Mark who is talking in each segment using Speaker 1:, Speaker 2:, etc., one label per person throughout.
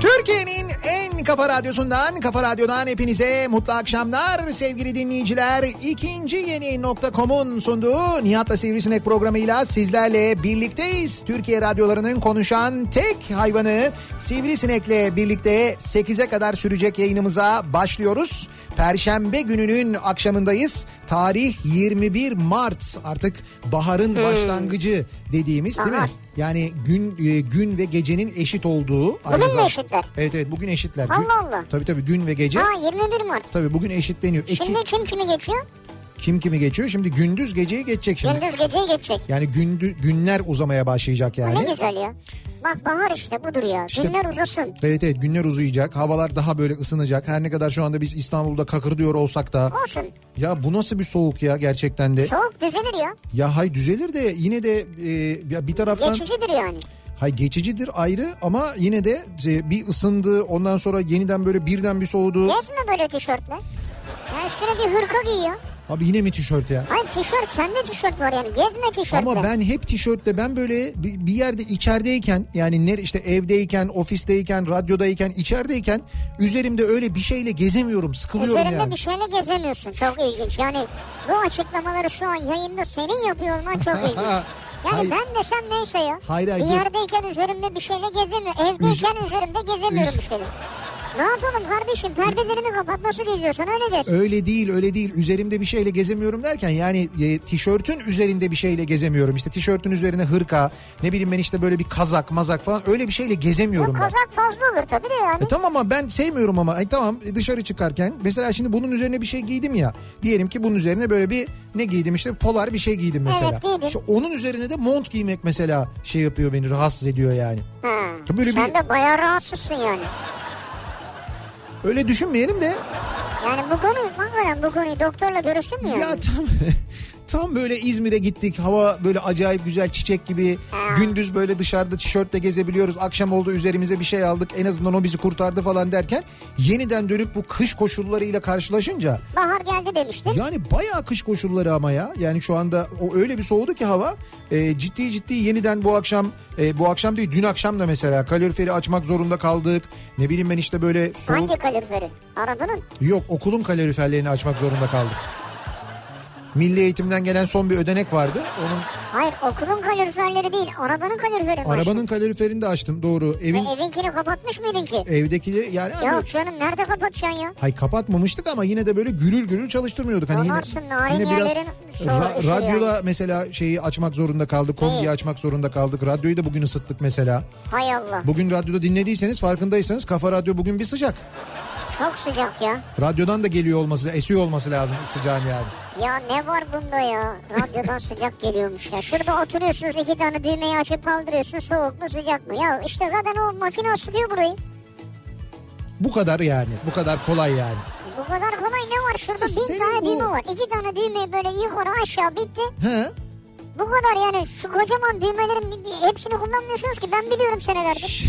Speaker 1: Türkiye'nin en kafa radyosundan, kafa radyodan hepinize mutlu akşamlar sevgili dinleyiciler. İkinci yeni nokta.com'un sunduğu Nihat'la Sivrisinek programıyla sizlerle birlikteyiz. Türkiye radyolarının konuşan tek hayvanı Sivrisinek'le birlikte 8'e kadar sürecek yayınımıza başlıyoruz. Perşembe gününün akşamındayız. Tarih 21 Mart artık baharın başlangıcı dediğimiz değil mi?
Speaker 2: Bahar.
Speaker 1: Yani gün e, gün ve gecenin eşit olduğu
Speaker 2: Bugün
Speaker 1: Aynı
Speaker 2: mü
Speaker 1: zam-
Speaker 2: eşitler?
Speaker 1: Evet evet bugün eşitler. Gün-
Speaker 2: Allah Allah.
Speaker 1: Tabii tabii gün ve gece.
Speaker 2: Ha 21 Mart.
Speaker 1: Tabii bugün eşitleniyor. Eki-
Speaker 2: Şimdi kim kimi geçiyor?
Speaker 1: kim kimi geçiyor? Şimdi gündüz geceyi geçecek şimdi.
Speaker 2: Gündüz geceye geçecek.
Speaker 1: Yani gündüz günler uzamaya başlayacak
Speaker 2: Bu
Speaker 1: yani.
Speaker 2: Ne güzel ya. Bak bahar işte budur ya.
Speaker 1: İşte-
Speaker 2: Günler uzasın.
Speaker 1: Evet evet günler uzayacak. Havalar daha böyle ısınacak. Her ne kadar şu anda biz İstanbul'da kakırdıyor olsak da.
Speaker 2: Olsun.
Speaker 1: Ya bu nasıl bir soğuk ya gerçekten de.
Speaker 2: Soğuk düzelir ya.
Speaker 1: Ya hay düzelir de yine de e, ya bir taraftan.
Speaker 2: Geçicidir yani.
Speaker 1: Hay geçicidir ayrı ama yine de e, bir ısındı. Ondan sonra yeniden böyle birden bir soğudu.
Speaker 2: Gezme böyle tişörtle. Ya üstüne bir hırka giy ya.
Speaker 1: Abi yine mi tişört ya?
Speaker 2: Hayır tişört sende tişört var yani. Gezme tişörtle.
Speaker 1: Ama ben hep tişörtle ben böyle bi- bir yerde içerideyken yani ner işte evdeyken, ofisteyken, radyodayken, içerideyken üzerimde öyle bir şeyle gezemiyorum, sıkılıyorum
Speaker 2: Üzerinde
Speaker 1: yani.
Speaker 2: bir şey- şeyle gezemiyorsun. Çok ilginç. Yani bu açıklamaları şu an yayında senin yapıyor olman çok ilginç. Yani
Speaker 1: Hayır.
Speaker 2: ben desem neyse ya.
Speaker 1: Hayır, hayır,
Speaker 2: bir
Speaker 1: yok.
Speaker 2: yerdeyken üzerimde bir şeyle gezemiyorum. Evdeyken üzerimde gezemiyorum
Speaker 1: Üz-
Speaker 2: bir şeyle. Ne yapalım kardeşim? Perdelerini kapat nasıl geziyorsun? Öyle gez.
Speaker 1: Öyle değil, öyle değil. Üzerimde bir şeyle gezemiyorum derken yani e, tişörtün üzerinde bir şeyle gezemiyorum. İşte tişörtün üzerine hırka, ne bileyim ben işte böyle bir kazak, mazak falan öyle bir şeyle gezemiyorum ben.
Speaker 2: Kazak fazla olur tabii de yani.
Speaker 1: E tamam ama ben sevmiyorum ama. E tamam e dışarı çıkarken mesela şimdi bunun üzerine bir şey giydim ya. Diyelim ki bunun üzerine böyle bir ne giydim işte polar bir şey giydim mesela.
Speaker 2: Evet, giydin.
Speaker 1: İşte onun üzerine de mont giymek mesela şey yapıyor beni rahatsız ediyor yani.
Speaker 2: Ha.
Speaker 1: Böyle
Speaker 2: Sen
Speaker 1: bir-
Speaker 2: de bayağı rahatsızsın yani.
Speaker 1: Öyle düşünmeyelim de
Speaker 2: Yani bu konuyu hakikaten bu konuyu doktorla görüştün mü yani?
Speaker 1: ya tam tam böyle İzmir'e gittik. Hava böyle acayip güzel çiçek gibi. Gündüz böyle dışarıda tişörtle gezebiliyoruz. Akşam oldu üzerimize bir şey aldık. En azından o bizi kurtardı falan derken yeniden dönüp bu kış koşullarıyla karşılaşınca
Speaker 2: Bahar geldi demiştin.
Speaker 1: Yani bayağı kış koşulları ama ya. Yani şu anda o öyle bir soğudu ki hava. E, ciddi ciddi yeniden bu akşam e, bu akşam değil dün akşam da mesela kaloriferi açmak zorunda kaldık. Ne bileyim ben işte böyle soğuk.
Speaker 2: Hangi kaloriferi? Arabanın.
Speaker 1: Yok okulun kaloriferlerini açmak zorunda kaldık. Milli eğitimden gelen son bir ödenek vardı. Onun
Speaker 2: Hayır okulun kaloriferleri değil arabanın kaloriferi. var.
Speaker 1: arabanın kaloriferini de açtım doğru. Evin
Speaker 2: E, evinkini kapatmış mıydın ki?
Speaker 1: evdekileri yani
Speaker 2: Yok canım nerede kapatacaksın ya?
Speaker 1: Hay kapatmamıştık ama yine de böyle gürül gürül çalıştırmıyorduk. Hani yine,
Speaker 2: Donarsın, narin
Speaker 1: yine biraz
Speaker 2: yerlerin soğuğu işi
Speaker 1: radyoda
Speaker 2: yani.
Speaker 1: mesela şeyi açmak zorunda kaldık. Kombiyi
Speaker 2: Neyi?
Speaker 1: açmak zorunda kaldık. Radyoyu da bugün ısıttık mesela.
Speaker 2: Hay Allah.
Speaker 1: Bugün radyoda dinlediyseniz farkındaysanız Kafa Radyo bugün bir sıcak.
Speaker 2: Çok sıcak ya.
Speaker 1: Radyodan da geliyor olması, esiyor olması lazım sıcağın yani.
Speaker 2: Ya ne var bunda ya? Radyodan sıcak geliyormuş ya. Şurada oturuyorsunuz iki tane düğmeyi açıp kaldırıyorsun soğuk mu sıcak mı? Ya işte zaten o makine ısıtıyor burayı.
Speaker 1: Bu kadar yani. Bu kadar kolay yani.
Speaker 2: Bu kadar kolay ne var? Şurada bin
Speaker 1: Senin
Speaker 2: tane
Speaker 1: bu-
Speaker 2: düğme var. İki tane düğme böyle yukarı aşağı bitti.
Speaker 1: He?
Speaker 2: Bu kadar yani şu kocaman düğmelerin bir- hepsini kullanmıyorsunuz ki ben biliyorum senelerdir.
Speaker 1: Şş,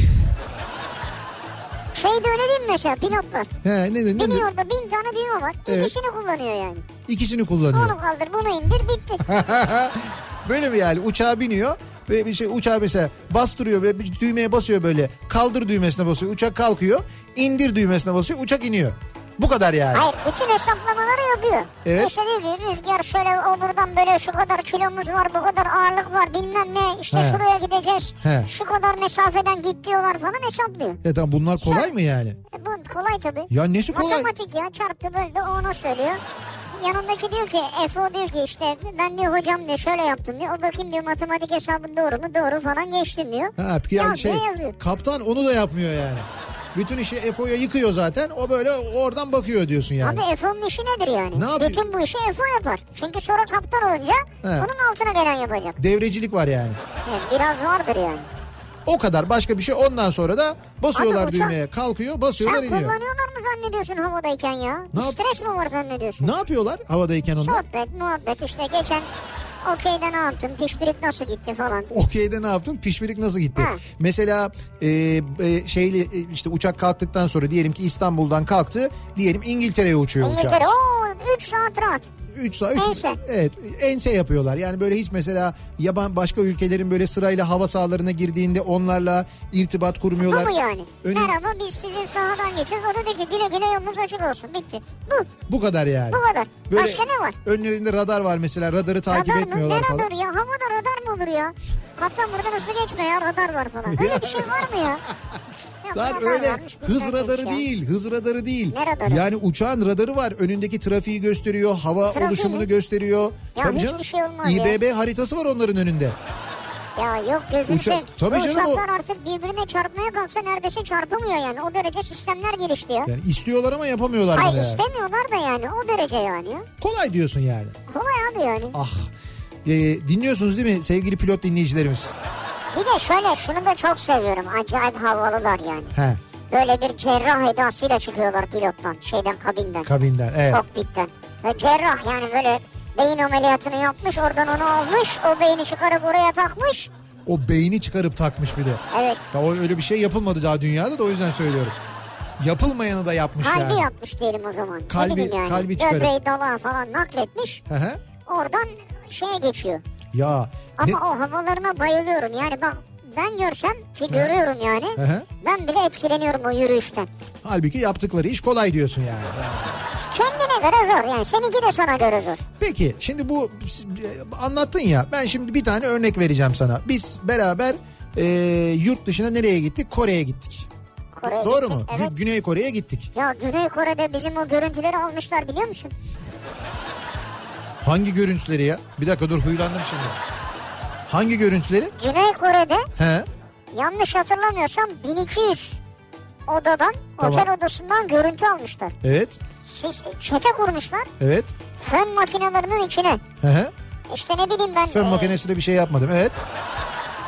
Speaker 2: Şey de öyle değil mi mesela pilotlar?
Speaker 1: He, ne, ne, ne,
Speaker 2: Biniyor da bin tane düğme var.
Speaker 1: Evet.
Speaker 2: İkisini kullanıyor yani.
Speaker 1: İkisini kullanıyor.
Speaker 2: Onu kaldır bunu indir bitti.
Speaker 1: böyle mi yani uçağa biniyor ve bir şey uçağa mesela bastırıyor ve bir düğmeye basıyor böyle kaldır düğmesine basıyor uçak kalkıyor indir düğmesine basıyor uçak iniyor. Bu kadar yani.
Speaker 2: Hayır bütün hesaplamaları yapıyor.
Speaker 1: Evet.
Speaker 2: İşte diyor ki rüzgar şöyle o buradan böyle şu kadar kilomuz var bu kadar ağırlık var bilmem ne işte
Speaker 1: He.
Speaker 2: şuraya gideceğiz
Speaker 1: He.
Speaker 2: şu kadar mesafeden git diyorlar falan hesaplıyor.
Speaker 1: E tamam bunlar kolay mı yani?
Speaker 2: E, bu kolay tabii.
Speaker 1: Ya nesi kolay?
Speaker 2: Matematik ya çarptı böldü ona söylüyor. yanındaki diyor ki FO diyor ki işte ben diyor hocam diyor şöyle yaptım diyor. O bakayım diyor matematik hesabın doğru mu doğru falan geçtin diyor.
Speaker 1: Ha, yani
Speaker 2: Yazıyor,
Speaker 1: şey,
Speaker 2: yazıyor.
Speaker 1: kaptan onu da yapmıyor yani. Bütün işi FO'ya yıkıyor zaten. O böyle oradan bakıyor diyorsun yani.
Speaker 2: Abi FO'nun işi nedir yani?
Speaker 1: Ne yapıyor?
Speaker 2: Bütün bu işi FO yapar. Çünkü sonra kaptan olunca
Speaker 1: He.
Speaker 2: onun altına gelen yapacak.
Speaker 1: Devrecilik var yani.
Speaker 2: Evet, biraz vardır yani.
Speaker 1: O kadar başka bir şey. Ondan sonra da basıyorlar
Speaker 2: Abi uçak-
Speaker 1: düğmeye. Kalkıyor,
Speaker 2: Sen
Speaker 1: basıyorlar, iniyor.
Speaker 2: kullanıyorlar mı zannediyorsun havadayken ya?
Speaker 1: Ne yap-
Speaker 2: Stres mi var zannediyorsun?
Speaker 1: Ne yapıyorlar havadayken onlar?
Speaker 2: Sohbet, muhabbet işte geçen okeyde ne yaptın? Pişpirik nasıl gitti falan.
Speaker 1: Okey'de ne yaptın? Pişmirik nasıl gitti?
Speaker 2: Ha.
Speaker 1: Mesela e, e, şeyli e, işte uçak kalktıktan sonra diyelim ki İstanbul'dan kalktı. Diyelim İngiltere'ye uçuyor
Speaker 2: İngiltere
Speaker 1: uçak.
Speaker 2: o 3 saat rahat.
Speaker 1: 3 saat. üç-
Speaker 2: Ense.
Speaker 1: Evet ense yapıyorlar. Yani böyle hiç mesela yaban başka ülkelerin böyle sırayla hava sahalarına girdiğinde onlarla irtibat
Speaker 2: Bu
Speaker 1: kurmuyorlar.
Speaker 2: mu yani?
Speaker 1: Önü-
Speaker 2: Merhaba biz sizin sahadan geçiyoruz. O da dedi ki güle güle yolunuz açık olsun. Bitti. Bu.
Speaker 1: Bu kadar yani.
Speaker 2: Bu kadar.
Speaker 1: Böyle
Speaker 2: Başka ne var?
Speaker 1: Önlerinde radar var mesela radarı takip
Speaker 2: radar mı?
Speaker 1: etmiyorlar
Speaker 2: Ne
Speaker 1: falan.
Speaker 2: radarı ya? Havada radar mı olur ya? Kaptan buradan hızlı geçme ya radar var falan. Öyle bir şey var mı ya? Ya
Speaker 1: Lan
Speaker 2: radar
Speaker 1: öyle
Speaker 2: varmış, şey
Speaker 1: hız
Speaker 2: bilmem neymiş
Speaker 1: radarı
Speaker 2: ya.
Speaker 1: değil, hız radarı değil.
Speaker 2: Ne radarı?
Speaker 1: Yani uçağın radarı var. Önündeki trafiği gösteriyor, hava
Speaker 2: Trafiği
Speaker 1: oluşumunu
Speaker 2: mi?
Speaker 1: gösteriyor.
Speaker 2: Ya hiçbir şey olmaz ya.
Speaker 1: İBB haritası var onların önünde.
Speaker 2: Ya yok gözünü
Speaker 1: Uça-
Speaker 2: seveyim.
Speaker 1: Tabii
Speaker 2: Bu
Speaker 1: canım o-
Speaker 2: uçaklar artık birbirine çarpmaya kalksa neredeyse çarpamıyor yani. O derece sistemler gelişti ya.
Speaker 1: Yani istiyorlar ama yapamıyorlar bunu.
Speaker 2: Hayır
Speaker 1: yani.
Speaker 2: istemiyorlar da yani o derece yani.
Speaker 1: Kolay diyorsun yani.
Speaker 2: Kolay abi yani.
Speaker 1: Ah. Ee, dinliyorsunuz değil mi sevgili pilot dinleyicilerimiz?
Speaker 2: Bir de şöyle şunu da çok seviyorum. Acayip havalılar yani.
Speaker 1: He,
Speaker 2: Böyle bir cerrah edasıyla çıkıyorlar pilottan. Şeyden kabinden.
Speaker 1: kabinden. Evet.
Speaker 2: kokpitten. Ve cerrah yani böyle beyin ameliyatını yapmış. Oradan onu almış. O beyni çıkarıp oraya takmış.
Speaker 1: O beyni çıkarıp takmış bir de.
Speaker 2: Evet.
Speaker 1: Ya o öyle bir şey yapılmadı daha dünyada da o yüzden söylüyorum. Yapılmayanı da yapmış
Speaker 2: Kalbi
Speaker 1: yani.
Speaker 2: yapmış diyelim o zaman. Ne
Speaker 1: Kalbi-
Speaker 2: bileyim yani.
Speaker 1: kalbi çıkarıp.
Speaker 2: Böbreği dalağa falan nakletmiş.
Speaker 1: Hı hı.
Speaker 2: Oradan şeye geçiyor.
Speaker 1: ya.
Speaker 2: Ama
Speaker 1: ne-
Speaker 2: o havalarına bayılıyorum. Yani bak ben görsem ki görüyorum yani.
Speaker 1: Hı hı.
Speaker 2: Ben bile etkileniyorum o yürüyüşten.
Speaker 1: Halbuki yaptıkları iş kolay diyorsun yani.
Speaker 2: Kendine göre zor yani. Seninki de sana göre zor.
Speaker 1: Peki şimdi bu anlattın ya ben şimdi bir tane örnek vereceğim sana. Biz beraber e, yurt dışına nereye gittik? Kore'ye gittik.
Speaker 2: Kore'ye
Speaker 1: Doğru
Speaker 2: gittik,
Speaker 1: mu? Gü-
Speaker 2: Evet.
Speaker 1: Güney Kore'ye gittik.
Speaker 2: Ya Güney Kore'de bizim o görüntüleri almışlar biliyor musun?
Speaker 1: Hangi görüntüleri ya? Bir dakika dur huylandım şimdi. Hangi görüntüleri?
Speaker 2: Güney Kore'de
Speaker 1: He.
Speaker 2: yanlış hatırlamıyorsam 1200 odadan,
Speaker 1: Tamam.
Speaker 2: otel odasından görüntü almışlar.
Speaker 1: Evet.
Speaker 2: Siz çete kurmuşlar
Speaker 1: Evet.
Speaker 2: fön makinelerinin içine.
Speaker 1: Hı hı.
Speaker 2: İşte ne bileyim ben
Speaker 1: Fön
Speaker 2: e,
Speaker 1: makinesiyle bir şey yapmadım. Evet.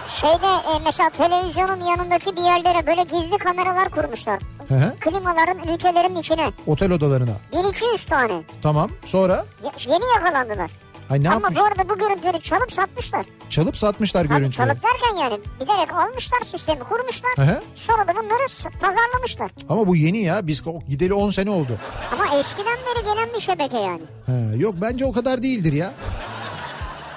Speaker 2: şeyde e, mesela televizyonun yanındaki bir yerlere böyle gizli kameralar kurmuşlar.
Speaker 1: Hı hı.
Speaker 2: Klimaların ülkelerin içine.
Speaker 1: Otel odalarına.
Speaker 2: 1200 tane.
Speaker 1: Tamam. Sonra
Speaker 2: Ye- yeni yakalandılar.
Speaker 1: ay ne
Speaker 2: Ama
Speaker 1: yapmış?
Speaker 2: bu arada bu görüntüleri çalıp satmışlar.
Speaker 1: Çalıp satmışlar
Speaker 2: Tabii
Speaker 1: görüntüleri.
Speaker 2: çalıp derken yani bilerek almışlar sistemi kurmuşlar.
Speaker 1: Hı hı.
Speaker 2: Sonra da bunları s- pazarlamışlar.
Speaker 1: Ama bu yeni ya. Biz o- gideli 10 sene oldu.
Speaker 2: Ama eskiden beri gelen bir şebeke yani.
Speaker 1: He, yok bence o kadar değildir ya.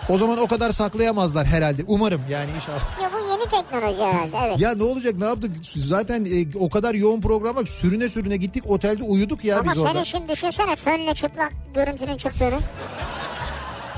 Speaker 1: O zaman o kadar saklayamazlar herhalde. Umarım yani inşallah.
Speaker 2: Ya bu yeni teknoloji herhalde evet.
Speaker 1: Ya ne olacak ne yaptık? Zaten e, o kadar yoğun programa sürüne sürüne gittik. Otelde uyuduk ya
Speaker 2: Ama
Speaker 1: biz
Speaker 2: senin
Speaker 1: orada.
Speaker 2: şimdi düşünsene fönle çıplak görüntünün çıktığını.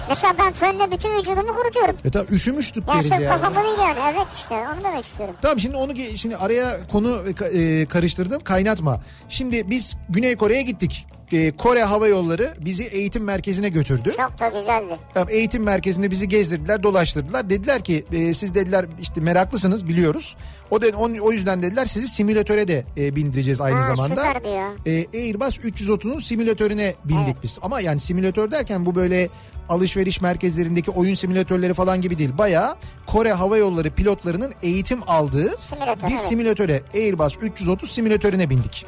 Speaker 2: Mesela ben fönle bütün vücudumu kurutuyorum.
Speaker 1: E tamam üşümüştük
Speaker 2: Ya
Speaker 1: deriz
Speaker 2: sırf
Speaker 1: yani.
Speaker 2: kafamı değil yani. Evet işte onu demek istiyorum.
Speaker 1: Tamam şimdi onu ge- şimdi araya konu e, ka- e, karıştırdın kaynatma. Şimdi biz Güney Kore'ye gittik. E, Kore Hava Yolları bizi eğitim merkezine götürdü.
Speaker 2: Çok da güzeldi.
Speaker 1: Tamam, eğitim merkezinde bizi gezdirdiler, dolaştırdılar. Dediler ki e, siz dediler işte meraklısınız biliyoruz. O de, on- o yüzden dediler sizi simülatöre de e, bindireceğiz aynı
Speaker 2: Ha,
Speaker 1: zamanda.
Speaker 2: süper diyor.
Speaker 1: E, Airbus 330'un simülatörüne bindik
Speaker 2: Evet.
Speaker 1: biz. Ama yani simülatör derken bu böyle alışveriş merkezlerindeki oyun simülatörleri falan gibi değil. Bayağı Kore Hava Yolları pilotlarının eğitim aldığı
Speaker 2: Simülatör,
Speaker 1: bir
Speaker 2: evet.
Speaker 1: simülatöre Airbus 330 simülatörüne bindik.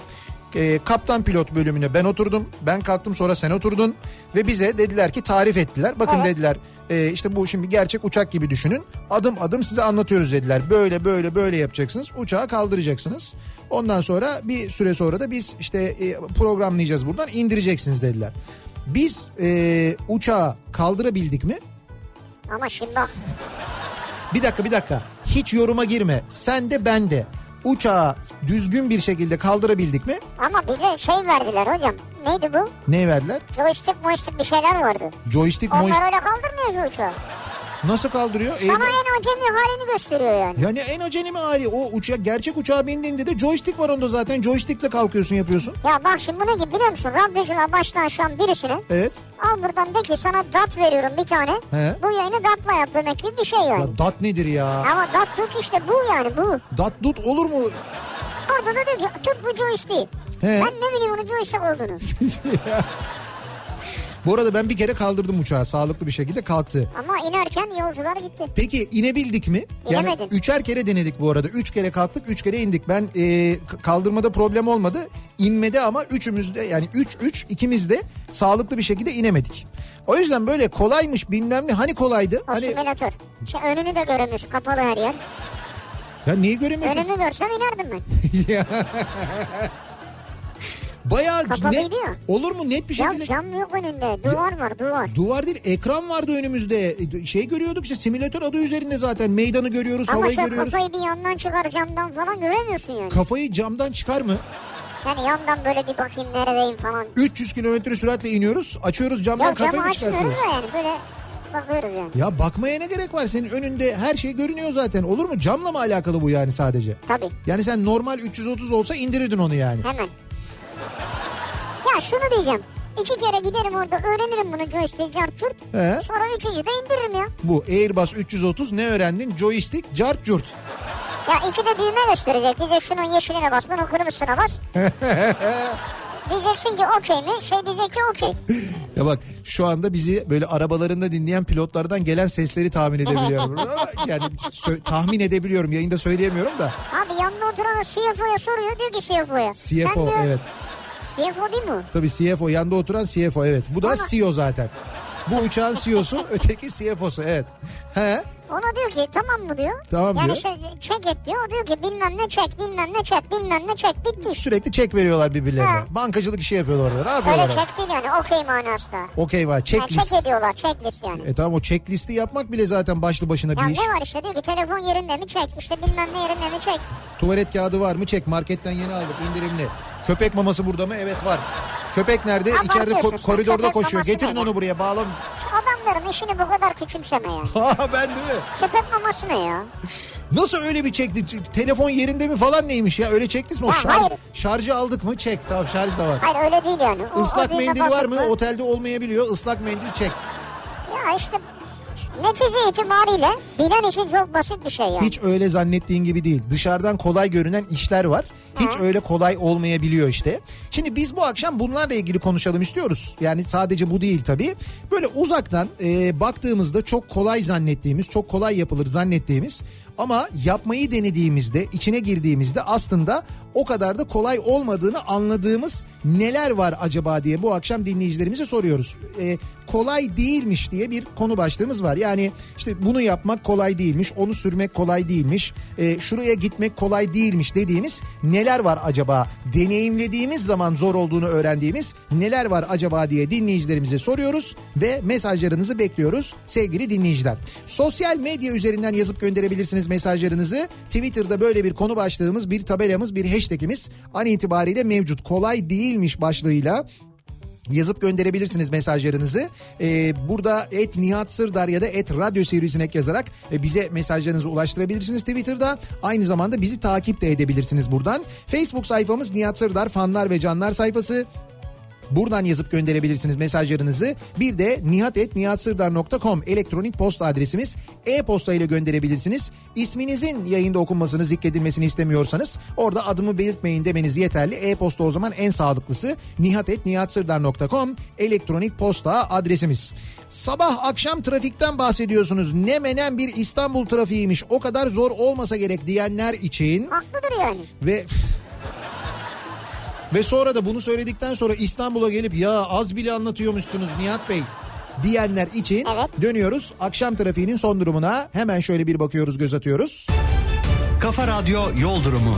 Speaker 1: E, kaptan pilot bölümüne ben oturdum. Ben kalktım sonra sen oturdun. Ve bize dediler ki tarif ettiler. Bakın
Speaker 2: Evet.
Speaker 1: dediler e, işte bu şimdi gerçek uçak gibi düşünün. Adım adım size anlatıyoruz dediler. Böyle böyle böyle yapacaksınız. Uçağı kaldıracaksınız. Ondan sonra bir süre sonra da biz işte e, programlayacağız buradan indireceksiniz dediler. Biz e, uçağı kaldırabildik mi?
Speaker 2: Ama şimdi bak
Speaker 1: Bir dakika bir dakika. Hiç yoruma girme. Sen de ben de. Uçağı düzgün bir şekilde kaldırabildik mi?
Speaker 2: ama bize şey verdiler hocam. Neydi bu?
Speaker 1: Ne verdiler?
Speaker 2: Joystick moystick bir şeyler vardı.
Speaker 1: Joystick,
Speaker 2: Onlar
Speaker 1: moist-
Speaker 2: öyle kaldırmıyor ki uçağı.
Speaker 1: Nasıl kaldırıyor? Eğri-
Speaker 2: Sana en acemi halini gösteriyor yani.
Speaker 1: Yani en acemi hali o uça gerçek uçağa bindiğinde de joystick var onda zaten joystickle kalkıyorsun yapıyorsun.
Speaker 2: Ya bak şimdi bunun gibi biliyor musun? Radyocular baştan şu an birisine
Speaker 1: Evet.
Speaker 2: al buradan de ki sana dat veriyorum bir tane.
Speaker 1: He.
Speaker 2: Bu yayını datla yap demek gibi bir şey yani.
Speaker 1: Ya dat nedir ya?
Speaker 2: Ama dat tut işte bu yani bu.
Speaker 1: Dat dut olur mu?
Speaker 2: Orada da diyor ki tut bu joystick'i.
Speaker 1: He.
Speaker 2: Ben ne bileyim onun joystick olduğunu.
Speaker 1: Bu arada ben bir kere kaldırdım uçağı sağlıklı bir şekilde kalktı.
Speaker 2: Ama inerken yolcular gitti.
Speaker 1: Peki inebildik mi? Yani
Speaker 2: İnemedin.
Speaker 1: üçer kere denedik bu arada. Üç kere kalktık, üç kere indik. Ben e, k- kaldırmada problem olmadı. İnmede ama üçümüzde yani üç üç ikimiz de sağlıklı bir şekilde inemedik. O yüzden böyle kolaymış bilmem ne hani kolaydı.
Speaker 2: O
Speaker 1: Hani
Speaker 2: simülatör. İşte şey, önünü de göremiyorsun kapalı her yer.
Speaker 1: ya niye göremiyorsun?
Speaker 2: Önümü görsem inerdim ben.
Speaker 1: Ya. Bayağı
Speaker 2: Kapalı
Speaker 1: net,
Speaker 2: diyor.
Speaker 1: olur mu net bir şekilde
Speaker 2: Ya cam yok önünde. Duvar var duvar.
Speaker 1: duvar değil ekran vardı önümüzde E, şey görüyorduk işte simülatör adı üzerinde zaten meydanı görüyoruz
Speaker 2: Ama
Speaker 1: havayı
Speaker 2: şu
Speaker 1: görüyoruz.
Speaker 2: kafayı bir yandan çıkar camdan falan göremiyorsun yani.
Speaker 1: Kafayı camdan çıkar mı?
Speaker 2: Yani yandan böyle bir bakayım neredeyim falan.
Speaker 1: 300 kilometre süratle iniyoruz açıyoruz camdan
Speaker 2: Ya camı
Speaker 1: kafayı
Speaker 2: açmıyoruz
Speaker 1: çıkartıyoruz.
Speaker 2: da yani böyle bakıyoruz yani.
Speaker 1: Ya bakmaya ne gerek var senin önünde her şey görünüyor zaten olur mu camla mı alakalı bu yani sadece?
Speaker 2: Tabii
Speaker 1: Yani sen normal 330 olsa indirirdin onu yani.
Speaker 2: hemen. Ya şunu diyeceğim. İki kere giderim orada öğrenirim bunu joystick cart curt.
Speaker 1: He.
Speaker 2: Sonra üçüncü de indiririm ya.
Speaker 1: Bu Airbus 330 ne öğrendin? Joystick, cart curt.
Speaker 2: Ya iki de düğme gösterecek. Diyecek şunun yeşiline bas bunun kırmızısına bas. Diyeceksin ki okey mi? Şey diyecek ki okey.
Speaker 1: Ya bak şu anda bizi böyle arabalarında dinleyen pilotlardan gelen sesleri tahmin edebiliyorum. yani sö- tahmin edebiliyorum yayında söyleyemiyorum da.
Speaker 2: Abi yanına oturan CFO'ya soruyor diyor ki CFO'ya.
Speaker 1: CFO
Speaker 2: diyor,
Speaker 1: evet.
Speaker 2: CFO değil mi? o?
Speaker 1: Tabii CFO yanında oturan CFO evet. Bu da CEO zaten. Bu uçağın CEO'su öteki CFO'su evet. He.
Speaker 2: Ona diyor ki tamam mı diyor.
Speaker 1: Tamam
Speaker 2: yani
Speaker 1: diyor.
Speaker 2: işte çek et diyor. O diyor ki bilmem ne çek bilmem ne çek bilmem ne çek bitti işte.
Speaker 1: Sürekli çek veriyorlar birbirlerine.
Speaker 2: Ha.
Speaker 1: Bankacılık işi yapıyorlar orada. Ne
Speaker 2: Öyle
Speaker 1: yapıyorlar? orada?
Speaker 2: çek değil yani okey manasında.
Speaker 1: Okey var.
Speaker 2: Yani
Speaker 1: Checklist.
Speaker 2: çek ediyorlar checklist yani.
Speaker 1: E tamam o checklisti yapmak bile zaten başlı başına
Speaker 2: Ya
Speaker 1: bir iş.
Speaker 2: ne var işte diyor ki telefon yerinde mi çek işte bilmem ne yerinde mi çek.
Speaker 1: Tuvalet kağıdı var mı? Çek. Marketten yeni aldık. indirimli. Köpek maması burada mı? Evet var. Köpek nerede?
Speaker 2: Ha,
Speaker 1: İçeride ko-
Speaker 2: bakıyorsun sen.
Speaker 1: koridorda
Speaker 2: Köpek
Speaker 1: koşuyor.
Speaker 2: maması
Speaker 1: Getirin
Speaker 2: nerede?
Speaker 1: onu buraya bağlam.
Speaker 2: Şu Adamların işini bu kadar küçümseme ya.
Speaker 1: Ha ben değil mi?
Speaker 2: Köpek maması ne ya?
Speaker 1: Nasıl öyle bir çekti? Ç- Telefon yerinde mi falan neymiş ya? Öyle çektiniz mi? O
Speaker 2: Ya
Speaker 1: şarj,
Speaker 2: hayır.
Speaker 1: şarjı aldık mı? Çek. Tamam şarj da var.
Speaker 2: Hayır öyle değil yani. O,
Speaker 1: Islak
Speaker 2: o düğme
Speaker 1: mendil var mı?
Speaker 2: basılı.
Speaker 1: Otelde olmayabiliyor. Islak mendil çek.
Speaker 2: Ya işte netice itibariyle bilen için çok basit bir şey yani.
Speaker 1: Hiç öyle zannettiğin gibi değil. Dışarıdan kolay görünen işler var. Hiç öyle kolay olmayabiliyor işte. Şimdi biz bu akşam bunlarla ilgili konuşalım istiyoruz. Yani sadece bu değil tabii. Böyle uzaktan e, baktığımızda çok kolay zannettiğimiz, çok kolay yapılır zannettiğimiz ama yapmayı denediğimizde, içine girdiğimizde aslında o kadar da kolay olmadığını anladığımız neler var acaba diye bu akşam dinleyicilerimize soruyoruz. E, kolay değilmiş diye bir konu başlığımız var. Yani işte bunu yapmak kolay değilmiş, onu sürmek kolay değilmiş, e, şuraya gitmek kolay değilmiş dediğimiz neler var acaba? Deneyimlediğimiz zaman zor olduğunu öğrendiğimiz neler var acaba diye dinleyicilerimize soruyoruz ve mesajlarınızı bekliyoruz sevgili dinleyiciler. Sosyal medya üzerinden yazıp gönderebilirsiniz mesajlarınızı. Twitter'da böyle bir konu başlığımız, bir tabelamız, bir hashtagimiz an itibariyle mevcut. Kolay değilmiş başlığıyla yazıp gönderebilirsiniz mesajlarınızı. Ee, burada et Nihat Sırdar ya da et Radyo Sivrisinek yazarak e, bize mesajlarınızı ulaştırabilirsiniz Twitter'da. Aynı zamanda bizi takip de edebilirsiniz buradan. Facebook sayfamız Nihat Sırdar fanlar ve canlar sayfası. Buradan yazıp gönderebilirsiniz mesajlarınızı. Bir de nihatetnihatsırdar.com elektronik posta adresimiz. E-posta ile gönderebilirsiniz. İsminizin yayında okunmasını zikredilmesini istemiyorsanız orada adımı belirtmeyin demeniz yeterli. E-posta o zaman en sağlıklısı. nihatetnihatsırdar.com elektronik posta adresimiz. Sabah akşam trafikten bahsediyorsunuz. Ne menen bir İstanbul trafiğiymiş. O kadar zor olmasa gerek diyenler için
Speaker 2: Haklıdır yani.
Speaker 1: ve ve sonra da bunu söyledikten sonra İstanbul'a gelip ya az bile anlatıyormuşsunuz Nihat Bey diyenler için
Speaker 2: Evet.
Speaker 1: dönüyoruz. Akşam trafiğinin son durumuna hemen şöyle bir bakıyoruz göz atıyoruz.
Speaker 3: Kafa Radyo Yol Durumu.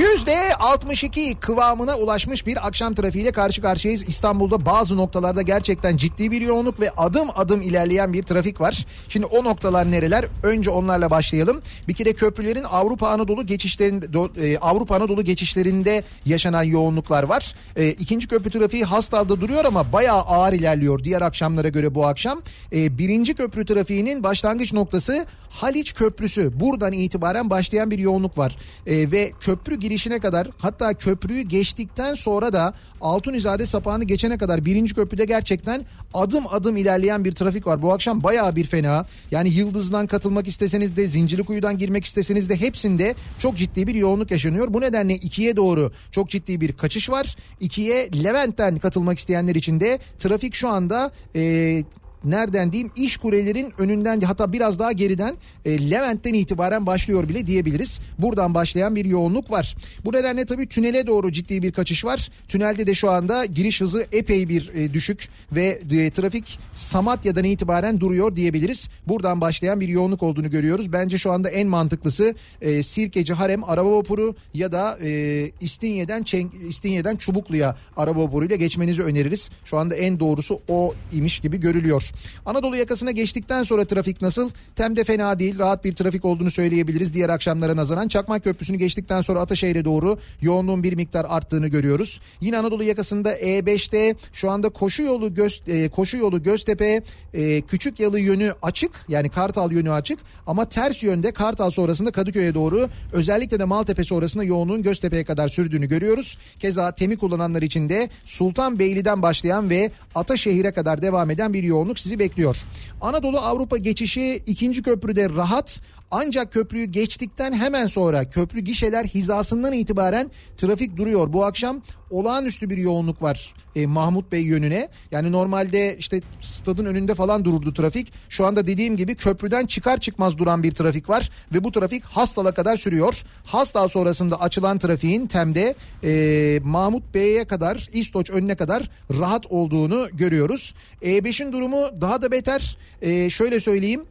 Speaker 1: Yüzde 62 kıvamına ulaşmış bir akşam trafiğiyle karşı karşıyayız. İstanbul'da bazı noktalarda gerçekten ciddi bir yoğunluk ve adım adım ilerleyen bir trafik var. Şimdi o noktalar nereler? Önce onlarla başlayalım. Bir kere köprülerin Avrupa Anadolu geçişlerinde do- e, Avrupa Anadolu geçişlerinde yaşanan yoğunluklar var. E, ikinci köprü trafiği Hastal'da duruyor ama bayağı ağır ilerliyor diğer akşamlara göre bu akşam. E, birinci köprü trafiğinin başlangıç noktası Haliç Köprüsü. Buradan itibaren başlayan bir yoğunluk var. E, ve köprü girişine kadar hatta köprüyü geçtikten sonra da Altunizade sapağını geçene kadar birinci köprüde gerçekten adım adım ilerleyen bir trafik var. Bu akşam bayağı bir fena. Yani Yıldız'dan katılmak isteseniz de Zincirlikuyu'dan girmek isteseniz de hepsinde çok ciddi bir yoğunluk yaşanıyor. Bu nedenle ikiye doğru çok ciddi bir kaçış var. İkiye Levent'ten katılmak isteyenler için de trafik şu anda e, nereden diyeyim iş kurelerin önünden hatta biraz daha geriden e, Levent'ten itibaren başlıyor bile diyebiliriz. Buradan başlayan bir yoğunluk var. Bu nedenle tabii tünele doğru ciddi bir kaçış var. Tünelde de şu anda giriş hızı epey bir e, düşük ve e, trafik Samatya'dan itibaren duruyor diyebiliriz. Buradan başlayan bir yoğunluk olduğunu görüyoruz. Bence şu anda en mantıklısı e, Sirkeci Harem araba vapuru ya da e, İstinye'den Çen- İstinye'den Çubuklu'ya araba vapuruyla geçmenizi öneririz. Şu anda en doğrusu o imiş gibi görülüyor. Anadolu yakasına geçtikten sonra trafik nasıl? Tem'de fena değil. Rahat bir trafik olduğunu söyleyebiliriz diğer akşamlara nazaran. Çakmak Köprüsü'nü geçtikten sonra Ataşehir'e doğru yoğunluğun bir miktar arttığını görüyoruz. Yine Anadolu yakasında E5'te şu anda koşu yolu göz e, koşu yolu Göztepe e, küçük yalı yönü açık yani Kartal yönü açık ama ters yönde Kartal sonrasında Kadıköy'e doğru özellikle de Maltepe sonrasında yoğunluğun Göztepe'ye kadar sürdüğünü görüyoruz. Keza temi kullananlar için de Sultanbeyli'den başlayan ve Ataşehir'e kadar devam eden bir yoğunluk sizi bekliyor. Anadolu Avrupa geçişi ikinci köprüde rahat ancak köprüyü geçtikten hemen sonra köprü gişeler hizasından itibaren trafik duruyor. Bu akşam olağanüstü bir yoğunluk var e, Mahmut Bey yönüne. Yani normalde işte stadın önünde falan dururdu trafik. Şu anda dediğim gibi köprüden çıkar çıkmaz duran bir trafik var ve bu trafik Hastal'a kadar sürüyor. Hastal sonrasında açılan trafiğin Tem'de e, Mahmut Bey'e kadar İstoç önüne kadar rahat olduğunu görüyoruz. E5'in durumu daha da beter. E, şöyle söyleyeyim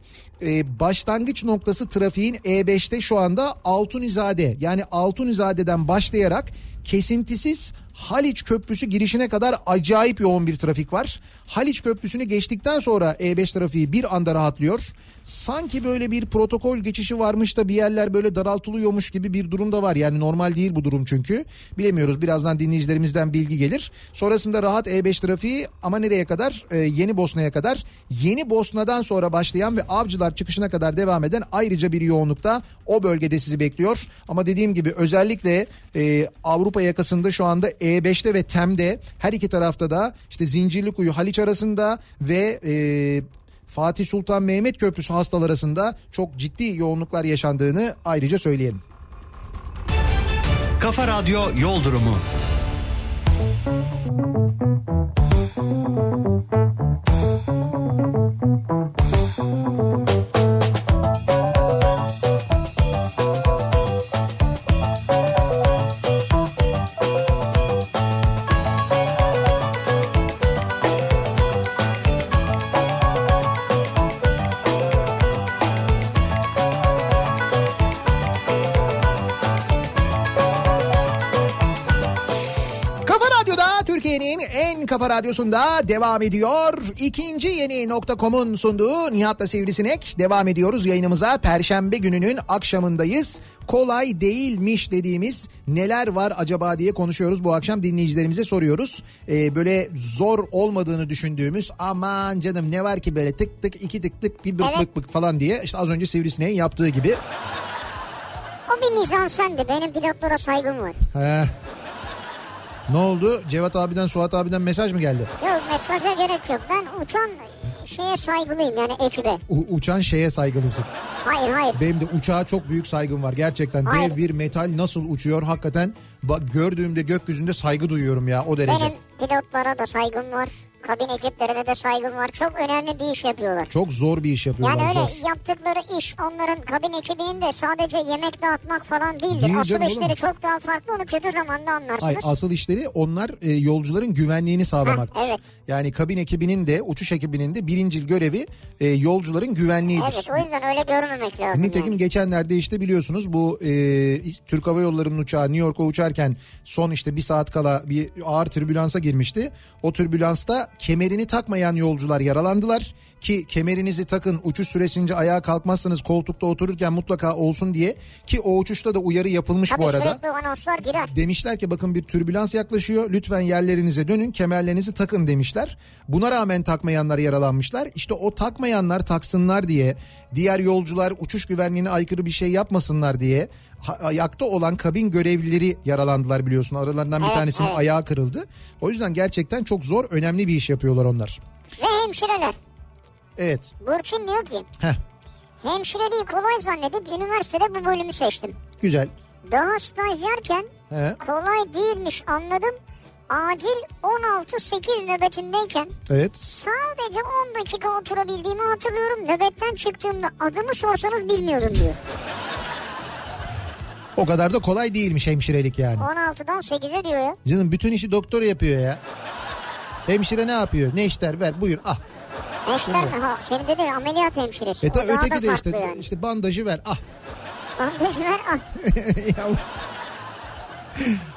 Speaker 1: e, başlangıç noktası trafiğin E5'te şu anda Altunizade yani Altunizade'den başlayarak kesintisiz Haliç Köprüsü girişine kadar acayip yoğun bir trafik var. Haliç Köprüsü'nü geçtikten sonra E5 trafiği bir anda rahatlıyor. Sanki böyle bir protokol geçişi varmış da bir yerler böyle daraltılıyormuş gibi bir durum da var. Yani normal değil bu durum çünkü. Bilemiyoruz birazdan dinleyicilerimizden bilgi gelir. Sonrasında rahat E5 trafiği ama nereye kadar? Ee, Yeni Bosna'ya kadar. Yeni Bosna'dan sonra başlayan ve Avcılar çıkışına kadar devam eden ayrıca bir yoğunlukta o bölgede sizi bekliyor. Ama dediğim gibi özellikle e, Avrupa yakasında şu anda E5'te ve TEM'de her iki tarafta da işte Zincirlikuyu Haliç arasında ve e, Fatih Sultan Mehmet Köprüsü hastalar arasında çok ciddi yoğunluklar yaşandığını ayrıca söyleyelim.
Speaker 3: Kafa Radyo Yol Durumu.
Speaker 1: Kafa Radyo'da Türkiye'nin en kafa radyosunda devam ediyor. İkinci yeni nokta.com'un sunduğu Nihat'la Sivrisinek devam ediyoruz yayınımıza. Perşembe gününün akşamındayız. Kolay değilmiş dediğimiz neler var acaba diye konuşuyoruz bu akşam dinleyicilerimize soruyoruz. Ee, böyle zor olmadığını düşündüğümüz aman canım ne var ki böyle tık tık iki tık tık bir bık
Speaker 2: Evet.
Speaker 1: bık bık falan diye işte az önce Sivrisineğin yaptığı gibi.
Speaker 2: O bir mizansendi. Benim pilotlara saygım var.
Speaker 1: He. Ne oldu? Cevat abiden, Suat abiden mesaj mı geldi?
Speaker 2: Yok mesaja gerek yok. Ben uçan şeye saygılıyım yani ekibe.
Speaker 1: U- uçan şeye saygılısın.
Speaker 2: Hayır hayır.
Speaker 1: Benim de uçağa çok büyük saygım var. Gerçekten
Speaker 2: Hayır.
Speaker 1: dev bir metal nasıl uçuyor hakikaten. Bak gördüğümde gökyüzünde saygı duyuyorum ya o derece.
Speaker 2: Benim pilotlara da saygım var. Kabin ekiplerine de saygım var. Çok önemli bir iş yapıyorlar.
Speaker 1: Çok zor bir iş yapıyorlar.
Speaker 2: Yani öyle
Speaker 1: zor.
Speaker 2: yaptıkları iş onların kabin ekibinin de sadece yemek dağıtmak falan değildir.
Speaker 1: Değil
Speaker 2: Asıl
Speaker 1: canım
Speaker 2: işleri
Speaker 1: oğlum.
Speaker 2: çok daha farklı onu kötü zamanda anlarsınız.
Speaker 1: Ay, asıl işleri onlar e, yolcuların güvenliğini sağlamaktır.
Speaker 2: Ha, evet.
Speaker 1: Yani kabin ekibinin de uçuş ekibinin de birincil görevi e, yolcuların güvenliğidir.
Speaker 2: evet o yüzden öyle görmemek lazım.
Speaker 1: Nitekim
Speaker 2: yani.
Speaker 1: geçenlerde işte biliyorsunuz bu e, Türk Hava Yolları'nın uçağı New York'a uçarken son işte bir saat kala bir ağır türbülansa girmişti. O türbülansta kemerini takmayan yolcular yaralandılar ki kemerinizi takın uçuş süresince ayağa kalkmazsanız koltukta otururken mutlaka olsun diye ki o uçuşta da uyarı yapılmış
Speaker 2: Tabii
Speaker 1: bu arada.
Speaker 2: sürekli o anonslar girer.
Speaker 1: Demişler ki bakın bir türbülans yaklaşıyor. Lütfen yerlerinize dönün, kemerlerinizi takın demişler. Buna rağmen takmayanlar yaralanmışlar. İşte o takmayanlar taksınlar diye, diğer yolcular uçuş güvenliğine aykırı bir şey yapmasınlar diye ha- ayakta olan kabin görevlileri yaralandılar biliyorsun. Aralarından bir
Speaker 2: Evet,
Speaker 1: tanesinin
Speaker 2: evet.
Speaker 1: ayağı kırıldı. O yüzden gerçekten çok zor, önemli bir iş yapıyorlar onlar.
Speaker 2: Ve hemşireler.
Speaker 1: Evet.
Speaker 2: Burçin diyor ki
Speaker 1: Heh.
Speaker 2: hemşireliği kolay zannedip üniversitede bu bölümü seçtim.
Speaker 1: Güzel.
Speaker 2: Daha stajyerken
Speaker 1: He,
Speaker 2: kolay değilmiş anladım. Acil 16-8 nöbetindeyken
Speaker 1: evet.
Speaker 2: sadece 10 dakika oturabildiğimi hatırlıyorum. Nöbetten çıktığımda adımı sorsanız bilmiyordum diyor.
Speaker 1: O kadar da kolay değilmiş hemşirelik yani.
Speaker 2: 16'dan 8'e diyor ya.
Speaker 1: Canım bütün işi doktor yapıyor ya. Hemşire ne yapıyor? Ne işler ver buyur ah.
Speaker 2: Eşler mi? Ha, senin dedi ya, ameliyat hemşiresi.
Speaker 1: E
Speaker 2: O
Speaker 1: ta,
Speaker 2: daha da
Speaker 1: öteki de
Speaker 2: farklı
Speaker 1: işte,
Speaker 2: yani.
Speaker 1: işte bandajı ver ah.
Speaker 2: Bandajı ver, al.
Speaker 1: Ya bu-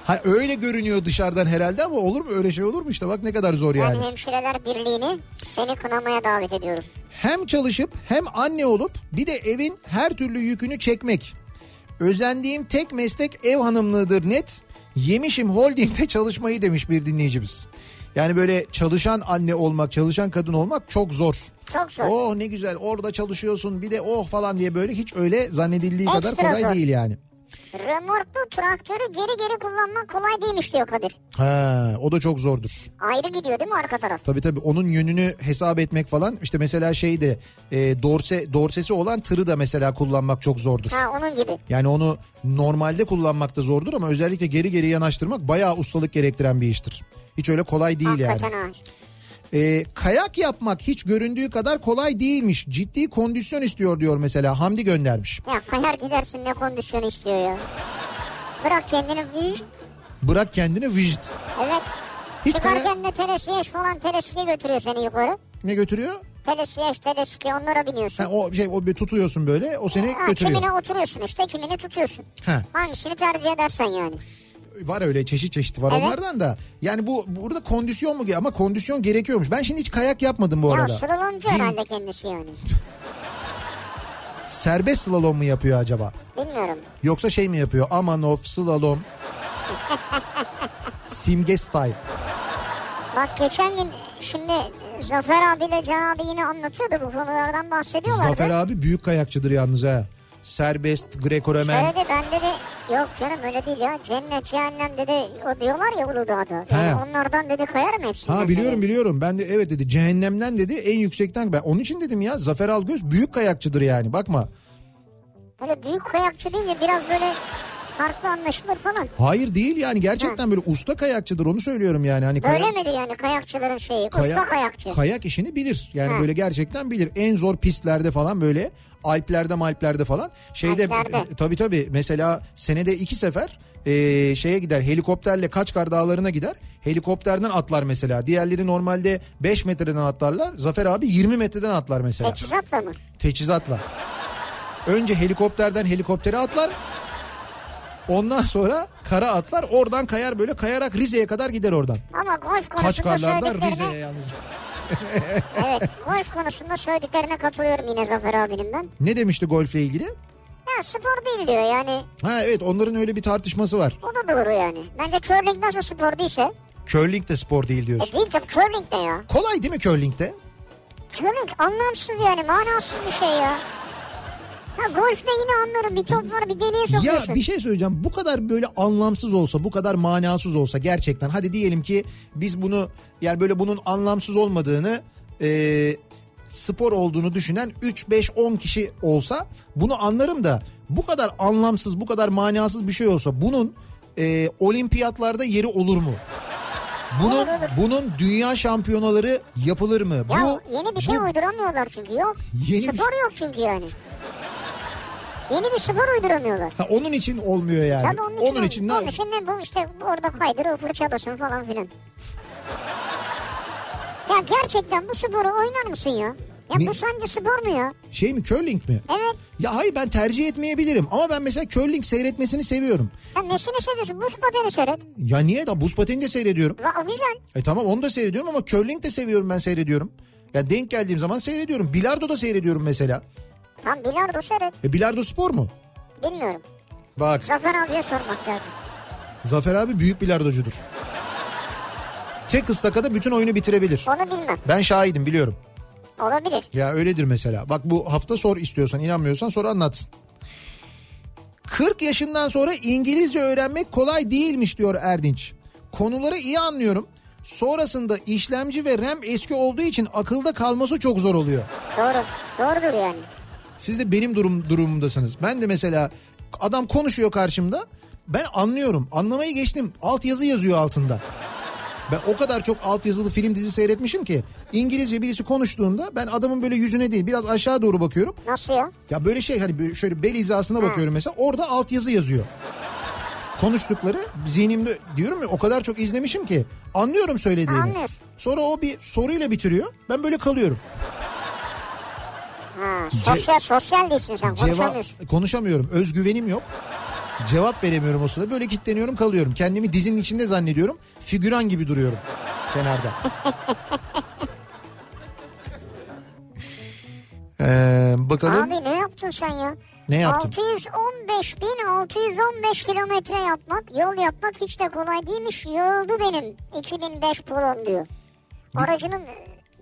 Speaker 1: ha, öyle görünüyor dışarıdan herhalde ama olur mu öyle şey olur mu işte bak ne kadar zor
Speaker 2: Ben
Speaker 1: yani.
Speaker 2: hemşireler birliğini seni kınamaya davet ediyorum.
Speaker 1: Hem çalışıp hem anne olup bir de evin her türlü yükünü çekmek. Özendiğim tek meslek ev hanımlığıdır net. Yemişim holdingde çalışmayı demiş bir dinleyicimiz. Yani böyle çalışan anne olmak, çalışan kadın olmak çok zor.
Speaker 2: Çok zor.
Speaker 1: Oh ne güzel orada çalışıyorsun bir de oh falan diye böyle hiç öyle zannedildiği kadar
Speaker 2: Ekstra
Speaker 1: kolay
Speaker 2: zor.
Speaker 1: değil yani.
Speaker 2: Remorklu traktörü geri geri kullanmak kolay değilmiş diyor Kadir.
Speaker 1: Ha, o da çok zordur.
Speaker 2: Ayrı gidiyor değil mi arka taraf?
Speaker 1: Tabii tabii onun yönünü hesap etmek falan işte mesela şey de e, dorse dorsesi olan tırı da mesela kullanmak çok zordur.
Speaker 2: Ha onun gibi.
Speaker 1: Yani onu normalde kullanmak da zordur ama özellikle geri geri yanaştırmak bayağı ustalık gerektiren bir iştir. Hiç öyle kolay değil yani.
Speaker 2: Hakikaten ha.
Speaker 1: E, kayak yapmak hiç göründüğü kadar kolay değilmiş. Ciddi kondisyon istiyor diyor mesela Hamdi göndermiş.
Speaker 2: Ya kayar gidersin ne kondisyonu istiyor ya. Bırak kendini vizit.
Speaker 1: Bırak kendini vijit.
Speaker 2: Evet.
Speaker 1: Hiç kayak
Speaker 2: Çıkarken de telesiyeş falan telesiye götürüyor seni yukarı.
Speaker 1: ne götürüyor?
Speaker 2: Telesiyeş telesiye onlara biniyorsun.
Speaker 1: Ha, o şey o bir tutuyorsun böyle o seni
Speaker 2: Ha,
Speaker 1: götürüyor.
Speaker 2: kimine oturuyorsun işte kimini tutuyorsun.
Speaker 1: Ha.
Speaker 2: Hangisini tercih edersen yani.
Speaker 1: var öyle çeşit çeşit var
Speaker 2: Evet.
Speaker 1: onlardan da. Yani bu burada kondisyon mu ama kondisyon gerekiyormuş. Ben şimdi hiç kayak yapmadım bu
Speaker 2: Ya
Speaker 1: arada.
Speaker 2: slalomcu
Speaker 1: Bil-
Speaker 2: herhalde kendisi yani.
Speaker 1: Serbest slalom mu yapıyor acaba?
Speaker 2: Bilmiyorum.
Speaker 1: Yoksa şey mi yapıyor? Amanov slalom. Simge style.
Speaker 2: Bak geçen gün şimdi Zafer abiyle Can abi yine anlatıyordu bu konulardan bahsediyorlardı.
Speaker 1: Zafer abi büyük kayakçıdır yalnız ha. Serbest Greco-Romen.
Speaker 2: Şöyle de ben Şey dedi yok canım öyle değil ya cennet cehennem dedi o diyorlar ya Uludağ'da. Yani
Speaker 1: He.
Speaker 2: onlardan dedi kayarım hepsinden.
Speaker 1: Ha biliyorum
Speaker 2: dedi.
Speaker 1: biliyorum. Ben de evet dedi cehennemden dedi en yüksekten. Ben onun için dedim ya Zafer Algöz büyük kayakçıdır yani bakma.
Speaker 2: Böyle büyük kayakçı deyince biraz böyle farklı anlaşılır falan.
Speaker 1: Hayır değil yani gerçekten böyle usta kayakçıdır onu söylüyorum yani. Hani kayak-
Speaker 2: Böyle midir yani kayakçıların şeyi? Usta kayakçı.
Speaker 1: Kayak işini bilir. Yani
Speaker 2: Ha.
Speaker 1: böyle gerçekten bilir. En zor pistlerde falan böyle Alplerde Malplerde falan. Şeyde
Speaker 2: Alplerde.
Speaker 1: e, tabii tabii mesela senede iki sefer e, şeye gider helikopterle Kaçkar Dağları'na gider. Helikopterden atlar mesela. Diğerleri normalde 5 metreden atlarlar. Zafer abi 20 metreden atlar mesela.
Speaker 2: Teçhizatla mı?
Speaker 1: Teçhizatla. Önce helikopterden helikoptere atlar. Ondan sonra kara atlar. Oradan kayar böyle kayarak Rize'ye kadar gider oradan.
Speaker 2: Ama golf konusunda
Speaker 1: Kaçkarlardan
Speaker 2: söylediklerine...
Speaker 1: Rize'ye yalnız.
Speaker 2: evet golf konusunda söylediklerine katılıyorum yine Zafer abinin ben.
Speaker 1: Ne demişti golfle ilgili?
Speaker 2: Ya spor değil diyor yani.
Speaker 1: Ha evet onların öyle bir tartışması var.
Speaker 2: O da doğru yani. Bence curling nasıl spor değilse.
Speaker 1: Curling de spor değil
Speaker 2: E
Speaker 1: diyorsun.
Speaker 2: değil tabii curling de ya.
Speaker 1: Kolay değil mi curling'de?
Speaker 2: Curling anlamsız yani manasız bir şey ya. Ha golfte yine anlarım bir top var bir deliğe
Speaker 1: Ya
Speaker 2: sokuyorsun.
Speaker 1: bir şey söyleyeceğim. Bu kadar böyle anlamsız olsa, bu kadar manasız olsa gerçekten. Hadi diyelim ki biz bunu yani böyle bunun anlamsız olmadığını e, spor olduğunu düşünen 3 5 10 kişi olsa bunu anlarım da bu kadar anlamsız, bu kadar manasız bir şey olsa bunun e, olimpiyatlarda yeri olur mu? Bunun
Speaker 2: Olur, olur.
Speaker 1: bunun dünya şampiyonaları yapılır mı?
Speaker 2: Ya
Speaker 1: bu
Speaker 2: yeni bir şey
Speaker 1: bu-
Speaker 2: uyduramıyorlar çünkü yok.
Speaker 1: Yeni bir- şey-
Speaker 2: spor yok çünkü yani. Yeni bir spor uyduramıyorlar.
Speaker 1: Ha, onun için olmuyor yani.
Speaker 2: Tabii onun için,
Speaker 1: onun için ne?
Speaker 2: onun için ne bu işte orada kaydırıyor fırçalasın falan filan. Ya gerçekten bu sporu oynar mısın ya? Ya
Speaker 1: Ne-
Speaker 2: bu sence spor mu ya?
Speaker 1: Şey mi curling mi?
Speaker 2: Evet.
Speaker 1: Ya hayır ben tercih etmeyebilirim ama ben mesela curling seyretmesini seviyorum.
Speaker 2: Ya nesini seviyorsun? Buz pateni seyret.
Speaker 1: Ya niye da buz pateni de seyrediyorum.
Speaker 2: Va- o güzel.
Speaker 1: E tamam onu da seyrediyorum ama curling de seviyorum ben seyrediyorum. Yani denk geldiğim zaman seyrediyorum. Bilardo da seyrediyorum mesela.
Speaker 2: Tam bilardo seyret.
Speaker 1: E bilardo spor mu?
Speaker 2: Bilmiyorum.
Speaker 1: Bak
Speaker 2: Zafer abiye sormak lazım.
Speaker 1: Zafer abi büyük bilardocudur. Tek ıstakada bütün oyunu bitirebilir.
Speaker 2: Onu bilmem.
Speaker 1: Ben şahidim biliyorum.
Speaker 2: Olabilir.
Speaker 1: Ya öyledir mesela. Bak bu hafta sor istiyorsan inanmıyorsan sonra anlatsın. 40 yaşından sonra İngilizce öğrenmek kolay değilmiş diyor Erdinç. Konuları iyi anlıyorum. Sonrasında işlemci ve RAM eski olduğu için akılda kalması çok zor oluyor.
Speaker 2: Doğru. Doğrudur yani.
Speaker 1: Siz de benim durum durumumdasınız. Ben de mesela adam konuşuyor karşımda. Ben anlıyorum. Anlamayı geçtim. Altyazı yazıyor altında. Ben o kadar çok altyazılı film dizi seyretmişim ki İngilizce birisi konuştuğunda ben adamın böyle yüzüne değil biraz aşağı doğru bakıyorum.
Speaker 2: Nasıl ya?
Speaker 1: Ya böyle şey hani böyle şöyle bel hizasına bakıyorum mesela orada altyazı yazıyor. Konuştukları zihnimde diyorum ya o kadar çok izlemişim ki anlıyorum söylediğini.
Speaker 2: Ha, anlıyorsun.
Speaker 1: Sonra o bir soruyla bitiriyor. Ben böyle kalıyorum.
Speaker 2: Ha, sosyal, sosyal değilsin sen.
Speaker 1: Cevap
Speaker 2: Konuşamıyorsun.
Speaker 1: konuşamıyorum. Özgüvenim yok. Cevap veremiyorum o sırada. Böyle kilitleniyorum kalıyorum. Kendimi dizinin içinde zannediyorum. Figüran gibi duruyorum kenarda. Ee, bakalım.
Speaker 2: Abi ne yaptın sen ya?
Speaker 1: Ne yaptım?
Speaker 2: 615.615 kilometre yapmak, yol yapmak hiç de kolay değilmiş. Yoruldu benim 2005 Polo'm diyor. Aracının e,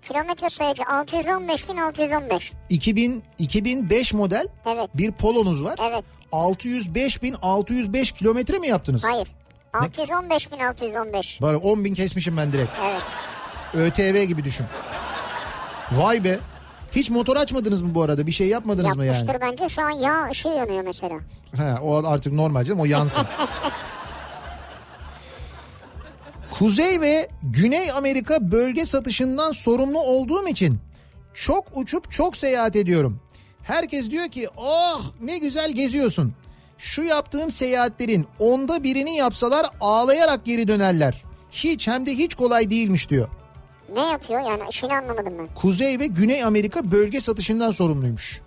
Speaker 2: kilometre sayacı 615.615.
Speaker 1: 2000 2005 model
Speaker 2: Evet.
Speaker 1: bir polonuz var.
Speaker 2: Evet.
Speaker 1: 605.605 kilometre mi yaptınız?
Speaker 2: Hayır. 615.615.
Speaker 1: Bari 10 bin kesmişim ben direkt.
Speaker 2: Evet.
Speaker 1: ÖTV gibi düşün. Vay be. Hiç motor açmadınız mı bu arada? Bir şey yapmadınız mı
Speaker 2: Yapmıştır
Speaker 1: yani?
Speaker 2: bence. Şu an yağ ışığı yanıyor mesela.
Speaker 1: He, o artık normal canım o yansın. Kuzey ve Güney Amerika bölge satışından sorumlu olduğum için çok uçup çok seyahat ediyorum. Herkes diyor ki oh ne güzel geziyorsun. Şu yaptığım seyahatlerin onda birini yapsalar ağlayarak geri dönerler. Hiç hem de hiç kolay değilmiş diyor.
Speaker 2: Ne yapıyor yani işini anlamadım ben.
Speaker 1: Kuzey ve Güney Amerika bölge satışından sorumluymuş.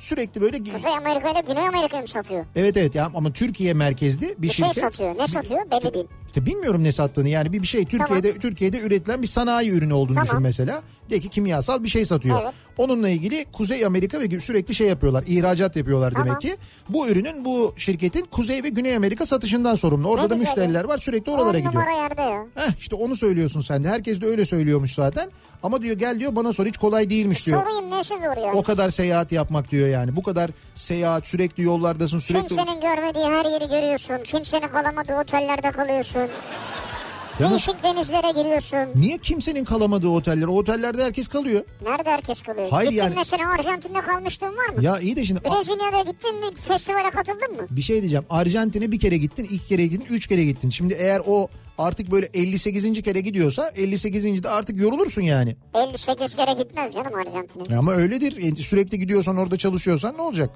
Speaker 1: Sürekli böyle ge-
Speaker 2: Kuzey Amerika ile Güney Amerika'yı mı satıyor?
Speaker 1: Evet evet ya ama Türkiye merkezli bir,
Speaker 2: Bir şey
Speaker 1: şirket.
Speaker 2: satıyor. Ne satıyor? Belli değil.
Speaker 1: İşte bilmiyorum ne sattığını yani bir bir şey Türkiye'de Türkiye'de üretilen bir sanayi ürünü olduğunu
Speaker 2: Tamam.
Speaker 1: düşün mesela. De ki kimyasal bir şey satıyor.
Speaker 2: Evet.
Speaker 1: Onunla ilgili Kuzey Amerika ve sürekli şey yapıyorlar. ihracat yapıyorlar demek
Speaker 2: Tamam.
Speaker 1: ki. Bu ürünün bu şirketin Kuzey ve Güney Amerika satışından sorumlu. Orada
Speaker 2: Ne
Speaker 1: da
Speaker 2: güzel
Speaker 1: müşteriler var sürekli
Speaker 2: On
Speaker 1: oralara gidiyor.
Speaker 2: numara yerde ya.
Speaker 1: Heh, işte onu söylüyorsun sen de. Herkes de öyle söylüyormuş zaten. Ama diyor gel diyor bana sor hiç kolay değilmiş diyor.
Speaker 2: Sorayım nesi zor ya?
Speaker 1: O kadar seyahat yapmak diyor yani. Bu kadar seyahat sürekli yollardasın sürekli.
Speaker 2: Kimsenin görmediği her yeri görüyorsun. Kimsenin kalamadığı otellerde kalıyorsun.
Speaker 1: Yalnız
Speaker 2: Değişik denizlere giriyorsun.
Speaker 1: niye kimsenin kalamadığı oteller? O otellerde herkes kalıyor.
Speaker 2: Nerede herkes kalıyor?
Speaker 1: Hayır
Speaker 2: Gittin
Speaker 1: yani-
Speaker 2: mesela Arjantin'de kalmışlığın var mı?
Speaker 1: Ya iyi de şimdi a-
Speaker 2: Brezilya'da gittin mi? Festivale katıldın mı?
Speaker 1: bir şey diyeceğim. Arjantin'e bir kere gittin, iki kere gittin, üç kere gittin. Şimdi eğer o artık böyle 58. kere gidiyorsa 58. de artık yorulursun yani.
Speaker 2: 58 kere gitmez canım Arjantin'e.
Speaker 1: Ama öyledir. Yani Sürekli gidiyorsan orada çalışıyorsan ne olacak?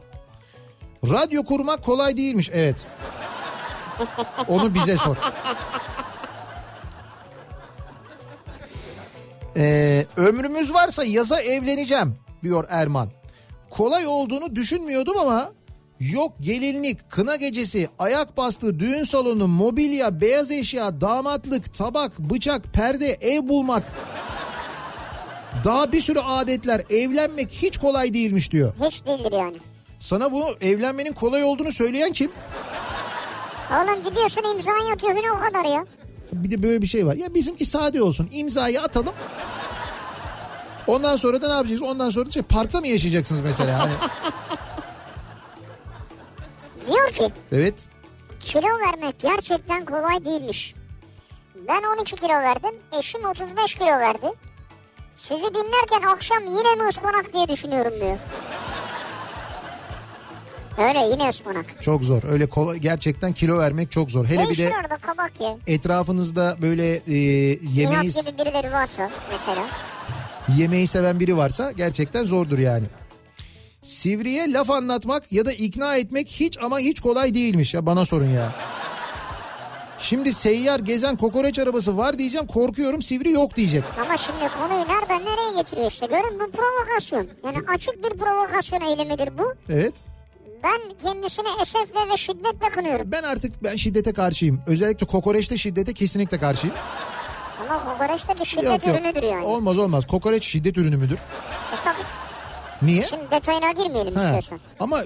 Speaker 1: Radyo kurmak kolay değilmiş. Evet. Onu bize sor. Ee, ömrümüz varsa yaza evleneceğim diyor Erman. Kolay olduğunu düşünmüyordum ama yok gelinlik, kına gecesi, ayak bastı, düğün salonu, mobilya, beyaz eşya, damatlık, tabak, bıçak, perde, ev bulmak. Daha bir sürü adetler evlenmek hiç kolay değilmiş diyor.
Speaker 2: Hiç değildir yani.
Speaker 1: Sana bunu evlenmenin kolay olduğunu söyleyen kim?
Speaker 2: Oğlum gidiyorsun imzayı atıyorsun o kadar ya.
Speaker 1: Bir de böyle bir şey var. Ya bizimki sade olsun. İmzayı atalım. Ondan sonra da ne yapacağız? Ondan sonra da şey, parkta mı yaşayacaksınız mesela? Hani,
Speaker 2: Diyor ki
Speaker 1: evet.
Speaker 2: kilo vermek gerçekten kolay değilmiş. Ben 12 kilo verdim. Eşim 35 kilo verdi. Sizi dinlerken akşam yine mi ıspanak diye düşünüyorum diyor. Öyle yine ıspanak.
Speaker 1: Çok zor. Öyle kolay, gerçekten kilo vermek çok zor. Hele
Speaker 2: Ne
Speaker 1: bir de
Speaker 2: işin orada kabak ye.
Speaker 1: etrafınızda böyle e,
Speaker 2: İnat
Speaker 1: yemeği
Speaker 2: gibi birileri varsa mesela.
Speaker 1: yemeği seven biri varsa gerçekten zordur yani. Sivriye laf anlatmak ya da ikna etmek hiç ama hiç kolay değilmiş ya bana sorun ya. Şimdi seyyar gezen kokoreç arabası var diyeceğim korkuyorum sivri yok diyecek.
Speaker 2: Ama şimdi konuyu nereden nereye getiriyor işte. Görün bu provokasyon. Yani açık bir provokasyon eylemidir bu.
Speaker 1: Evet.
Speaker 2: Ben kendisini esefle ve şiddetle kınıyorum.
Speaker 1: Ben artık ben şiddete karşıyım. Özellikle kokoreçte şiddete kesinlikle karşıyım. Şey
Speaker 2: Ama kokoreç de bir şiddet
Speaker 1: Yok yok.
Speaker 2: ürünüdür yani.
Speaker 1: Olmaz olmaz. Kokoreç şiddet ürünü müdür?
Speaker 2: E tabii.
Speaker 1: Niye?
Speaker 2: Şimdi detayına girmeyelim
Speaker 1: Ha,
Speaker 2: istiyorsan.
Speaker 1: Ama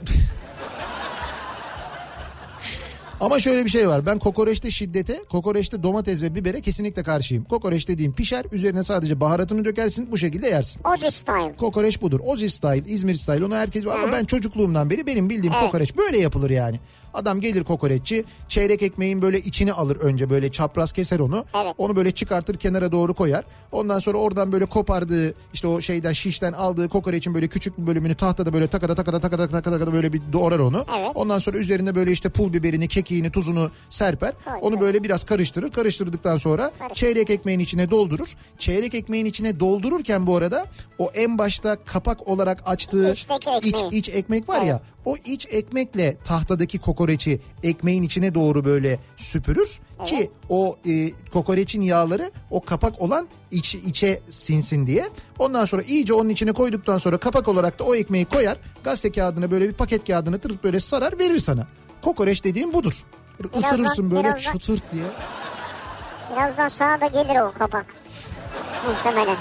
Speaker 1: Ama şöyle bir şey var. Ben kokoreçte şiddete, kokoreçte domates ve bibere kesinlikle karşıyım. Kokoreç dediğim pişer, üzerine sadece baharatını dökersin, bu şekilde yersin.
Speaker 2: Ozi style.
Speaker 1: Kokoreç budur. Ozi style, İzmir style onu herkes ama ben çocukluğumdan beri benim bildiğim
Speaker 2: Evet.
Speaker 1: kokoreç böyle yapılır yani. Adam gelir kokoreççi çeyrek ekmeğin böyle içini alır önce böyle çapraz keser onu.
Speaker 2: Evet.
Speaker 1: Onu böyle çıkartır kenara doğru koyar. Ondan sonra oradan böyle kopardığı işte o şeyden şişten aldığı kokoreçin böyle küçük bir bölümünü tahtada böyle takada takada takada takada, takada böyle bir doğrar onu.
Speaker 2: Evet.
Speaker 1: Ondan sonra üzerine böyle işte pul biberini, kekiğini, tuzunu serper.
Speaker 2: Koy,
Speaker 1: Onu
Speaker 2: koy.
Speaker 1: böyle biraz karıştırır. Karıştırdıktan sonra
Speaker 2: Karıştır.
Speaker 1: çeyrek ekmeğin içine doldurur. Çeyrek ekmeğin içine doldururken bu arada o en başta kapak olarak açtığı
Speaker 2: İçteki ekmeği.
Speaker 1: iç, iç ekmek var ya o iç ekmekle tahtadaki kokoreçi ekmeğin içine doğru böyle süpürür ki o e, kokoreçin yağları o kapak olan iç, içe sinsin diye. Ondan sonra iyice onun içine koyduktan sonra kapak olarak da o ekmeği koyar. Gazete kağıdına böyle bir paket kağıdını tırıp böyle sarar verir sana. Kokoreç dediğim budur. Böyle
Speaker 2: Birazdan-
Speaker 1: Isırırsın böyle
Speaker 2: birazdan-
Speaker 1: çıtırt diye.
Speaker 2: Birazdan sağa da gelir o kapak. Muhtemelen.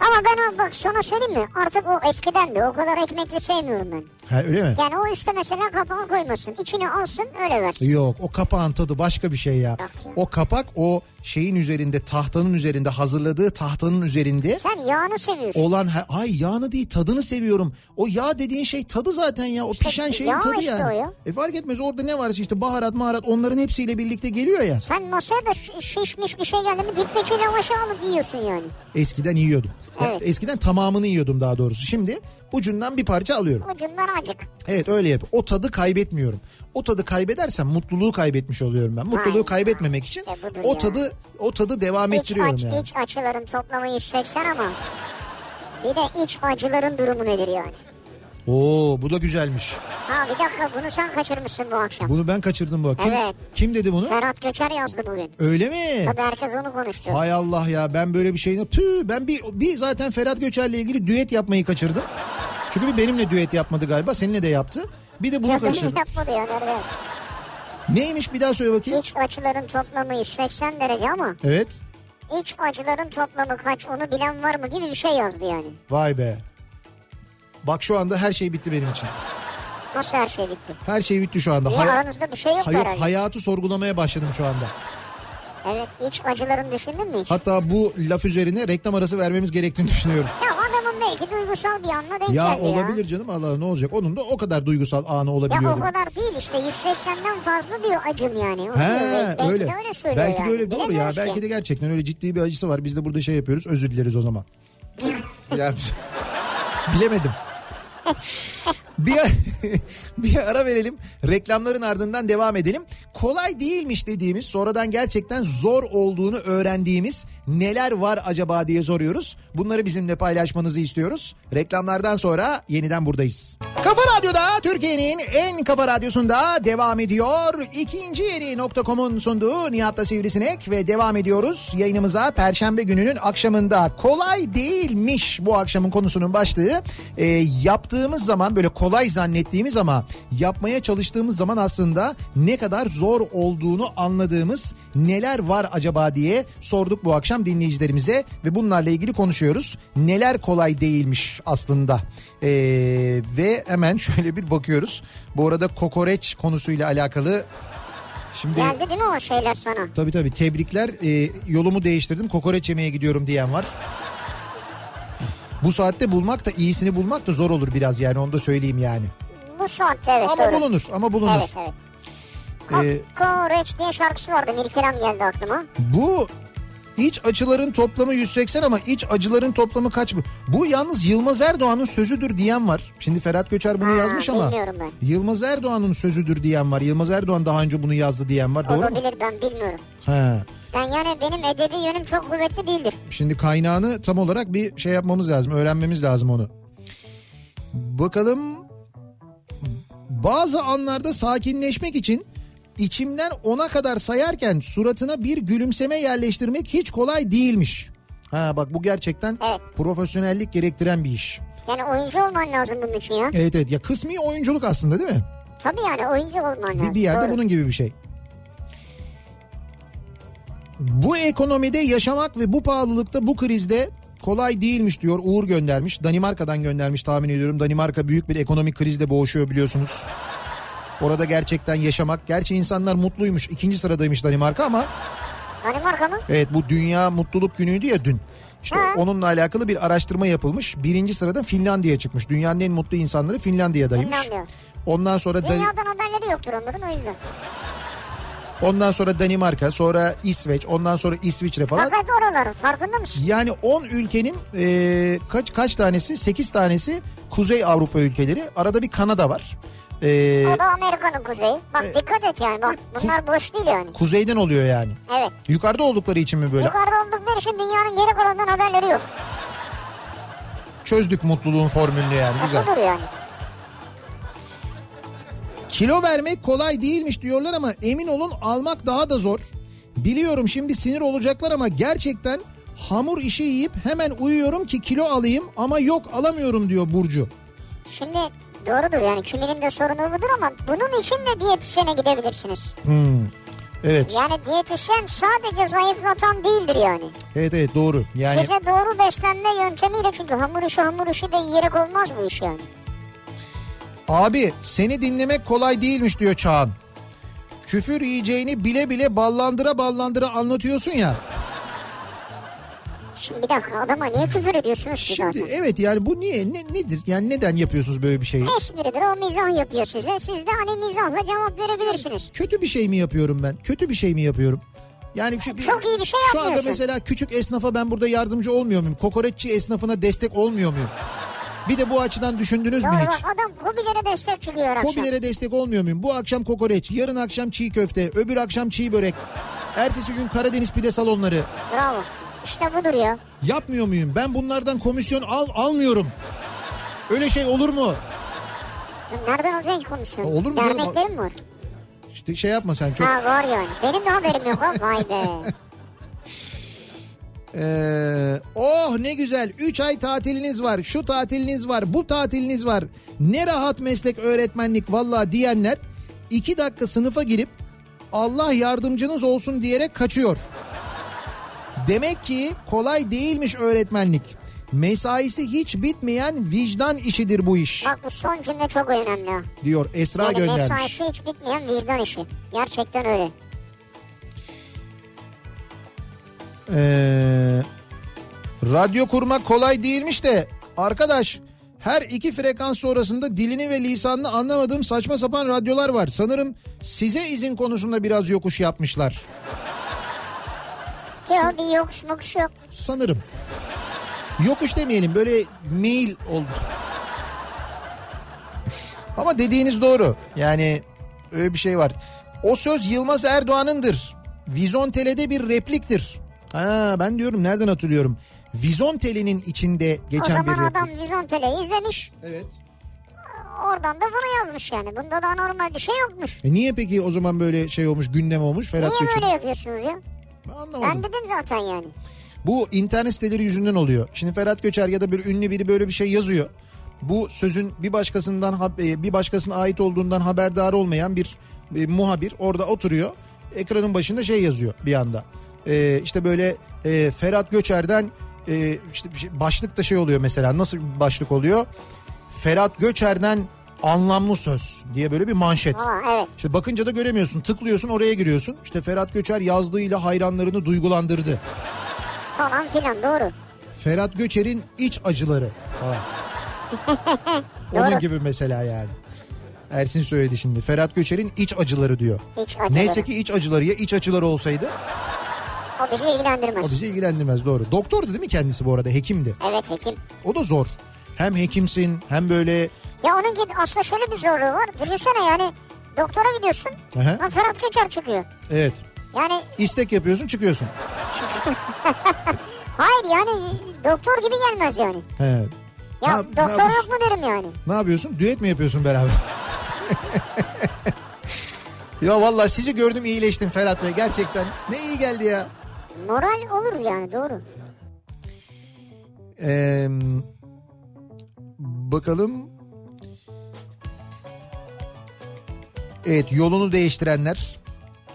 Speaker 2: Ama ben o bak sana söyleyeyim mi? Artık o eskiden de o kadar ekmekli sevmiyorum ben.
Speaker 1: Ha öyle mi?
Speaker 2: Yani o üstte mesela kapağı koymasın. içine alsın öyle versin.
Speaker 1: Yok o kapağın tadı başka bir şey ya. O kapak o şeyin üzerinde tahtanın üzerinde hazırladığı tahtanın üzerinde
Speaker 2: Sen yağını seviyorsun.
Speaker 1: olan ha- ay yağını değil tadını seviyorum. O yağ dediğin şey tadı zaten ya. O pişen şeyin
Speaker 2: yağ
Speaker 1: tadı
Speaker 2: işte o
Speaker 1: yani.
Speaker 2: ya.
Speaker 1: E fark etmez orada ne varsa işte baharat maharat onların hepsiyle birlikte geliyor ya.
Speaker 2: Sen masaya da şi- şişmiş bir şey geldi mi dipteki lavaşı alıp yiyorsun yani.
Speaker 1: Eskiden yiyordum. Ya
Speaker 2: Evet.
Speaker 1: Eskiden tamamını yiyordum daha doğrusu. Şimdi ucundan bir parça alıyorum.
Speaker 2: Ucundan acık.
Speaker 1: Evet öyle yap. O tadı kaybetmiyorum. O tadı kaybedersem mutluluğu kaybetmiş oluyorum ben. Mutluluğu
Speaker 2: Vay.
Speaker 1: kaybetmemek için
Speaker 2: İşte budur
Speaker 1: o
Speaker 2: ya.
Speaker 1: tadı o tadı devam
Speaker 2: İç,
Speaker 1: ettiriyorum
Speaker 2: aç,
Speaker 1: yani.
Speaker 2: iç açıların toplamı 180 ama bir de iç acıların durumu nedir yani?
Speaker 1: Oo bu da güzelmiş.
Speaker 2: Ha bir dakika bunu sen kaçırmışsın bu akşam.
Speaker 1: Bunu ben kaçırdım bak. Kim,
Speaker 2: Evet.
Speaker 1: kim dedi bunu?
Speaker 2: Ferhat Göçer yazdı bugün.
Speaker 1: Öyle mi?
Speaker 2: Tabii herkes onu konuştu.
Speaker 1: Hay Allah ya ben böyle bir şeyin tüh ben bir, bir zaten Ferhat Göçer'le ilgili düet yapmayı kaçırdım. Çünkü bir benimle düet yapmadı galiba seninle de yaptı. Bir de bunu
Speaker 2: Ya benim
Speaker 1: kaçırdım.
Speaker 2: yapmadı ya nerede?
Speaker 1: Neymiş bir daha söyle bakayım.
Speaker 2: İç açıların toplamı 180 derece ama
Speaker 1: Evet.
Speaker 2: iç acıların toplamı kaç onu bilen var mı gibi bir şey yazdı yani.
Speaker 1: Vay be. Bak şu anda her şey bitti benim için.
Speaker 2: Nasıl her şey bitti?
Speaker 1: Her şey bitti şu anda.
Speaker 2: Niye
Speaker 1: Hay-
Speaker 2: aranızda bir şey yok
Speaker 1: hayır,
Speaker 2: herhalde?
Speaker 1: hayatı sorgulamaya başladım şu anda.
Speaker 2: Evet iç acıların düşündün mü hiç?
Speaker 1: Hatta bu laf üzerine reklam arası vermemiz gerektiğini düşünüyorum.
Speaker 2: Ya adamın belki duygusal bir anla denk
Speaker 1: Ya
Speaker 2: geldi
Speaker 1: olabilir canım Allah ne olacak. Onun da o kadar duygusal anı
Speaker 2: ya. Ya o
Speaker 1: olabiliyor.
Speaker 2: kadar değil işte 180'den fazla diyor acım yani. O diyor.
Speaker 1: He
Speaker 2: Belki, belki
Speaker 1: öyle.
Speaker 2: de öyle söylüyor
Speaker 1: belki
Speaker 2: yani.
Speaker 1: de öyle doğru ya.
Speaker 2: Bilemiyoruz
Speaker 1: Belki
Speaker 2: ki.
Speaker 1: de gerçekten öyle ciddi bir acısı var. Biz de burada şey yapıyoruz. Özür dileriz o zaman. Ya- Bilemedim. bir, bir ara verelim. Reklamların ardından devam edelim. Kolay değilmiş dediğimiz, sonradan gerçekten zor olduğunu öğrendiğimiz neler var acaba diye soruyoruz. Bunları bizimle paylaşmanızı istiyoruz. Reklamlardan sonra yeniden buradayız. Kafa Radyo'da Türkiye'nin en kafa radyosunda devam ediyor. İkinci yeri nokta.com'un sunduğu Nihat'la Sivrisinek ve devam ediyoruz. Yayınımıza Perşembe gününün akşamında kolay değilmiş bu akşamın konusunun başlığı. Ee, yaptığımız zaman böyle kolay zannettiğimiz ama yapmaya çalıştığımız zaman aslında ne kadar zor olduğunu anladığımız neler var acaba diye sorduk bu akşam dinleyicilerimize ve bunlarla ilgili konuşuyoruz. Neler kolay değilmiş aslında. Ee, ve hemen şöyle bir bakıyoruz. Bu arada kokoreç konusuyla alakalı şimdi
Speaker 2: Geldi değil mi o şeyler sana?
Speaker 1: Tabii tabii tebrikler. Ee, yolumu değiştirdim. Kokoreç yemeye gidiyorum diyen var. Bu saatte bulmak da iyisini bulmak da zor olur biraz yani onu da söyleyeyim yani.
Speaker 2: Bu saatte evet
Speaker 1: ama
Speaker 2: doğru.
Speaker 1: bulunur ama bulunur.
Speaker 2: Evet evet.
Speaker 1: Ee,
Speaker 2: Kokoreç diye şarkısı vardı. Mirkelam geldi aklıma.
Speaker 1: bu İç açıların toplamı 180 ama iç acıların toplamı kaç mı? Bu yalnız Yılmaz Erdoğan'ın sözüdür diyen var. Şimdi Ferhat Göçer bunu
Speaker 2: Ha,
Speaker 1: yazmış ama.
Speaker 2: Hmm, bilmiyorum ben.
Speaker 1: Yılmaz Erdoğan'ın sözüdür diyen var. Yılmaz Erdoğan daha önce bunu yazdı diyen var. Doğru mu?
Speaker 2: Olabilir ben bilmiyorum.
Speaker 1: He.
Speaker 2: Ben yani benim edebi yönüm çok kuvvetli değildir.
Speaker 1: Şimdi kaynağını tam olarak bir şey yapmamız lazım. Öğrenmemiz lazım onu. Bakalım bazı anlarda sakinleşmek için içimden ona kadar sayarken suratına bir gülümseme yerleştirmek hiç kolay değilmiş. Ha bak bu gerçekten
Speaker 2: Evet.
Speaker 1: profesyonellik gerektiren bir iş.
Speaker 2: Yani oyuncu olman lazım bunun için ya.
Speaker 1: Evet evet ya kısmi oyunculuk aslında değil mi?
Speaker 2: Tabii yani oyuncu olman lazım.
Speaker 1: Bir, bir yerde
Speaker 2: Doğru.
Speaker 1: bunun gibi bir şey. Bu ekonomide yaşamak ve bu pahalılıkta bu krizde kolay değilmiş diyor Uğur göndermiş. Danimarka'dan göndermiş tahmin ediyorum. Danimarka büyük bir ekonomik krizle boğuşuyor biliyorsunuz. Orada gerçekten yaşamak. Gerçi insanlar mutluymuş. İkinci sıradaymış Danimarka ama
Speaker 2: Danimarka Hani mı?
Speaker 1: evet bu dünya mutluluk günüydü ya dün. İşte
Speaker 2: Ha.
Speaker 1: onunla alakalı bir araştırma yapılmış. Birinci sırada Finlandiya çıkmış. Dünyanın en mutlu insanları Finlandiya'daymış.
Speaker 2: Finlandiya.
Speaker 1: Ondan sonra Dan-
Speaker 2: Dünyadan haberleri yoktur onların o yüzden.
Speaker 1: Ondan sonra Danimarka, sonra İsveç, ondan sonra İsviçre falan.
Speaker 2: Fakat oralar farkında mısın?
Speaker 1: Yani 10 ülkenin e, kaç kaç tanesi? 8 tanesi Kuzey Avrupa ülkeleri. Arada bir Kanada var. E,
Speaker 2: O da Amerika'nın kuzeyi. Bak dikkat et yani bak bunlar boş değil yani.
Speaker 1: kuzeyden oluyor yani.
Speaker 2: Evet.
Speaker 1: Yukarıda oldukları için mi böyle?
Speaker 2: Yukarıda oldukları için dünyanın geri kalanından haberleri yok.
Speaker 1: Çözdük mutluluğun formülünü yani güzel.
Speaker 2: Haklıdır yani.
Speaker 1: Kilo vermek kolay değilmiş diyorlar ama emin olun almak daha da zor. Biliyorum şimdi sinir olacaklar ama gerçekten hamur işi yiyip hemen uyuyorum ki kilo alayım ama yok alamıyorum diyor Burcu.
Speaker 2: Şimdi doğrudur yani kiminin de sorunu budur ama bunun için de diyetisyene gidebilirsiniz.
Speaker 1: Hmm. Evet.
Speaker 2: Yani diyetisyen sadece zayıflatan değildir yani.
Speaker 1: Evet evet doğru. Yani
Speaker 2: Size doğru beslenme yöntemiyle çünkü hamur işi hamur işi de yiyerek olmaz bu iş yani.
Speaker 1: abi seni dinlemek kolay değilmiş diyor Çağan. Küfür yiyeceğini bile bile ballandıra ballandıra anlatıyorsun ya.
Speaker 2: Şimdi bir dakika adama niye küfür ediyorsunuz ki
Speaker 1: Şimdi
Speaker 2: zaten?
Speaker 1: evet yani bu niye ne, nedir? Yani neden yapıyorsunuz böyle bir şeyi?
Speaker 2: Espridir o mizah yapıyor size. Siz de hani mizahla cevap verebilirsiniz.
Speaker 1: Kötü bir şey mi yapıyorum ben? Kötü bir şey mi yapıyorum? Yani şu,
Speaker 2: Çok iyi bir şey
Speaker 1: Şu anda
Speaker 2: yapmıyorsun.
Speaker 1: mesela küçük esnafa ben burada yardımcı olmuyor muyum? Kokoreççi esnafına destek olmuyor muyum? Bir de bu açıdan düşündünüz mü
Speaker 2: Doğru
Speaker 1: hiç?
Speaker 2: bak adam hobilere destek çıkıyor her akşam.
Speaker 1: Hobilere destek olmuyor muyum? Bu akşam kokoreç, yarın akşam çiğ köfte, öbür akşam çiğ börek. Ertesi gün Karadeniz pide salonları.
Speaker 2: Bravo. İşte budur ya.
Speaker 1: Yapmıyor muyum? Ben bunlardan komisyon al almıyorum. Öyle şey olur mu?
Speaker 2: Lan Nereden alacaksın ki komisyonu?
Speaker 1: Olur mu canım?
Speaker 2: Derneklerin mi var?
Speaker 1: İşte şey yapma sen çok.
Speaker 2: Ha var yani. Benim de haberim yok. ha. Vay be.
Speaker 1: Ee, oh ne güzel 3 ay tatiliniz var şu tatiliniz var bu tatiliniz var ne rahat meslek öğretmenlik valla diyenler 2 dakika sınıfa girip Allah yardımcınız olsun diyerek kaçıyor. Demek ki kolay değilmiş öğretmenlik. Mesaisi hiç bitmeyen vicdan işidir bu iş
Speaker 2: Bak bu son cümle çok önemli. ha.
Speaker 1: diyor Esra
Speaker 2: Yani
Speaker 1: göndermiş.
Speaker 2: mesaisi hiç bitmeyen vicdan işi. Gerçekten öyle.
Speaker 1: Ee, radyo kurmak kolay değilmiş de arkadaş her iki frekans sonrasında dilini ve lisanını anlamadığım saçma sapan radyolar var. Sanırım size izin konusunda biraz yokuş yapmışlar.
Speaker 2: Yok bir yokuş mokuş yok.
Speaker 1: Sanırım. Yokuş demeyelim böyle mail oldu. Ama dediğiniz doğru. Yani öyle bir şey var. O söz Yılmaz Erdoğan'ındır. Vizontele'de bir repliktir. Ha ben diyorum nereden hatırlıyorum. Vizontele'nin içinde
Speaker 2: O
Speaker 1: geçen bir
Speaker 2: zaman
Speaker 1: replik.
Speaker 2: adam Vizontele'yi izlemiş.
Speaker 1: Evet.
Speaker 2: Oradan da bunu yazmış yani. Bunda daha normal bir şey yokmuş.
Speaker 1: E niye peki o zaman böyle şey olmuş gündem olmuş Ferhat
Speaker 2: Niye
Speaker 1: Göç'ün?
Speaker 2: böyle yapıyorsunuz ya?
Speaker 1: Ben anlamadım.
Speaker 2: Ben dedim zaten yani.
Speaker 1: Bu internet siteleri yüzünden oluyor. Şimdi Ferhat Göçer ya da bir ünlü biri böyle bir şey yazıyor. Bu sözün bir başkasından hab- e, bir başkasına ait olduğundan haberdar olmayan bir e, muhabir orada oturuyor. Ekranın başında şey yazıyor bir anda. E, işte böyle e, Ferhat Göçer'den e, işte bir şey- başlık da şey oluyor mesela. Nasıl bir başlık oluyor? Ferhat Göçer'den anlamlı söz diye böyle bir manşet.
Speaker 2: Aa, evet.
Speaker 1: İşte bakınca da göremiyorsun. Tıklıyorsun oraya giriyorsun. İşte Ferhat Göçer yazdığıyla hayranlarını duygulandırdı.
Speaker 2: Falan filan doğru.
Speaker 1: Ferhat Göçer'in iç acıları falan. Onun
Speaker 2: Doğru.
Speaker 1: gibi mesela yani. Ersin söyledi şimdi. Ferhat Göçer'in iç acıları diyor.
Speaker 2: İç acıları.
Speaker 1: Neyse ki iç acıları ya iç acıları olsaydı.
Speaker 2: O bizi ilgilendirmez.
Speaker 1: O bizi ilgilendirmez doğru. Doktordu değil mi kendisi bu arada? Hekimdi.
Speaker 2: Evet hekim.
Speaker 1: O da zor. Hem hekimsin hem böyle
Speaker 2: Ya onun gibi aslında şöyle bir zorluğu var. Düşünsene yani doktora gidiyorsun.
Speaker 1: Hı hı.
Speaker 2: Lan Ferhat Göçer çıkıyor.
Speaker 1: evet
Speaker 2: Yani
Speaker 1: istek yapıyorsun çıkıyorsun.
Speaker 2: hayır yani doktor gibi gelmez yani.
Speaker 1: He.
Speaker 2: Ya
Speaker 1: Ne yap- ne
Speaker 2: doktor
Speaker 1: yapıyorsun?
Speaker 2: yok mu derim yani.
Speaker 1: Ne yapıyorsun? Düet mi yapıyorsun beraber? ya vallahi sizi gördüm iyileştim Ferhat Bey gerçekten. Ne iyi geldi ya.
Speaker 2: Moral olur yani doğru.
Speaker 1: Ee, bakalım. Evet yolunu değiştirenler,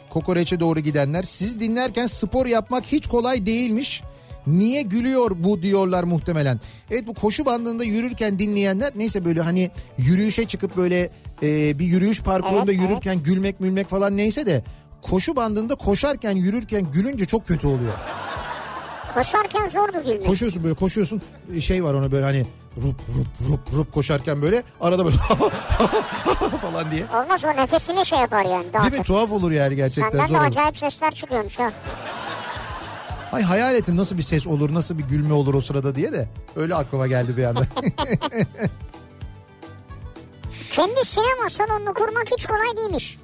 Speaker 1: kokoreçe doğru gidenler. Siz dinlerken spor yapmak hiç kolay değilmiş. Niye gülüyor bu diyorlar muhtemelen. Evet bu koşu bandında yürürken dinleyenler neyse böyle hani yürüyüşe çıkıp böyle e, bir yürüyüş parkurunda
Speaker 2: Evet, evet.
Speaker 1: yürürken gülmek mülmek falan neyse de koşu bandında koşarken yürürken gülünce çok kötü oluyor.
Speaker 2: Koşarken zordu gülmek.
Speaker 1: Koşuyorsun böyle koşuyorsun şey var ona böyle hani rup rup rup rup koşarken böyle arada böyle falan diye.
Speaker 2: Olmaz o nefesini şey yapar yani
Speaker 1: Değil mi?
Speaker 2: dağıtır.
Speaker 1: Tuhaf olur yani gerçekten
Speaker 2: Senden
Speaker 1: zor
Speaker 2: de
Speaker 1: olur.
Speaker 2: acayip sesler çıkıyormuş ha.
Speaker 1: Ay hayal ettim nasıl bir ses olur nasıl bir gülme olur o sırada diye de öyle aklıma geldi bir anda.
Speaker 2: Kendi sinema salonunu kurmak hiç kolay değilmiş.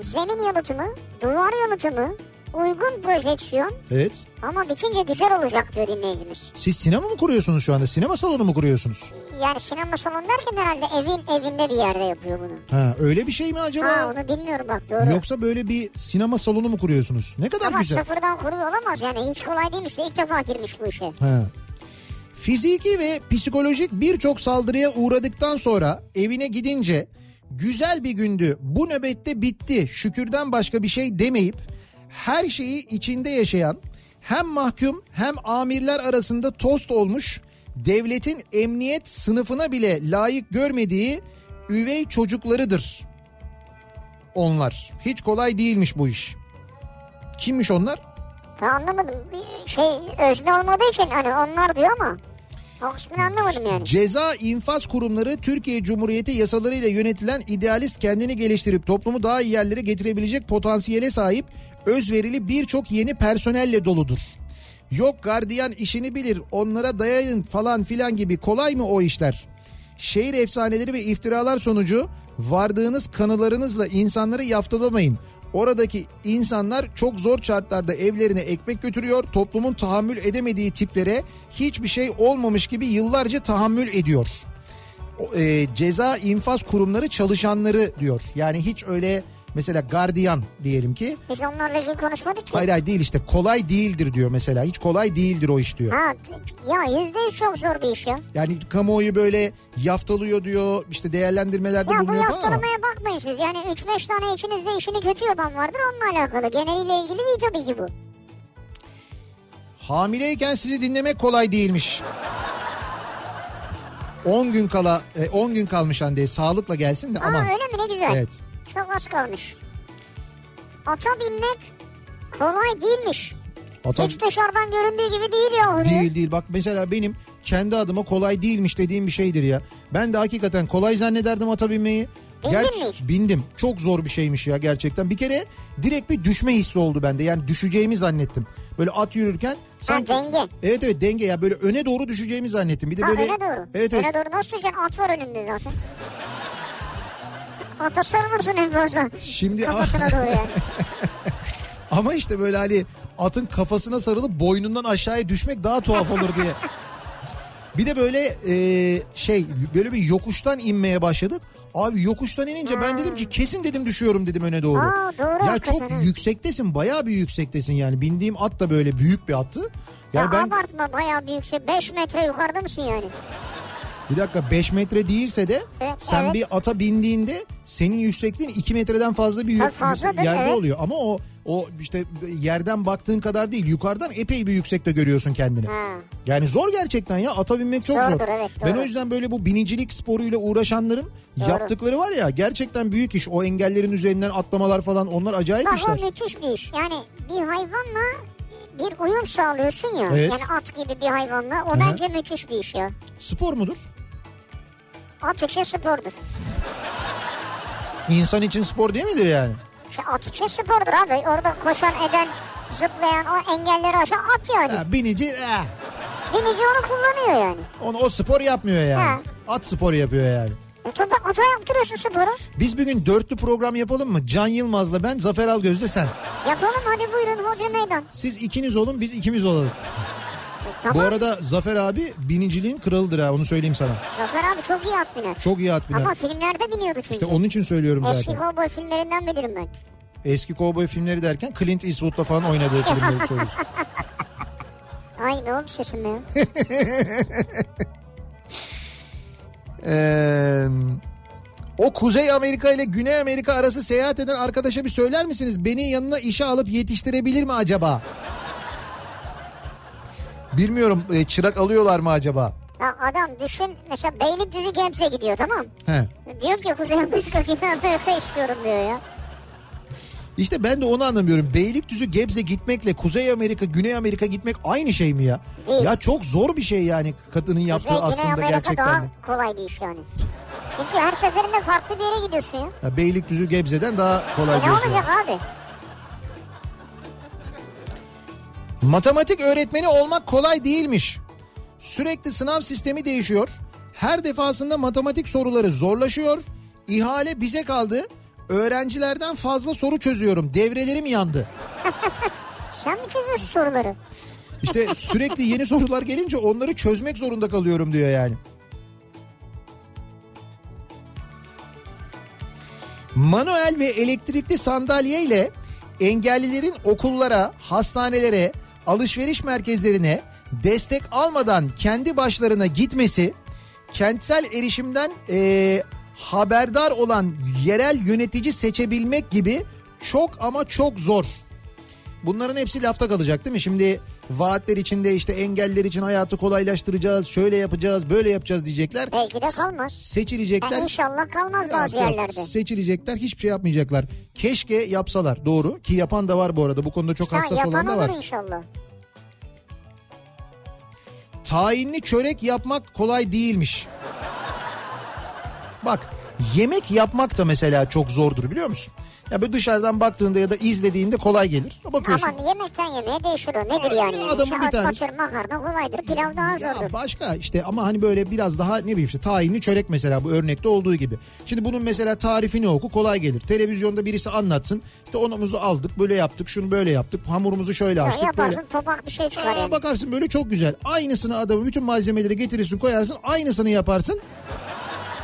Speaker 2: Zemin yalıtımı, duvar yalıtımı, uygun projeksiyon
Speaker 1: evet.
Speaker 2: ama bitince güzel olacak diyor dinleyicimiz.
Speaker 1: Siz sinema mı kuruyorsunuz şu anda? Sinema salonu mu kuruyorsunuz?
Speaker 2: Yani sinema salonu derken herhalde evin evinde bir yerde yapıyor bunu.
Speaker 1: Ha öyle bir şey mi
Speaker 2: Ha
Speaker 1: acaba?
Speaker 2: onu bilmiyorum bak doğru.
Speaker 1: Yoksa böyle bir sinema salonu mu kuruyorsunuz? Ne kadar
Speaker 2: Ama
Speaker 1: güzel.
Speaker 2: sıfırdan kuruyor olamaz yani hiç kolay değilmiş de ilk defa girmiş bu işe.
Speaker 1: He. Fiziki ve psikolojik birçok saldırıya uğradıktan sonra evine gidince güzel bir gündü bu nöbette bitti şükürden başka bir şey demeyip her şeyi içinde yaşayan hem mahkum hem amirler arasında tost olmuş devletin emniyet sınıfına bile layık görmediği üvey çocuklarıdır onlar. Hiç kolay değilmiş bu iş. Kimmiş onlar?
Speaker 2: Ben anlamadım Bir şey özne olmadığı için hani onlar diyor ama o kısmını anlamadım yani.
Speaker 1: Ceza infaz kurumları Türkiye Cumhuriyeti yasalarıyla yönetilen idealist kendini geliştirip toplumu daha iyi yerlere getirebilecek potansiyele sahip özverili birçok yeni personelle doludur. Yok gardiyan işini bilir onlara dayanın falan filan gibi kolay mı o işler? Şehir efsaneleri ve iftiralar sonucu vardığınız kanılarınızla insanları yaftalamayın. Oradaki insanlar çok zor şartlarda evlerine ekmek götürüyor. Toplumun tahammül edemediği tiplere hiçbir şey olmamış gibi yıllarca tahammül ediyor. O, e, ceza infaz kurumları çalışanları diyor. Yani hiç öyle mesela gardiyan diyelim ki
Speaker 2: Biz onlarla ilgili konuşmadık ki.
Speaker 1: hayır hayır değil işte kolay değildir diyor mesela. Hiç kolay değildir o iş diyor.
Speaker 2: Ha t- ya yüzde yüz çok zor bir iş ya.
Speaker 1: Yani kamuoyu böyle yaftalıyor diyor işte değerlendirmelerde
Speaker 2: Ya bu
Speaker 1: bulunuyor falan ama.
Speaker 2: yaftalamaya bakmayın siz. Yani 3-5 tane içinizde işini kötü yapan vardır onunla alakalı. Geneliyle ilgili değil tabii ki bu.
Speaker 1: Hamileyken sizi dinlemek kolay değilmiş. 10 gün kala e, 10 gün kalmış Hande sağlıkla gelsin de aman.
Speaker 2: Ama öyle mi ne güzel.
Speaker 1: Evet.
Speaker 2: Çok az kalmış. Ata binmek kolay değilmiş.
Speaker 1: Ata-
Speaker 2: Hiç dışarıdan göründüğü gibi değil ya.
Speaker 1: Değil değil bak mesela benim kendi adıma kolay değilmiş dediğim bir şeydir ya. Ben de hakikaten kolay zannederdim ata binmeyi.
Speaker 2: Bindin
Speaker 1: Ger-
Speaker 2: mi hiç?
Speaker 1: Bindim. Çok zor bir şeymiş ya gerçekten. Bir kere direkt bir düşme hissi oldu bende. Yani düşeceğimi zannettim. Böyle at yürürken sanki...
Speaker 2: denge.
Speaker 1: Evet evet denge ya böyle öne doğru düşeceğimi zannettim. Bir de
Speaker 2: Ha
Speaker 1: böyle...
Speaker 2: öne doğru.
Speaker 1: Evet evet.
Speaker 2: öne doğru nasıl duracaksın? At var önünde zaten. Ata sarılırsın en fazla.
Speaker 1: Şimdi-
Speaker 2: Kafasına doğru yani.
Speaker 1: Ama işte böyle hani atın kafasına sarılıp boynundan aşağıya düşmek daha tuhaf olur diye. Bir de böyle e, şey böyle bir yokuştan inmeye başladık. Abi yokuştan inince ben dedim ki kesin dedim düşüyorum dedim öne doğru.
Speaker 2: Hmm. Aa, doğru
Speaker 1: ya
Speaker 2: hakikaten,
Speaker 1: çok
Speaker 2: evet.
Speaker 1: yüksektesin bayağı bir yüksektesin yani. Bindiğim at da böyle büyük bir attı. Yani
Speaker 2: ya
Speaker 1: ben
Speaker 2: abartma bayağı büyük şey. 5 metre yukarıda mısın yani?
Speaker 1: bir dakika 5 metre değilse de
Speaker 2: Evet,
Speaker 1: sen
Speaker 2: evet.
Speaker 1: bir ata bindiğinde senin yüksekliğin 2 metreden fazla bir
Speaker 2: Ha,
Speaker 1: yük,
Speaker 2: fazladır,
Speaker 1: yerde
Speaker 2: evet.
Speaker 1: oluyor. Ama o o işte yerden baktığın kadar değil yukarıdan epey bir yüksekte görüyorsun kendini.
Speaker 2: Ha.
Speaker 1: Yani zor gerçekten ya ata binmek çok
Speaker 2: Zordur,
Speaker 1: zor.
Speaker 2: evet,
Speaker 1: ben
Speaker 2: doğru.
Speaker 1: o yüzden böyle bu binicilik sporuyla uğraşanların yaptıkları var ya gerçekten büyük iş. O engellerin üzerinden atlamalar falan onlar acayip
Speaker 2: Bak
Speaker 1: işler.
Speaker 2: o müthiş bir iş. Yani bir hayvanla bir uyum sağlıyorsun ya.
Speaker 1: Evet.
Speaker 2: Yani at gibi bir hayvanla. O
Speaker 1: Hı hı.
Speaker 2: bence müthiş bir iş ya.
Speaker 1: Spor mudur?
Speaker 2: At için spordur.
Speaker 1: İnsan için spor değil midir yani?
Speaker 2: Şey, İşte at için spordur abi. Orada koşan eden zıplayan o engelleri aşan at yani.
Speaker 1: Ha, binici eh.
Speaker 2: Binici onu kullanıyor yani.
Speaker 1: Onu, o spor yapmıyor yani. At sporu yapıyor yani.
Speaker 2: E tabi ata yaptırıyorsun sporu.
Speaker 1: Biz bir gün dörtlü program yapalım mı? Can Yılmaz'la ben, Zafer Algöz'le sen.
Speaker 2: Yapalım hadi buyurun hoca meydan.
Speaker 1: Siz ikiniz olun, biz ikimiz olalım.
Speaker 2: E, tamam.
Speaker 1: Bu arada Zafer abi biniciliğin kralıdır ha onu söyleyeyim sana.
Speaker 2: Zafer abi çok iyi at biner.
Speaker 1: Çok iyi at biner.
Speaker 2: Ama filmlerde biniyordu çünkü.
Speaker 1: İşte onun için söylüyorum
Speaker 2: Eski
Speaker 1: zaten.
Speaker 2: kovboy filmlerinden bilirim ben.
Speaker 1: Eski kovboy filmleri derken Clint Eastwood'la falan oynadığı filmleri söylüyorsun.
Speaker 2: Ay ne oldu sesime ya?
Speaker 1: Ee, o Kuzey Amerika ile Güney Amerika arası seyahat eden arkadaşa bir söyler misiniz? Beni yanına işe alıp yetiştirebilir mi acaba? Bilmiyorum e, çırak alıyorlar mı acaba?
Speaker 2: Ya adam düşün mesela Beylikdüzü Gems'e gidiyor tamam.
Speaker 1: He.
Speaker 2: Diyor ki Kuzey Amerika gibi Amerika istiyorum diyor ya.
Speaker 1: İşte ben de onu anlamıyorum. Beylikdüzü Gebze gitmekle Kuzey Amerika, Güney Amerika gitmek aynı şey mi ya?
Speaker 2: Değil.
Speaker 1: Ya çok zor bir şey yani kadının yaptığı
Speaker 2: Kuzey Güney
Speaker 1: aslında
Speaker 2: Amerika
Speaker 1: gerçekten.
Speaker 2: daha
Speaker 1: de.
Speaker 2: kolay bir iş yani. Çünkü her seferinde farklı bir yere gidiyorsun ya.
Speaker 1: Ya Beylikdüzü Gebze'den daha kolay
Speaker 2: E ne
Speaker 1: diyorsun.
Speaker 2: olacak abi?
Speaker 1: Matematik öğretmeni olmak kolay değilmiş. Sürekli sınav sistemi değişiyor. Her defasında matematik soruları zorlaşıyor. İhale bize kaldı. Öğrencilerden fazla soru çözüyorum. Devrelerim yandı.
Speaker 2: Sen mi çözüyorsun soruları?
Speaker 1: İşte sürekli yeni sorular gelince onları çözmek zorunda kalıyorum diyor yani. Manuel ve elektrikli sandalye ile engellilerin okullara, hastanelere, alışveriş merkezlerine destek almadan kendi başlarına gitmesi, kentsel erişimden eee, haberdar olan yerel yönetici seçebilmek gibi çok ama çok zor. Bunların hepsi lafta kalacak değil mi? Şimdi vaatler içinde işte engeller için hayatı kolaylaştıracağız, şöyle yapacağız, böyle yapacağız diyecekler.
Speaker 2: Belki de kalmaz.
Speaker 1: Seçilecekler.
Speaker 2: Yani inşallah kalmaz bazı
Speaker 1: Yok, yok.
Speaker 2: yerlerde.
Speaker 1: Seçilecekler hiçbir şey yapmayacaklar. Keşke yapsalar doğru ki yapan da var bu arada bu konuda çok
Speaker 2: Ha,
Speaker 1: hassas
Speaker 2: yapan
Speaker 1: olan da var.
Speaker 2: olur inşallah.
Speaker 1: Tayinli çörek yapmak kolay değilmiş. Bak yemek yapmak da mesela çok zordur biliyor musun? Ya böyle dışarıdan baktığında ya da izlediğinde kolay gelir. Bakıyorsun.
Speaker 2: Ama yemekten yemeğe değişir o. Nedir yani?
Speaker 1: Ya
Speaker 2: yani?
Speaker 1: adamın
Speaker 2: İşte
Speaker 1: bir
Speaker 2: at-
Speaker 1: tanesi-
Speaker 2: atır, makarna kolaydır. Pilav daha
Speaker 1: Ya
Speaker 2: zordur.
Speaker 1: başka işte ama hani böyle biraz daha ne bileyim işte tahinli çörek mesela bu örnekte olduğu gibi. Şimdi bunun mesela tarifini oku kolay gelir. Televizyonda birisi anlatsın. İşte onumuzu aldık böyle yaptık şunu böyle yaptık hamurumuzu şöyle
Speaker 2: Ya
Speaker 1: açtık böyle.
Speaker 2: yaparsın topak bir şey çıkar
Speaker 1: Aa,
Speaker 2: yani.
Speaker 1: bakarsın böyle çok güzel. Aynısını adamı bütün malzemeleri getirirsin koyarsın aynısını yaparsın.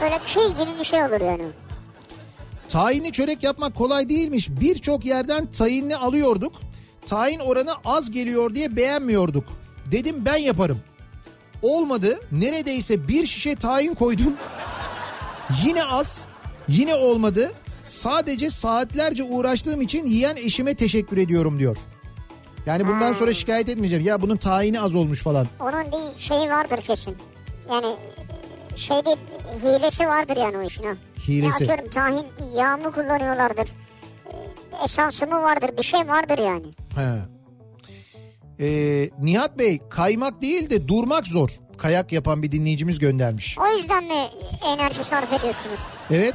Speaker 2: Böyle kil gibi bir şey olur yani.
Speaker 1: Tahinli çörek yapmak kolay değilmiş. Birçok yerden tahinli alıyorduk. Tahin oranı az geliyor diye beğenmiyorduk. Dedim ben yaparım. Olmadı. Neredeyse bir şişe tahin koydum. Yine az. Yine olmadı. Sadece saatlerce uğraştığım için yiyen eşime teşekkür ediyorum diyor. Yani bundan sonra şikayet etmeyeceğim. Ya bunun tahini az olmuş falan.
Speaker 2: Onun bir şeyi vardır kesin. Yani şey değil hilesi vardır yani o işin ha.
Speaker 1: Hilesi.
Speaker 2: Ya atıyorum tahin yağı mı kullanıyorlardır? E, Esansı mı vardır? Bir şey vardır yani.
Speaker 1: He. Ee, Nihat Bey kaymak değil de durmak zor. Kayak yapan bir dinleyicimiz göndermiş.
Speaker 2: O yüzden mi enerji sarf ediyorsunuz?
Speaker 1: Evet.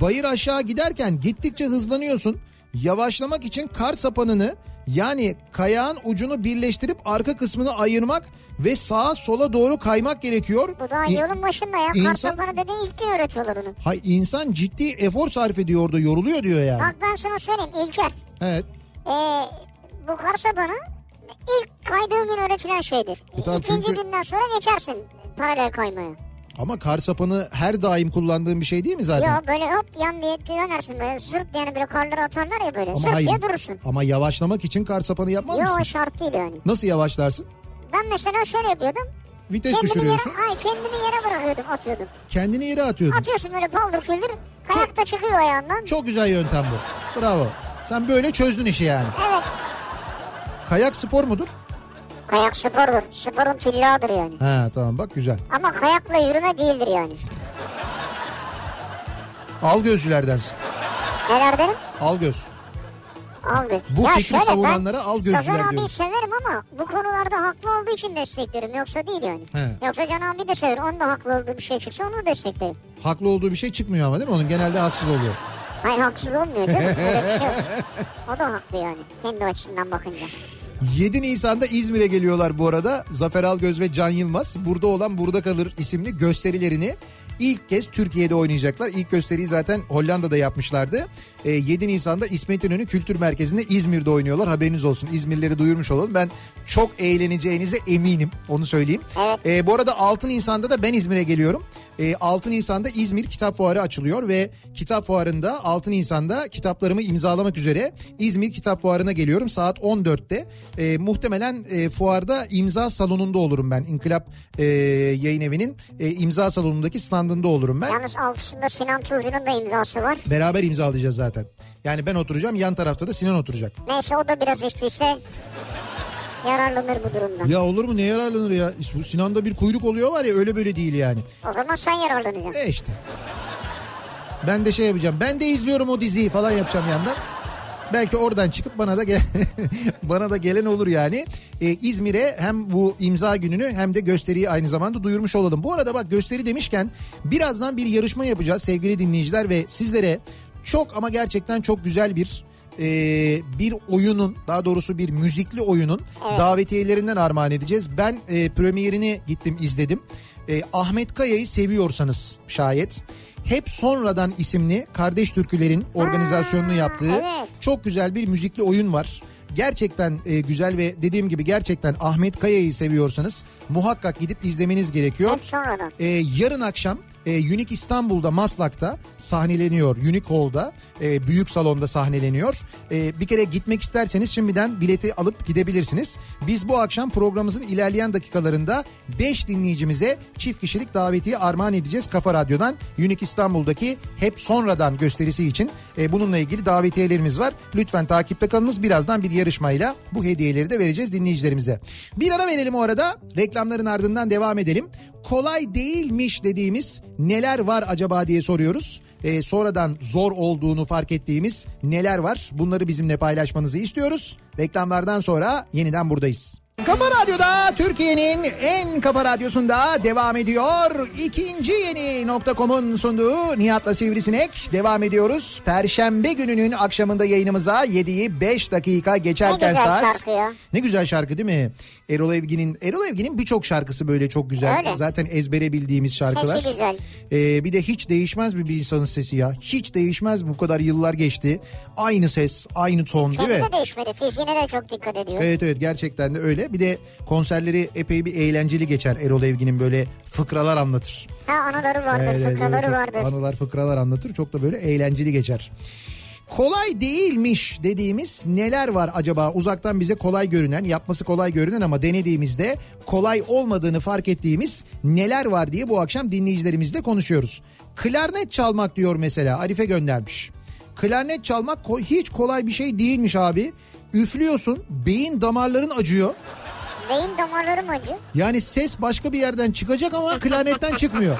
Speaker 1: Bayır aşağı giderken gittikçe hızlanıyorsun. Yavaşlamak için kar sapanını yani kayağın ucunu birleştirip arka kısmını ayırmak ve sağa sola doğru kaymak gerekiyor.
Speaker 2: Bu daha
Speaker 1: İ-
Speaker 2: yolun başında ya.
Speaker 1: insan-
Speaker 2: Karsapanı dedi ilk gün öğretiyorlar onu.
Speaker 1: Hay insan ciddi efor sarf ediyor orada yoruluyor diyor yani.
Speaker 2: Bak ben sana söyleyeyim İlker.
Speaker 1: Evet.
Speaker 2: Ee, bu karsapanı ilk kaydığın gün öğretilen şeydir.
Speaker 1: E tamam
Speaker 2: İkinci
Speaker 1: çünkü-
Speaker 2: günden sonra geçersin paralel kaymaya.
Speaker 1: Ama kar sapanı her daim kullandığın bir şey değil mi zaten?
Speaker 2: Yo böyle hop yan diye dönersin böyle zırt yani böyle karları atarlar ya böyle
Speaker 1: Ama
Speaker 2: zırt
Speaker 1: hayır.
Speaker 2: diye durursun.
Speaker 1: Ama yavaşlamak için kar sapanı yapmaz
Speaker 2: Yo
Speaker 1: mısın?
Speaker 2: o şart değil yani.
Speaker 1: Nasıl yavaşlarsın?
Speaker 2: Ben mesela şöyle yapıyordum.
Speaker 1: Vites
Speaker 2: Kendimi
Speaker 1: düşürüyorsun.
Speaker 2: yere, hayır, kendimi yere bırakıyordum atıyordum.
Speaker 1: Kendini yere atıyordun.
Speaker 2: Atıyorsun böyle paldır küldür kayak da çıkıyor ayağından.
Speaker 1: Çok güzel yöntem bu. Bravo. Sen böyle çözdün işi yani.
Speaker 2: Evet
Speaker 1: Kayak spor mudur?
Speaker 2: kayak spordur sporun tillahıdır yani.
Speaker 1: Ha tamam bak güzel.
Speaker 2: Ama kayakla yürüme değildir yani.
Speaker 1: Al gözcülerdensin.
Speaker 2: Neler derim?
Speaker 1: Al göz.
Speaker 2: Al bir.
Speaker 1: Bu fikri savunanlara al gözcüler
Speaker 2: Sazan abiyi
Speaker 1: diyoruz.
Speaker 2: severim ama bu konularda haklı olduğu için desteklerim. Yoksa değil yani.
Speaker 1: He.
Speaker 2: Yoksa Can abi de severim. Onun da haklı olduğu bir şey çıksa onu da desteklerim.
Speaker 1: Haklı olduğu bir şey çıkmıyor ama değil mi? Onun genelde haksız oluyor.
Speaker 2: Hayır haksız olmuyor canım. Öyle bir şey yok. O da haklı yani. Kendi açısından bakınca.
Speaker 1: 7 Nisan'da İzmir'e geliyorlar bu arada. Zafer Algöz ve Can Yılmaz burada olan Burada Kalır isimli gösterilerini ilk kez Türkiye'de oynayacaklar. İlk gösteriyi zaten Hollanda'da yapmışlardı. Ee, 7 Nisan'da İsmet İnönü Kültür Merkezi'nde İzmir'de oynuyorlar. Haberiniz olsun. İzmirleri duyurmuş olalım. Ben çok eğleneceğinize eminim. Onu söyleyeyim.
Speaker 2: Evet.
Speaker 1: Ee, bu arada 6 Nisan'da da ben İzmir'e geliyorum. Ee, 6 Nisan'da İzmir Kitap Fuarı açılıyor ve Kitap Fuarı'nda 6 Nisan'da kitaplarımı imzalamak üzere İzmir Kitap Fuarı'na geliyorum saat 14'te. Ee, muhtemelen e, fuarda imza salonunda olurum ben. İnkılap e, Yayın Evi'nin e, imza salonundaki standında olurum ben.
Speaker 2: Yalnız altısında Sinan Tuzcu'nun da imzası var.
Speaker 1: Beraber imzalayacağız zaten. Yani ben oturacağım yan tarafta da Sinan oturacak.
Speaker 2: Neyse o da biraz istiyse yararlanır bu durumdan.
Speaker 1: Ya olur mu ne yararlanır ya? Bu Sinan'da bir kuyruk oluyor var ya öyle böyle değil yani.
Speaker 2: O zaman sen yararlanacaksın.
Speaker 1: E işte. Ben de şey yapacağım. Ben de izliyorum o diziyi falan yapacağım yandan. Belki oradan çıkıp bana da gel bana da gelen olur yani. E, İzmir'e hem bu imza gününü hem de gösteriyi aynı zamanda duyurmuş olalım. Bu arada bak gösteri demişken birazdan bir yarışma yapacağız sevgili dinleyiciler ve sizlere çok ama gerçekten çok güzel bir e, bir oyunun daha doğrusu bir müzikli oyunun davetiyelerinden armağan edeceğiz. Ben e, premierini gittim izledim. E, Ahmet Kaya'yı seviyorsanız şayet hep sonradan isimli kardeş türkülerin organizasyonunu yaptığı
Speaker 2: evet.
Speaker 1: çok güzel bir müzikli oyun var. Gerçekten e, güzel ve dediğim gibi gerçekten Ahmet Kaya'yı seviyorsanız muhakkak gidip izlemeniz gerekiyor.
Speaker 2: Hep sonradan.
Speaker 1: E, yarın akşam e, Unique İstanbul'da Maslak'ta sahneleniyor. Unique Hall'da e, büyük salonda sahneleniyor. E, bir kere gitmek isterseniz şimdiden bileti alıp gidebilirsiniz. Biz bu akşam programımızın ilerleyen dakikalarında 5 dinleyicimize çift kişilik davetiye armağan edeceğiz. Kafa Radyo'dan Unique İstanbul'daki hep sonradan gösterisi için e, bununla ilgili davetiyelerimiz var. Lütfen takipte kalınız. Birazdan bir yarışmayla bu hediyeleri de vereceğiz dinleyicilerimize. Bir ara verelim o arada. Reklamların ardından devam edelim kolay değilmiş dediğimiz neler var acaba diye soruyoruz. Ee, sonradan zor olduğunu fark ettiğimiz neler var bunları bizimle paylaşmanızı istiyoruz. Reklamlardan sonra yeniden buradayız.
Speaker 4: Kafa Radyo'da Türkiye'nin en kafa radyosunda devam ediyor. İkinci yeni nokta.com'un sunduğu Nihat'la Sivrisinek devam ediyoruz. Perşembe gününün akşamında yayınımıza 7'yi 5 dakika geçerken
Speaker 2: Ne güzel
Speaker 4: saat.
Speaker 2: şarkı ya.
Speaker 1: Ne güzel şarkı değil mi? Erol Evgin'in Erol Evgin'in birçok şarkısı böyle çok güzel.
Speaker 2: Öyle.
Speaker 1: Zaten ezbere bildiğimiz şarkılar.
Speaker 2: Sesi güzel.
Speaker 1: Ee, bir de hiç değişmez mi bir insanın sesi ya? Hiç değişmez mi? Bu kadar yıllar geçti. Aynı ses, aynı ton değil
Speaker 2: Kendi
Speaker 1: mi?
Speaker 2: de değişmedi. Fiziğine de çok dikkat ediyor.
Speaker 1: Evet evet gerçekten de öyle. Bir de konserleri epey bir eğlenceli geçer. Erol Evgin'in böyle fıkralar anlatır.
Speaker 2: Ha anıları vardır,
Speaker 1: Evet, evet,
Speaker 2: fıkraları
Speaker 1: Ee, çok
Speaker 2: vardır.
Speaker 1: Anılar fıkralar anlatır. Çok da böyle eğlenceli geçer. Kolay değilmiş dediğimiz neler var acaba? Uzaktan bize kolay görünen, yapması kolay görünen ama denediğimizde kolay olmadığını fark ettiğimiz neler var diye bu akşam dinleyicilerimizle konuşuyoruz. Klarnet çalmak diyor mesela Arife göndermiş. Klarnet çalmak ko- hiç kolay bir şey değilmiş abi. Üflüyorsun, beyin damarların acıyor.
Speaker 2: Beyin damarları mı acıyor?
Speaker 1: Yani ses başka bir yerden çıkacak ama klarnetten çıkmıyor.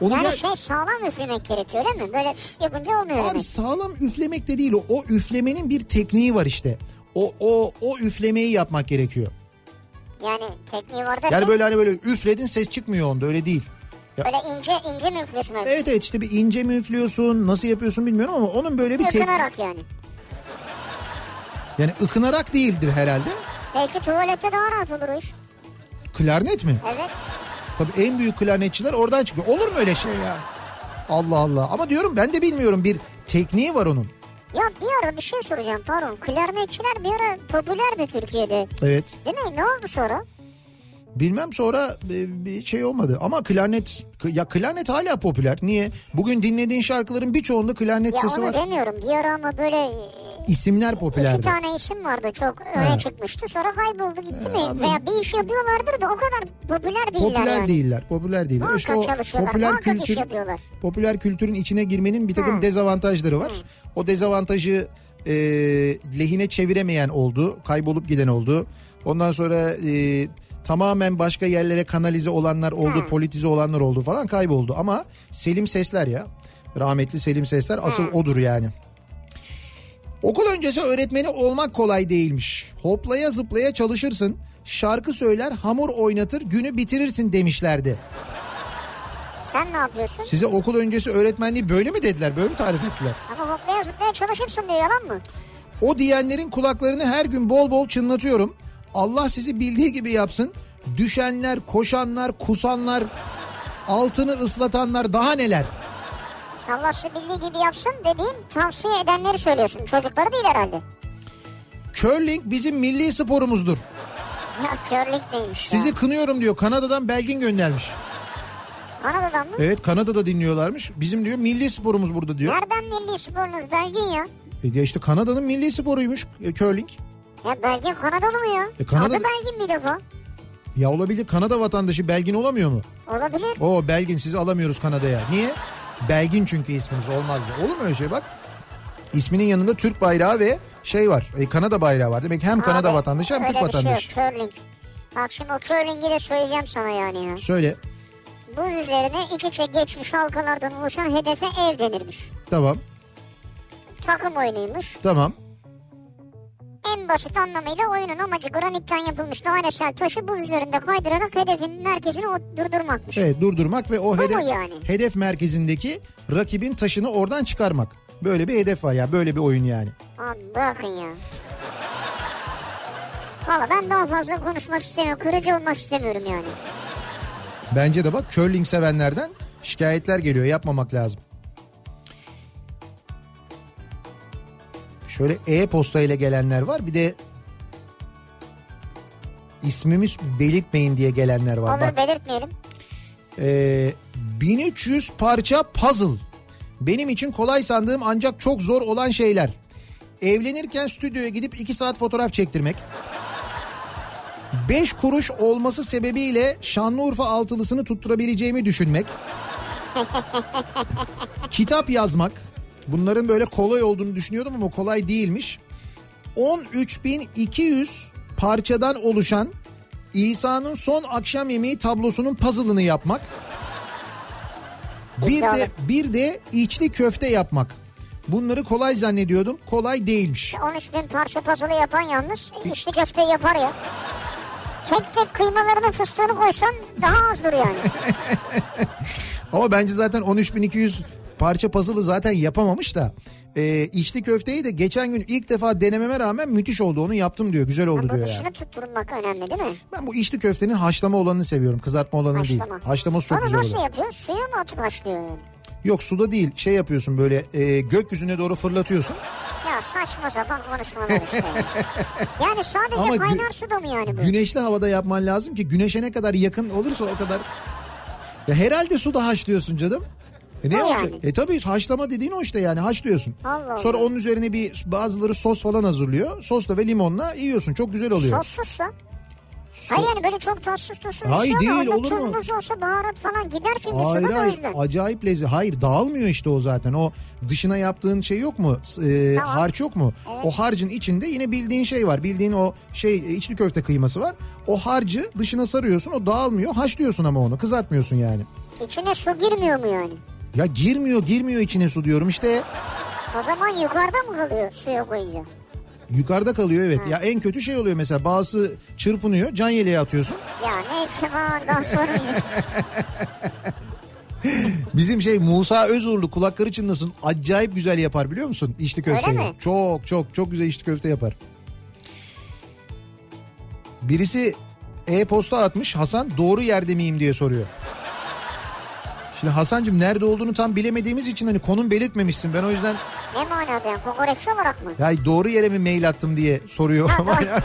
Speaker 1: Onu
Speaker 2: Yani
Speaker 1: ger-
Speaker 2: şey sağlam üflemek gerekiyor öyle mi? Böyle yapınca olmuyor
Speaker 1: Abi
Speaker 2: demek.
Speaker 1: sağlam üflemek de değil o. O üflemenin bir tekniği var işte. O o o üflemeyi yapmak gerekiyor.
Speaker 2: Yani tekniği var da
Speaker 1: Yani böyle hani böyle üfledin ses çıkmıyor onda öyle değil. Ya,
Speaker 2: böyle ince ince mi üflüyorsun? öyle?
Speaker 1: evet evet işte bir ince mi üflüyorsun nasıl yapıyorsun bilmiyorum ama onun böyle bir tek
Speaker 2: Yakınarak yani.
Speaker 1: yani ıkınarak değildir herhalde.
Speaker 2: Belki tuvalette daha rahat olur o iş.
Speaker 1: Klarnet mi?
Speaker 2: Evet.
Speaker 1: Tabii en büyük klarnetçiler oradan çıkıyor. Olur mu öyle şey ya? Cık, Allah Allah. Ama diyorum ben de bilmiyorum bir tekniği var onun.
Speaker 2: Ya bir ara bir şey soracağım pardon. Klarnetçiler bir ara popülerdi Türkiye'de.
Speaker 1: Evet.
Speaker 2: Değil mi? Ne oldu sonra?
Speaker 1: Bilmem sonra e, bir şey olmadı ama klarnet ya klarnet hala popüler. Niye? Bugün dinlediğin şarkıların birçoğunda klarnet
Speaker 2: Ya
Speaker 1: sesi
Speaker 2: onu
Speaker 1: var.
Speaker 2: demiyorum. Bir ara ama böyle e,
Speaker 1: İsimler
Speaker 2: iki
Speaker 1: popülerdi.
Speaker 2: tane isim vardı çok öne
Speaker 1: Evet.
Speaker 2: çıkmıştı. Sonra kayboldu gitti mi?
Speaker 1: anladım.
Speaker 2: Veya bir iş yapıyorlardır da o kadar popüler değiller
Speaker 1: Popüler
Speaker 2: yani.
Speaker 1: değiller. Popüler değiller.
Speaker 2: Muhakkak
Speaker 1: işte o
Speaker 2: çalışıyorlar,
Speaker 1: popüler
Speaker 2: muhakkak iş
Speaker 1: kültür
Speaker 2: yapıyorlar.
Speaker 1: popüler kültürün içine girmenin bir takım dezavantajları var. O dezavantajı e, lehine çeviremeyen oldu, kaybolup giden oldu. Ondan sonra e, tamamen başka yerlere kanalize olanlar oldu, politize olanlar oldu falan kayboldu ama Selim Sesler ya. Rahmetli Selim Sesler asıl odur yani. Okul öncesi öğretmeni olmak kolay değilmiş. Hoplaya zıplaya çalışırsın, şarkı söyler, hamur oynatır, günü bitirirsin demişlerdi.
Speaker 2: Sen ne yapıyorsun?
Speaker 1: Size okul öncesi öğretmenliği böyle mi dediler? Böyle mi tarif ettiler?
Speaker 2: Ama hoplaya zıplaya çalışırsın diyor yalan mı?
Speaker 1: O diyenlerin kulaklarını her gün bol bol çınlatıyorum. Allah sizi bildiği gibi yapsın. Düşenler, koşanlar, kusanlar, altını ıslatanlar daha neler?
Speaker 2: Allah sizi bildiği gibi yapsın dediğin tavsiye edenleri söylüyorsun. Çocukları değil herhalde.
Speaker 1: Curling bizim milli sporumuzdur.
Speaker 2: Ya körlük neymiş
Speaker 1: Sizi
Speaker 2: ya?
Speaker 1: kınıyorum diyor. Kanada'dan Belgin göndermiş.
Speaker 2: Anadolu'dan mı?
Speaker 1: Evet Kanada'da dinliyorlarmış. Bizim diyor milli sporumuz burada diyor.
Speaker 2: Nereden milli sporunuz Belgin ya?
Speaker 1: E ya işte Kanada'nın milli sporuymuş e, curling.
Speaker 2: Ya Belgin Kanadalı mı ya?
Speaker 1: E, Kanada-
Speaker 2: Adı Belgin bir defa.
Speaker 1: Ya olabilir Kanada vatandaşı Belgin olamıyor mu?
Speaker 2: Olabilir.
Speaker 1: O Belgin sizi alamıyoruz Kanada'ya. Niye? Belgin çünkü isminiz olmaz ya. Olur mu öyle şey bak? İsminin yanında Türk bayrağı ve şey var. E, Kanada bayrağı var. Demek hem Kanada
Speaker 2: Abi,
Speaker 1: vatandaşı hem Türk
Speaker 2: öyle bir şey yok,
Speaker 1: vatandaşı.
Speaker 2: curling. Bak şimdi o curling'i de söyleyeceğim sana yani. ya.
Speaker 1: Söyle.
Speaker 2: Buz üzerine iç içe geçmiş halkalardan oluşan hedefe ev denirmiş.
Speaker 1: Tamam.
Speaker 2: Takım oyunuymuş.
Speaker 1: Tamam.
Speaker 2: En basit anlamıyla oyunun amacı granitten yapılmış dairesel taşı buz üzerinde kaydırarak hedefin merkezini o- durdurmakmış.
Speaker 1: Evet durdurmak ve o
Speaker 2: mu
Speaker 1: hedef
Speaker 2: yani?
Speaker 1: hedef merkezindeki rakibin taşını oradan çıkarmak. Böyle bir hedef var ya. Böyle bir oyun yani.
Speaker 2: Abi bırakın ya. Valla ben daha fazla konuşmak istemiyorum. Kırıcı olmak istemiyorum yani.
Speaker 1: Bence de bak curling sevenlerden şikayetler geliyor. Yapmamak lazım. Şöyle e-posta ile gelenler var. Bir de ismimiz belirtmeyin diye gelenler var.
Speaker 2: Olur
Speaker 1: Bak,
Speaker 2: belirtmeyelim.
Speaker 1: e, 1300 parça puzzle. Benim için kolay sandığım ancak çok zor olan şeyler. Evlenirken stüdyoya gidip 2 saat fotoğraf çektirmek. 5 kuruş olması sebebiyle Şanlıurfa altılısını tutturabileceğimi düşünmek. Kitap yazmak. Bunların böyle kolay olduğunu düşünüyordum ama kolay değilmiş. 13.200 parçadan oluşan İsa'nın son akşam yemeği tablosunun puzzle'ını yapmak. Bir
Speaker 2: İddialı.
Speaker 1: de bir de içli köfte yapmak. Bunları kolay zannediyordum. Kolay değilmiş.
Speaker 2: 13 bin parça puzzle yapan yalnız içli köfte yapar ya. Tek tek kıymalarının fıstığını koysan daha azdır yani.
Speaker 1: Ama bence zaten 13200 parça puzzle'ı zaten yapamamış da. E, içli köfteyi de geçen gün ilk defa denememe rağmen müthiş oldu. Onu yaptım diyor. Güzel oldu
Speaker 2: Bu
Speaker 1: diyor yani.
Speaker 2: dışını tutturmak önemli değil mi?
Speaker 1: Ben bu içli köftenin haşlama olanını seviyorum. Kızartma olanını değil. Haşlaması çok
Speaker 2: Onu
Speaker 1: güzel
Speaker 2: nasıl
Speaker 1: oluyor.
Speaker 2: yapıyor? Suya mı atıp haşlıyor? yani?
Speaker 1: Yok suda değil şey yapıyorsun böyle e, gökyüzüne doğru fırlatıyorsun.
Speaker 2: Ya saçma sapan konuşmalar işte. yani sadece
Speaker 1: Ama gü-
Speaker 2: kaynar suda mı yani bu?
Speaker 1: Güneşli havada yapman lazım ki güneşe ne kadar yakın olursa o kadar. Ya herhalde suda haşlıyorsun canım. E ne
Speaker 2: O
Speaker 1: olacak?
Speaker 2: yani.
Speaker 1: E tabii haşlama dediğin o işte yani haşlıyorsun.
Speaker 2: Allah
Speaker 1: Sonra
Speaker 2: Allah.
Speaker 1: onun üzerine bir bazıları sos falan hazırlıyor. Sosla ve limonla yiyorsun. Çok güzel oluyor.
Speaker 2: Sossuzsa. Hayır yani böyle çok tatsız tuzsuz bir
Speaker 1: Hayır,
Speaker 2: şey
Speaker 1: değil,
Speaker 2: ama onda
Speaker 1: olur
Speaker 2: tuz
Speaker 1: mu?
Speaker 2: muz olsa baharat falan gider çünkü
Speaker 1: Hayır
Speaker 2: suda da o
Speaker 1: hayır
Speaker 2: yüzden.
Speaker 1: acayip lezzet. Hayır dağılmıyor işte o zaten. O dışına yaptığın şey yok mu? S- e,
Speaker 2: Tamam.
Speaker 1: Harç yok mu? O harcın içinde yine bildiğin şey var. Bildiğin o şey e, içli köfte kıyması var. O harcı dışına sarıyorsun. O dağılmıyor. Haşlıyorsun ama onu. Kızartmıyorsun yani.
Speaker 2: İçine su girmiyor mu yani?
Speaker 1: Ya girmiyor girmiyor içine su diyorum işte.
Speaker 2: O zaman yukarıda mı kalıyor suya koyunca?
Speaker 1: Yukarıda kalıyor evet. Ya en kötü şey oluyor mesela bazısı çırpınıyor. Can yeleğe atıyorsun.
Speaker 2: Ya neyse aman daha sonra
Speaker 1: Bizim şey Musa Özurlu kulakları çınlasın acayip güzel yapar biliyor musun içli
Speaker 2: Öyle
Speaker 1: köfteyi.
Speaker 2: mi?
Speaker 1: Çok çok çok güzel içli köfte yapar. Birisi e-posta atmış Hasan doğru yerde miyim diye soruyor. Şimdi Hasan'cığım nerede olduğunu tam bilemediğimiz için hani konum belirtmemişsin. Ben o yüzden
Speaker 2: ne manada yani kokoreççi olarak mı?
Speaker 1: ya doğru yere mi mail attım diye soruyor. ama
Speaker 2: doğru.
Speaker 1: ya.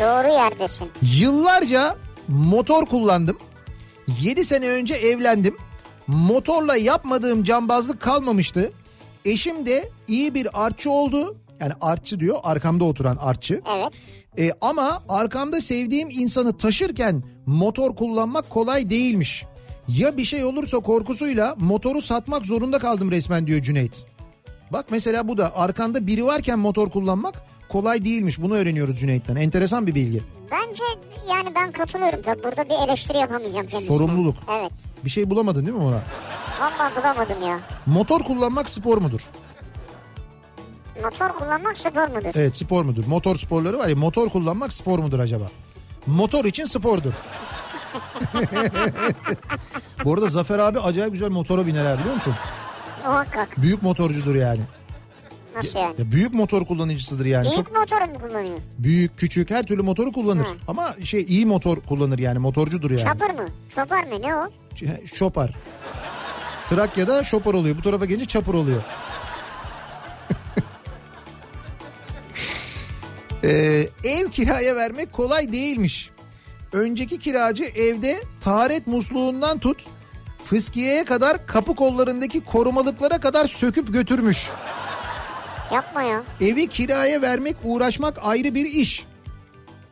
Speaker 2: Doğru yerdesin.
Speaker 1: Yıllarca motor kullandım. 7 sene önce evlendim. Motorla yapmadığım cambazlık kalmamıştı. Eşim de iyi bir artçı oldu. Yani artçı diyor arkamda oturan artçı.
Speaker 2: Evet.
Speaker 1: E, ama arkamda sevdiğim insanı taşırken motor kullanmak kolay değilmiş. Ya bir şey olursa korkusuyla motoru satmak zorunda kaldım resmen diyor Cüneyt. Bak mesela bu da arkanda biri varken motor kullanmak kolay değilmiş. Bunu öğreniyoruz Cüneyt'ten. Enteresan bir bilgi.
Speaker 2: Bence yani ben katılıyorum tabii burada bir eleştiri yapamayacağım kendisine.
Speaker 1: Sorumluluk.
Speaker 2: Evet.
Speaker 1: Bir şey bulamadın değil mi ona?
Speaker 2: Vallahi bulamadım ya.
Speaker 1: Motor kullanmak spor mudur?
Speaker 2: Motor kullanmak spor mudur?
Speaker 1: Evet spor mudur. Motor sporları var ya motor kullanmak spor mudur acaba? Motor için spordur. Bu arada Zafer abi acayip güzel motora biner biliyor musun?
Speaker 2: Muhakkak.
Speaker 1: Büyük motorcudur yani.
Speaker 2: Nasıl yani?
Speaker 1: Ya büyük motor kullanıcısıdır yani. Çok
Speaker 2: Büyük motoru mu kullanıyor?
Speaker 1: büyük, küçük her türlü motoru kullanır. Ama şey iyi motor kullanır yani motorcudur yani.
Speaker 2: Çapır mı? Çopar mı? Ne o?
Speaker 1: Ç- Şopar. Trakya'da şopar oluyor. Bu tarafa gelince çapır oluyor. Ee, ev kiraya vermek kolay değilmiş. Önceki kiracı evde taharet musluğundan tut fıskiyeye kadar kapı kollarındaki korumalıklara kadar söküp götürmüş.
Speaker 2: Yapma ya.
Speaker 1: Evi kiraya vermek uğraşmak ayrı bir iş.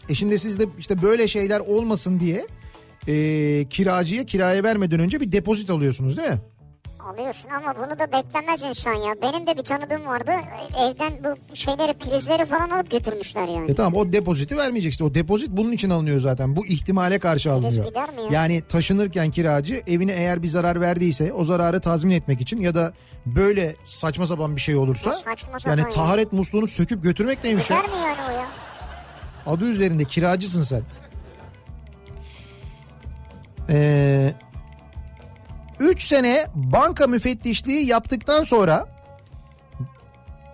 Speaker 1: E şimdi siz de işte böyle şeyler olmasın diye e, kiracıya kiraya vermeden önce bir depozit alıyorsunuz değil mi?
Speaker 2: Alıyorsun ama bunu da beklemez insan ya. Benim de bir tanıdığım vardı. Evden bu şeyleri prizleri falan alıp götürmüşler yani.
Speaker 1: E tamam o depoziti vermeyeceksin. O depozit bunun için alınıyor zaten. Bu ihtimale karşı alınıyor.
Speaker 2: gider mi ya?
Speaker 1: Yani taşınırken kiracı evine eğer bir zarar verdiyse o zararı tazmin etmek için ya da böyle saçma sapan bir şey olursa
Speaker 2: Ya saçma sapan
Speaker 1: yani
Speaker 2: ya.
Speaker 1: taharet musluğunu söküp götürmek neymiş ya?
Speaker 2: Gider mi yani o ya?
Speaker 1: Adı üzerinde kiracısın sen. Ee, 3 sene banka müfettişliği yaptıktan sonra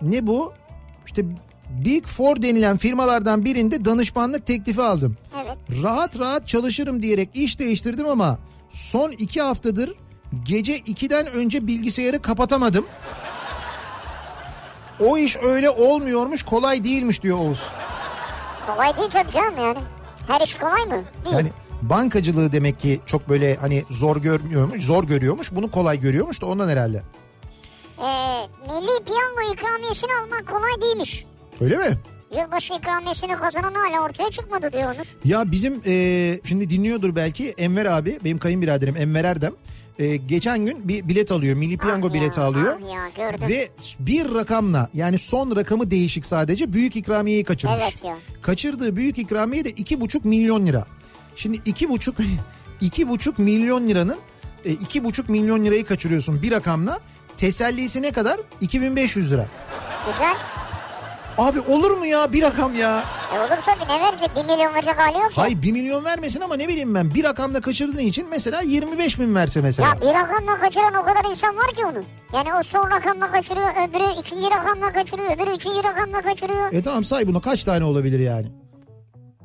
Speaker 1: ne bu? İşte Big Four denilen firmalardan birinde danışmanlık teklifi aldım.
Speaker 2: Evet.
Speaker 1: Rahat rahat çalışırım diyerek iş değiştirdim ama son 2 haftadır gece 2'den önce bilgisayarı kapatamadım. O iş öyle olmuyormuş kolay değilmiş diyor Oğuz.
Speaker 2: Kolay değil tabii canım yani. Her iş kolay mı? Değil.
Speaker 1: Yani bankacılığı demek ki çok böyle hani zor görmüyormuş, zor görüyormuş. Bunu kolay görüyormuş da ondan herhalde.
Speaker 2: Ee, milli piyango ikramiyesini almak kolay değilmiş.
Speaker 1: Öyle mi?
Speaker 2: Yılbaşı ikramiyesini kazanan hala ortaya çıkmadı diyor Onur.
Speaker 1: Ya bizim e, şimdi dinliyordur belki Enver abi, benim kayınbiraderim Enver Erdem. e, geçen gün bir bilet alıyor, milli piyango
Speaker 2: Ah ya,
Speaker 1: bileti alıyor.
Speaker 2: ah ya, gördüm.
Speaker 1: Ve bir rakamla yani son rakamı değişik sadece büyük ikramiyeyi kaçırmış.
Speaker 2: Evet ya.
Speaker 1: Kaçırdığı büyük ikramiye de iki buçuk milyon lira. Şimdi iki buçuk iki buçuk milyon liranın e, iki buçuk milyon lirayı kaçırıyorsun bir rakamla. Tesellisi ne kadar? 2500 lira.
Speaker 2: Güzel.
Speaker 1: Abi olur mu ya bir rakam ya?
Speaker 2: E olur tabii ne verecek? Bir milyon verecek hali yok. ki.
Speaker 1: Hay bir milyon vermesin ama ne bileyim ben bir rakamla kaçırdığın için mesela 25 bin verse mesela.
Speaker 2: Ya bir rakamla kaçıran o kadar insan var ki onu. Yani o son rakamla kaçırıyor, öbürü ikinci rakamla kaçırıyor, öbürü üçüncü rakamla kaçırıyor.
Speaker 1: E tamam say bunu kaç tane olabilir yani?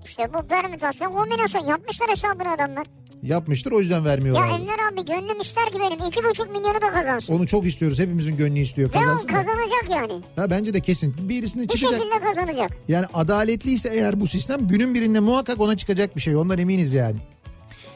Speaker 2: İşte bu permütasyon kombinasyon yapmışlar hesabını adamlar.
Speaker 1: Yapmıştır o yüzden vermiyor.
Speaker 2: Ya
Speaker 1: abi.
Speaker 2: Enver abi gönlüm ister ki benim iki buçuk milyonu da kazansın.
Speaker 1: Onu çok istiyoruz hepimizin gönlü istiyor
Speaker 2: Ve o
Speaker 1: kazansın. da.
Speaker 2: kazanacak yani.
Speaker 1: Ha, bence de kesin birisine
Speaker 2: Bir
Speaker 1: çıkacak.
Speaker 2: şekilde kazanacak.
Speaker 1: Yani adaletliyse eğer bu sistem günün birinde muhakkak ona çıkacak bir şey. Ondan eminiz yani.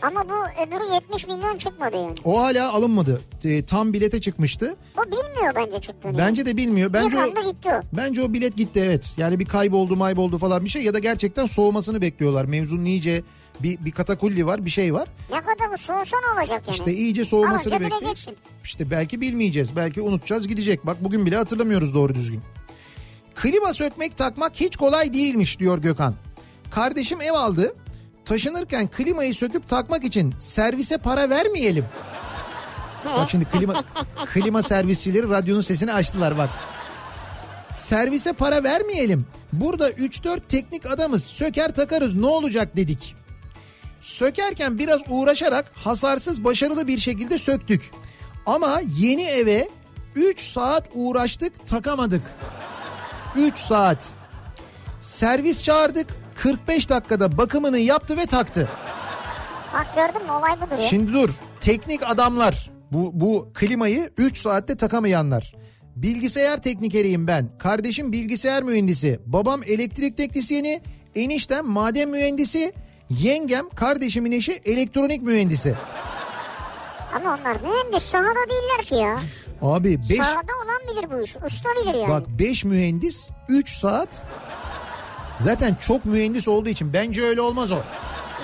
Speaker 2: Ama bu öbürü 70 milyon çıkmadı yani.
Speaker 1: O hala alınmadı. E, tam bilete çıkmıştı.
Speaker 2: O bilmiyor bence çıktığını.
Speaker 1: Bence de bilmiyor.
Speaker 2: yani.
Speaker 1: Bence o,
Speaker 2: Yıkandı gitti o.
Speaker 1: bence o bilet gitti evet. Yani bir kayboldu mayboldu falan bir şey. Ya da gerçekten soğumasını bekliyorlar. Mevzunun iyice bir, bir katakulli var bir şey var.
Speaker 2: Ne kadar bu soğusa ne olacak yani?
Speaker 1: İşte iyice soğumasını
Speaker 2: Alınca
Speaker 1: bekliyoruz.
Speaker 2: bileceksin.
Speaker 1: İşte belki bilmeyeceğiz. Belki unutacağız gidecek. Bak bugün bile hatırlamıyoruz doğru düzgün. Klima sökmek takmak hiç kolay değilmiş diyor Gökhan. Kardeşim ev aldı. Taşınırken klimayı söküp takmak için servise para vermeyelim. Bak şimdi klima klima servisçileri radyonun sesini açtılar bak. Servise para vermeyelim. Burada 3-4 teknik adamız söker takarız ne olacak dedik. Sökerken biraz uğraşarak hasarsız başarılı bir şekilde söktük. Ama yeni eve 3 saat uğraştık takamadık. 3 saat. Servis çağırdık 45 dakikada bakımını yaptı ve taktı.
Speaker 2: Bak gördün mü olay budur ya.
Speaker 1: Şimdi dur. Teknik adamlar. Bu, bu klimayı 3 saatte takamayanlar. Bilgisayar teknikeriyim ben. Kardeşim bilgisayar mühendisi. Babam elektrik teknisyeni. Eniştem maden mühendisi. Yengem kardeşimin eşi elektronik mühendisi.
Speaker 2: Ama onlar mühendis sahada değiller ki ya.
Speaker 1: Abi 5
Speaker 2: Sahada olan bilir bu işi. Usta bilir yani.
Speaker 1: bak 5 mühendis 3 saat. Zaten çok mühendis olduğu için bence öyle olmaz o.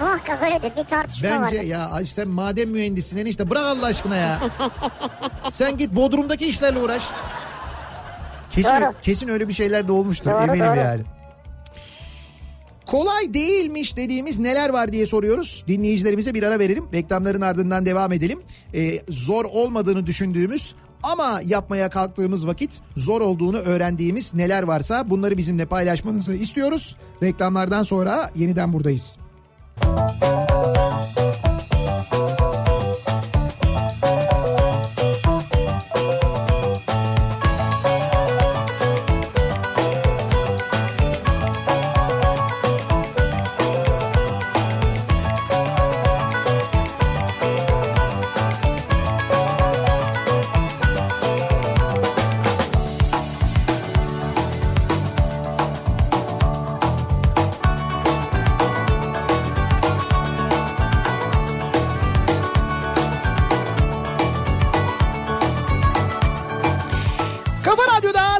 Speaker 2: Muhakkak öyledir bir tartışma
Speaker 1: Bence
Speaker 2: vardır.
Speaker 1: ya ay sen maden mühendisinin işte bırak Allah aşkına ya. sen git Bodrum'daki işlerle uğraş. Kesin,
Speaker 2: Doğru.
Speaker 1: kesin öyle bir şeyler de olmuştur
Speaker 2: Doğru,
Speaker 1: eminim
Speaker 2: doğru.
Speaker 1: yani. Kolay değilmiş dediğimiz neler var diye soruyoruz. Dinleyicilerimize bir ara verelim. Reklamların ardından devam edelim. Ee, zor olmadığını düşündüğümüz ama yapmaya kalktığımız vakit zor olduğunu öğrendiğimiz neler varsa bunları bizimle paylaşmanızı istiyoruz. Reklamlardan sonra yeniden buradayız.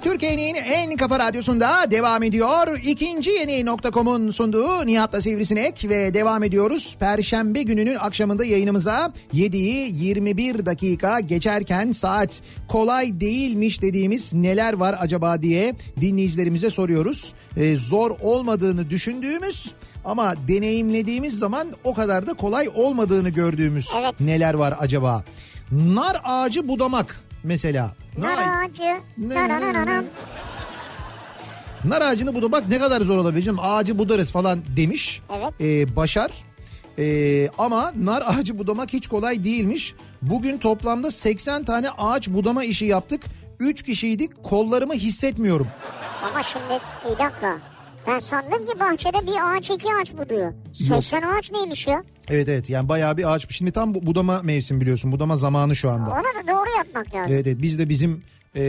Speaker 1: Türkiye'nin Kafa Radyosu'nda devam ediyor. İkinci yeni nokta.com'un sunduğu Nihat'la Sivrisinek ve devam ediyoruz. Perşembe gününün akşamında yayınımıza 7'yi 21 dakika geçerken saat kolay değilmiş dediğimiz neler var acaba diye dinleyicilerimize soruyoruz. Ee, zor olmadığını düşündüğümüz ama deneyimlediğimiz zaman o kadar da kolay olmadığını gördüğümüz
Speaker 2: Evet.
Speaker 1: neler var acaba? Nar ağacı budamak mesela.
Speaker 2: Nar ağacı.
Speaker 1: Ne-
Speaker 2: Nananananan.
Speaker 1: Nar ağacını budu bak ne kadar zor olabilir canım ağacı budarız falan demiş.
Speaker 2: Evet.
Speaker 1: Ee, başar. Ee, ama nar ağacı budamak hiç kolay değilmiş. Bugün toplamda 80 tane ağaç budama işi yaptık. 3 kişiydik kollarımı hissetmiyorum.
Speaker 2: Ama şimdi bir dakika. Ben sandım ki bahçede bir ağaç iki ağaç buduyor. 80 ağaç neymiş ya?
Speaker 1: Evet evet yani bayağı bir ağaç. Şimdi tam bu- budama mevsim biliyorsun budama zamanı şu anda.
Speaker 2: Onu da doğru yapmak lazım.
Speaker 1: Evet evet biz de bizim e,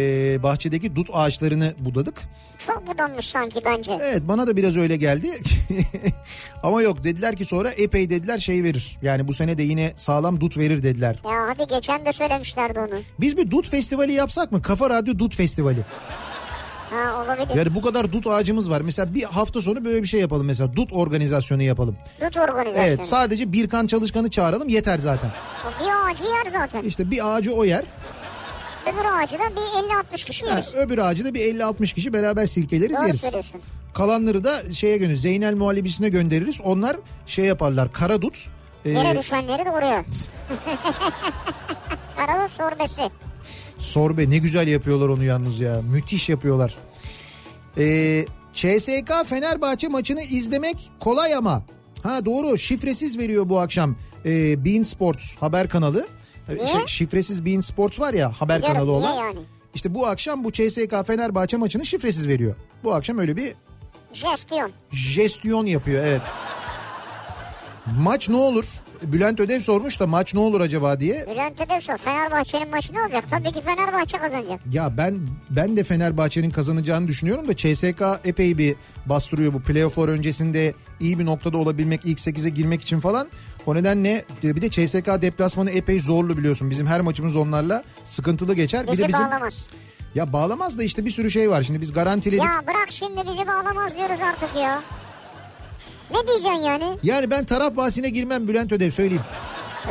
Speaker 1: bahçedeki dut ağaçlarını budadık.
Speaker 2: Çok budanmış sanki bence.
Speaker 1: Evet bana da biraz öyle geldi. Ama yok dediler ki sonra epey dediler şey verir. Yani bu sene de yine sağlam dut verir dediler.
Speaker 2: Ya hadi geçen de söylemişlerdi onu.
Speaker 1: Biz bir dut festivali yapsak mı? Kafa Radyo Dut Festivali.
Speaker 2: Ha olabilir.
Speaker 1: Yani bu kadar dut ağacımız var. Mesela bir hafta sonu böyle bir şey yapalım mesela. Dut organizasyonu yapalım.
Speaker 2: Dut organizasyonu.
Speaker 1: Evet sadece Birkan Çalışkan'ı çağıralım yeter zaten.
Speaker 2: O Bir ağacı yer zaten.
Speaker 1: İşte bir ağacı o yer.
Speaker 2: Öbür ağacı da bir 50-60 kişi
Speaker 1: Ha,
Speaker 2: yeriz.
Speaker 1: öbür ağacı da bir 50-60 kişi beraber silkeleriz
Speaker 2: Doğru
Speaker 1: yeriz.
Speaker 2: söylüyorsun.
Speaker 1: Kalanları da şeye gönderir. Zeynel Muhallebisi'ne göndeririz. Onlar şey yaparlar. Kara dut. e,
Speaker 2: Yere düşenleri de oraya. Karalı sorbesi.
Speaker 1: Sorbe ne güzel yapıyorlar onu yalnız ya. Müthiş yapıyorlar. Ee, CSK Fenerbahçe maçını izlemek kolay ama. Ha doğru şifresiz veriyor bu akşam. Ee, Bean Sports haber kanalı. Ee,
Speaker 2: Ne?
Speaker 1: şey, şifresiz Bean Sports var ya haber
Speaker 2: Biliyorum,
Speaker 1: kanalı
Speaker 2: niye
Speaker 1: olan.
Speaker 2: yani?
Speaker 1: İşte bu akşam bu CSK Fenerbahçe maçını şifresiz veriyor. Bu akşam öyle bir
Speaker 2: Jestiyon.
Speaker 1: jestiyon yapıyor evet. Maç ne olur? Bülent Ödev sormuş da maç ne olur acaba diye.
Speaker 2: Bülent Ödevsoy Fenerbahçe'nin maçı ne olacak? Tabii ki Fenerbahçe kazanacak.
Speaker 1: Ya ben ben de Fenerbahçe'nin kazanacağını düşünüyorum da CSK epey bir bastırıyor bu playofflar öncesinde iyi bir noktada olabilmek ilk 8'e girmek için falan. O nedenle e, bir de CSK deplasmanı epey zorlu biliyorsun. Bizim her maçımız onlarla sıkıntılı geçer. Bir
Speaker 2: Bizi
Speaker 1: de bizim
Speaker 2: bağlamaz.
Speaker 1: ya bağlamaz da işte bir sürü şey var. Şimdi biz garantiledik.
Speaker 2: Ya bırak şimdi bizi bağlamaz diyoruz artık ya. Ne diyeceksin yani?
Speaker 1: Yani ben taraf bahsine girmem Bülent Ödev söyleyeyim.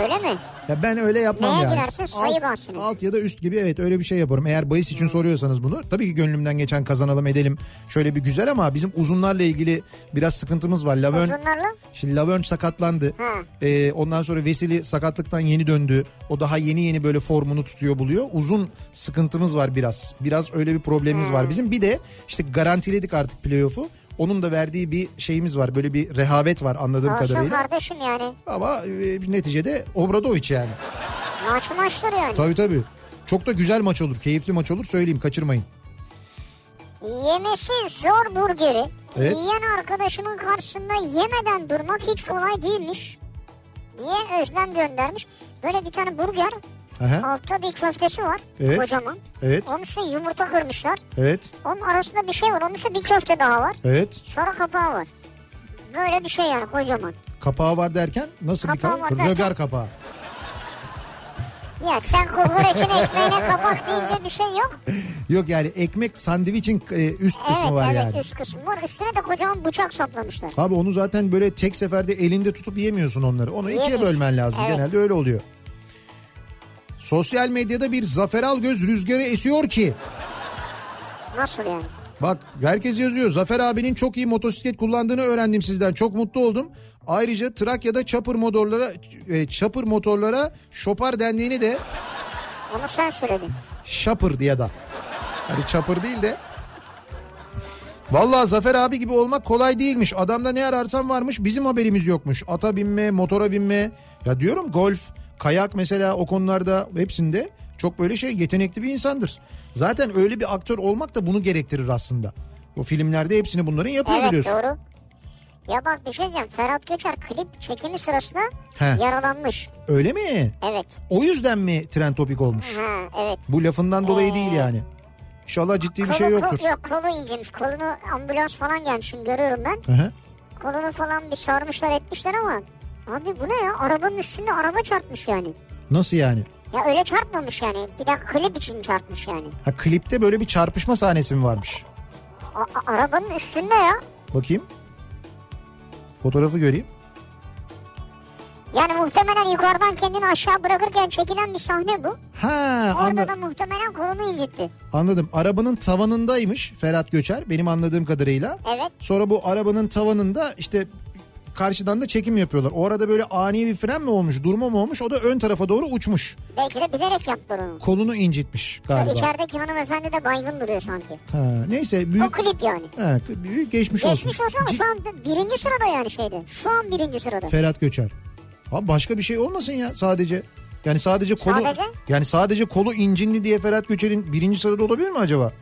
Speaker 2: Öyle mi?
Speaker 1: Ya ben öyle yapmam
Speaker 2: Neye
Speaker 1: yani.
Speaker 2: girersin? Sayı bahsine.
Speaker 1: Alt ya da üst gibi evet öyle bir şey yaparım. Eğer bahis için soruyorsanız bunu tabii ki gönlümden geçen kazanalım edelim. Şöyle bir güzel ama bizim uzunlarla ilgili biraz sıkıntımız var. Lavön
Speaker 2: Uzunlarla?
Speaker 1: Şimdi Lavön sakatlandı.
Speaker 2: Hı.
Speaker 1: Ee, ondan sonra Vesili sakatlıktan yeni döndü. O daha yeni yeni böyle formunu tutuyor buluyor. Uzun sıkıntımız var biraz. Biraz öyle bir problemimiz var bizim. Bir de işte garantiledik artık playoff'u. Onun da verdiği bir şeyimiz var. Böyle bir rehavet var anladığım
Speaker 2: Olsun
Speaker 1: kadarıyla.
Speaker 2: kardeşim yani.
Speaker 1: Ama e, neticede Obradoviç yani.
Speaker 2: Maç maçtır yani.
Speaker 1: Tabii tabii. Çok da güzel maç olur. Keyifli maç olur. Söyleyeyim kaçırmayın.
Speaker 2: Yemesi zor burgeri.
Speaker 1: Evet.
Speaker 2: Yiyen arkadaşımın karşısında yemeden durmak hiç kolay değilmiş. Diye özlem göndermiş. Böyle bir tane burger.
Speaker 1: Aha.
Speaker 2: Altta bir köftesi var.
Speaker 1: Evet.
Speaker 2: Kocaman.
Speaker 1: Evet.
Speaker 2: Onun üstüne yumurta kırmışlar.
Speaker 1: Evet.
Speaker 2: Onun arasında bir şey var. Onun üstünde bir köfte daha var.
Speaker 1: Evet.
Speaker 2: Sonra kapağı var. Böyle bir şey yani kocaman.
Speaker 1: Kapağı var derken nasıl
Speaker 2: Kapağı
Speaker 1: bir
Speaker 2: var
Speaker 1: kapak?
Speaker 2: derken-
Speaker 1: Rögar kapağı.
Speaker 2: Ya sen kokoreçin ekmeğine kapak deyince bir şey yok.
Speaker 1: Yok yani ekmek sandviçin e, üst kısmı
Speaker 2: evet
Speaker 1: var
Speaker 2: evet
Speaker 1: yani.
Speaker 2: üst kısmı var. Üstüne de kocaman bıçak saplamışlar.
Speaker 1: Abi onu zaten böyle tek seferde elinde tutup yiyemiyorsun onları. Onu ikiye
Speaker 2: Yiyemiyorsun.
Speaker 1: bölmen lazım.
Speaker 2: Evet.
Speaker 1: Genelde öyle oluyor. Sosyal medyada bir Zafer Algöz rüzgarı esiyor ki.
Speaker 2: Nasıl yani?
Speaker 1: Bak herkes yazıyor. Zafer abinin çok iyi motosiklet kullandığını öğrendim sizden. Çok mutlu oldum. Ayrıca Trakya'da çapır motorlara e, çapır motorlara şopar dendiğini de
Speaker 2: Onu sen söyledin.
Speaker 1: şapır diye da. Hani çapır değil de. Vallahi Zafer abi gibi olmak kolay değilmiş. Adamda ne ararsan varmış bizim haberimiz yokmuş. Ata binme, motora binme. Ya diyorum golf, kayak mesela o konularda hepsinde çok böyle şey yetenekli bir insandır. Zaten öyle bir aktör olmak da bunu gerektirir aslında. O filmlerde hepsini bunların yapıyor
Speaker 2: Evet
Speaker 1: biliyorsun.
Speaker 2: doğru. Ya bak bir şey diyeceğim. Ferhat Göçer klip çekimi sırasında
Speaker 1: He.
Speaker 2: yaralanmış.
Speaker 1: Öyle mi?
Speaker 2: Evet.
Speaker 1: O yüzden mi trend topik olmuş?
Speaker 2: Ha evet.
Speaker 1: Bu lafından dolayı değil yani. İnşallah ciddi bir şey
Speaker 2: Kolu-
Speaker 1: yoktur.
Speaker 2: Kol, Ee, yok kolu inceymiş. Kolunu ambulans falan gelmiş şimdi görüyorum ben.
Speaker 1: Hı hı.
Speaker 2: Kolunu falan bir sarmışlar etmişler ama. Abi bu ne ya? Arabanın üstünde araba çarpmış yani.
Speaker 1: Nasıl yani?
Speaker 2: Ya öyle çarpmamış yani. Bir dakika klip için çarpmış yani.
Speaker 1: Ha klipte böyle bir çarpışma sahnesi mi varmış?
Speaker 2: a- a- arabanın üstünde ya.
Speaker 1: Bakayım. Fotoğrafı göreyim.
Speaker 2: Yani muhtemelen yukarıdan kendini aşağı bırakırken çekilen bir sahne bu.
Speaker 1: Ha
Speaker 2: Orada
Speaker 1: anla-
Speaker 2: da muhtemelen kolunu incitti.
Speaker 1: anladım. Arabanın tavanındaymış Ferhat Göçer benim anladığım kadarıyla.
Speaker 2: Evet.
Speaker 1: Sonra bu arabanın tavanında işte karşıdan da çekim yapıyorlar. O arada böyle ani bir fren mi olmuş, durma mı olmuş? O da ön tarafa doğru uçmuş.
Speaker 2: Belki de bilerek yaptılar onu.
Speaker 1: Kolunu incitmiş
Speaker 2: Tabii
Speaker 1: galiba.
Speaker 2: İçerideki hanımefendi de baygın duruyor sanki.
Speaker 1: Ha, neyse
Speaker 2: O
Speaker 1: büyük
Speaker 2: klip yani.
Speaker 1: Ha, büyük geçmiş olsun.
Speaker 2: Geçmiş olsun ama
Speaker 1: Cid-
Speaker 2: şu an birinci sırada yani şeyde. Şu an birinci sırada.
Speaker 1: Ferhat Göçer. Abi başka bir şey olmasın ya sadece. Yani sadece kolu
Speaker 2: Sadece?
Speaker 1: yani sadece kolu incinli diye Ferhat Göçer'in birinci sırada olabilir mi acaba?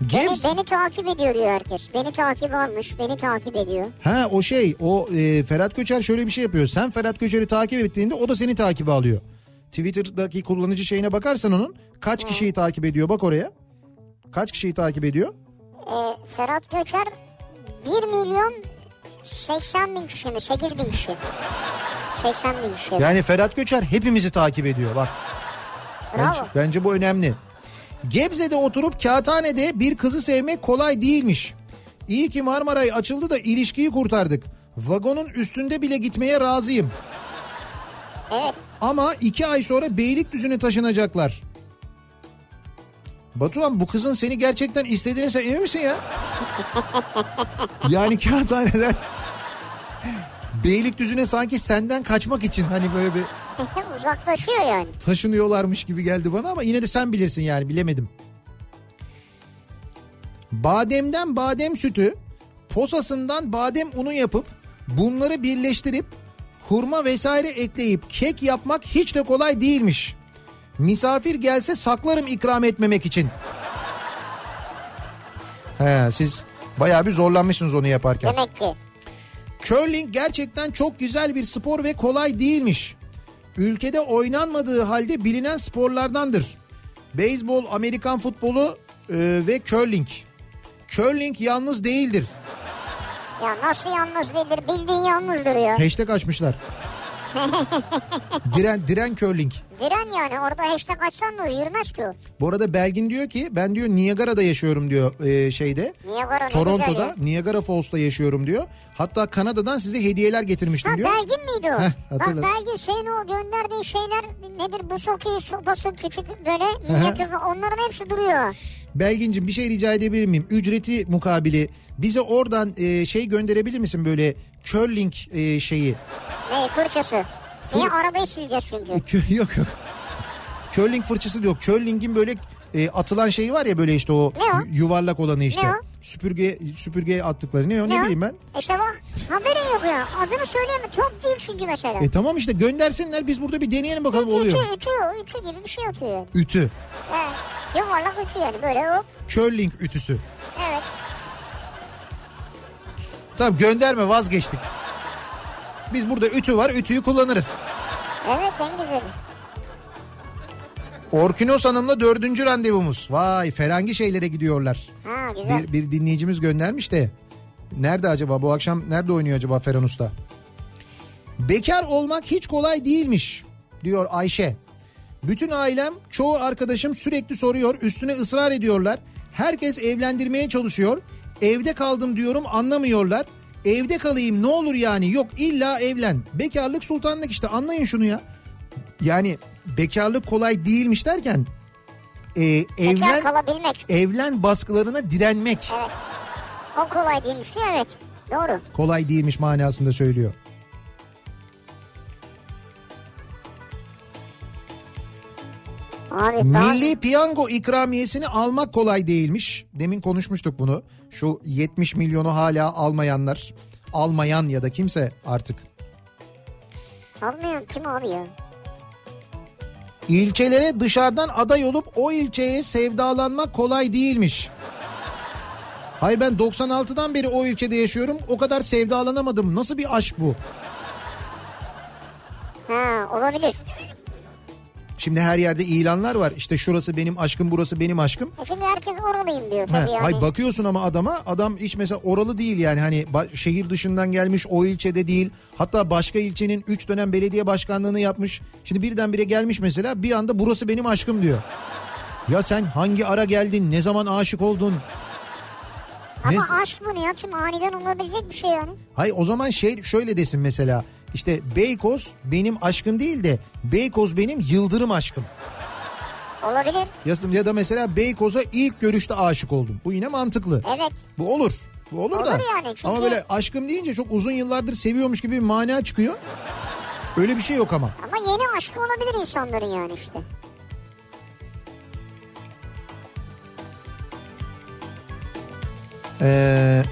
Speaker 2: Beni,
Speaker 1: Gebze.
Speaker 2: beni takip ediyor diyor herkes. Beni takip almış, beni takip ediyor.
Speaker 1: Ha o şey o e, Ferhat Göçer şöyle bir şey yapıyor. Sen Ferhat Göçer'i takip ettiğinde o da seni takibe alıyor. Twitter'daki kullanıcı şeyine bakarsan onun kaç kişiyi takip ediyor bak oraya. Kaç kişiyi takip ediyor?
Speaker 2: Ee, Ferhat Göçer 1 milyon 80 bin kişi mi? 8 bin kişi. 80 bin kişi.
Speaker 1: Yani Ferhat Göçer hepimizi takip ediyor bak. Bence,
Speaker 2: Bravo.
Speaker 1: bence bu önemli. Gebze'de oturup kağıthanede bir kızı sevmek kolay değilmiş. İyi ki Marmaray açıldı da ilişkiyi kurtardık. Vagonun üstünde bile gitmeye razıyım.
Speaker 2: Evet.
Speaker 1: Ama iki ay sonra Beylikdüzü'ne taşınacaklar. Batuhan bu kızın seni gerçekten istediğine sen emin misin ya? yani kağıthaneden Beylikdüzü'ne sanki senden kaçmak için hani böyle bir
Speaker 2: Uzaklaşıyor yani.
Speaker 1: taşınıyorlarmış gibi geldi bana ama yine de sen bilirsin yani bilemedim. Bademden badem sütü, posasından badem unu yapıp bunları birleştirip hurma vesaire ekleyip kek yapmak hiç de kolay değilmiş. Misafir gelse saklarım ikram etmemek için. He, siz bayağı bir zorlanmışsınız onu yaparken.
Speaker 2: Demek ki.
Speaker 1: Curling gerçekten çok güzel bir spor ve kolay değilmiş. Ülkede oynanmadığı halde bilinen sporlardandır. Beyzbol, Amerikan futbolu e, ve curling. Curling yalnız değildir.
Speaker 2: Ya nasıl yalnız değildir? Bildiğin yalnızdır ya.
Speaker 1: Hashtag açmışlar. diren, diren curling.
Speaker 2: Diren yani orada hashtag açsan da yürümez ki o.
Speaker 1: Bu arada Belgin diyor ki ben diyor Niagara'da yaşıyorum diyor e, şeyde.
Speaker 2: Niagara ne güzel
Speaker 1: Toronto'da
Speaker 2: ya.
Speaker 1: Niagara Falls'ta yaşıyorum diyor. Hatta Kanada'dan size hediyeler getirmiştim
Speaker 2: Ha
Speaker 1: diyor.
Speaker 2: Belgin miydi o?
Speaker 1: Heh,
Speaker 2: Bak
Speaker 1: hatırladım.
Speaker 2: Belgin senin o gönderdiğin şeyler nedir? Bu sokeyi sopası küçük böyle minyatür onların hepsi duruyor.
Speaker 1: Belgin'cim bir şey rica edebilir miyim? Ücreti mukabili bize oradan e, şey gönderebilir misin böyle curling e, şeyi?
Speaker 2: Ne fırçası? Niye arabayı sileceğiz çünkü?
Speaker 1: Kö- yok yok. Curling fırçası diyor. Curling'in böyle e, atılan şeyi var ya böyle işte o,
Speaker 2: Ne o?
Speaker 1: yu- yuvarlak olanı işte.
Speaker 2: Ne o?
Speaker 1: Süpürge süpürgeye attıkları ne o ne,
Speaker 2: o?
Speaker 1: bileyim ben.
Speaker 2: İşte bak haberin yok ya. Adını söyleyemem. Top değil çünkü mesela.
Speaker 1: E tamam işte göndersinler biz burada bir deneyelim bakalım
Speaker 2: ütü,
Speaker 1: oluyor.
Speaker 2: ütü, ütü gibi bir şey atıyor yani.
Speaker 1: Ütü.
Speaker 2: He, yuvarlak ütü yani böyle hop.
Speaker 1: Curling ütüsü.
Speaker 2: Evet.
Speaker 1: Tamam gönderme vazgeçtik. Biz burada ütü var ütüyü kullanırız.
Speaker 2: Evet en güzeli.
Speaker 1: Orkinos Hanım'la dördüncü randevumuz. Vay ferengi şeylere gidiyorlar.
Speaker 2: Ha güzel.
Speaker 1: Bir, bir dinleyicimiz göndermiş de. Nerede acaba bu akşam nerede oynuyor acaba Ferhan Usta? Bekar olmak hiç kolay değilmiş diyor Ayşe. Bütün ailem çoğu arkadaşım sürekli soruyor üstüne ısrar ediyorlar. Herkes evlendirmeye çalışıyor. Evde kaldım diyorum anlamıyorlar. Evde kalayım ne olur yani yok illa evlen. Bekarlık sultanlık işte anlayın şunu ya. Yani bekarlık kolay değilmiş derken e, evlen
Speaker 2: Bekar kalabilmek.
Speaker 1: evlen baskılarına direnmek
Speaker 2: Evet. O kolay değilmiş değil mi? Evet. Doğru.
Speaker 1: kolay değilmiş manasında söylüyor.
Speaker 2: Abi
Speaker 1: Milli piyango ikramiyesini almak kolay değilmiş. Demin konuşmuştuk bunu. Şu 70 milyonu hala almayanlar, almayan ya da kimse artık.
Speaker 2: bazı almayan kim abi ya?
Speaker 1: İlçelere dışarıdan aday olup o ilçeye sevdalanmak kolay değilmiş. Hayır ben 96'dan beri o ilçede yaşıyorum. O kadar sevdalanamadım. Nasıl bir aşk bu?
Speaker 2: Ha olabilir.
Speaker 1: Şimdi her yerde ilanlar var. İşte şurası benim aşkım, burası benim aşkım.
Speaker 2: E şimdi herkes oralıyım diyor
Speaker 1: Ha,
Speaker 2: tabii yani.
Speaker 1: Ay bakıyorsun ama adama adam hiç mesela oralı değil yani hani ba- şehir dışından gelmiş o ilçede değil. Hatta başka ilçenin 3 dönem belediye başkanlığını yapmış. Şimdi birdenbire gelmiş mesela bir anda burası benim aşkım diyor. Ya sen hangi ara geldin? Ne zaman aşık oldun? Ne-
Speaker 2: Ama aşk bu Nihat'cığım aniden olabilecek bir şey yani.
Speaker 1: Hayır o zaman şey şöyle desin mesela. İşte Beykoz benim aşkım değil de Beykoz benim yıldırım aşkım.
Speaker 2: Olabilir.
Speaker 1: Ya, ya da mesela Beykoz'a ilk görüşte aşık oldum. Bu yine mantıklı.
Speaker 2: Evet.
Speaker 1: Bu olur. Bu olur,
Speaker 2: Olur
Speaker 1: da.
Speaker 2: yani çünkü-
Speaker 1: Ama böyle aşkım deyince çok uzun yıllardır seviyormuş gibi bir mana çıkıyor. Öyle bir şey yok ama.
Speaker 2: Ama yeni aşkı olabilir insanların yani işte.
Speaker 1: Ee,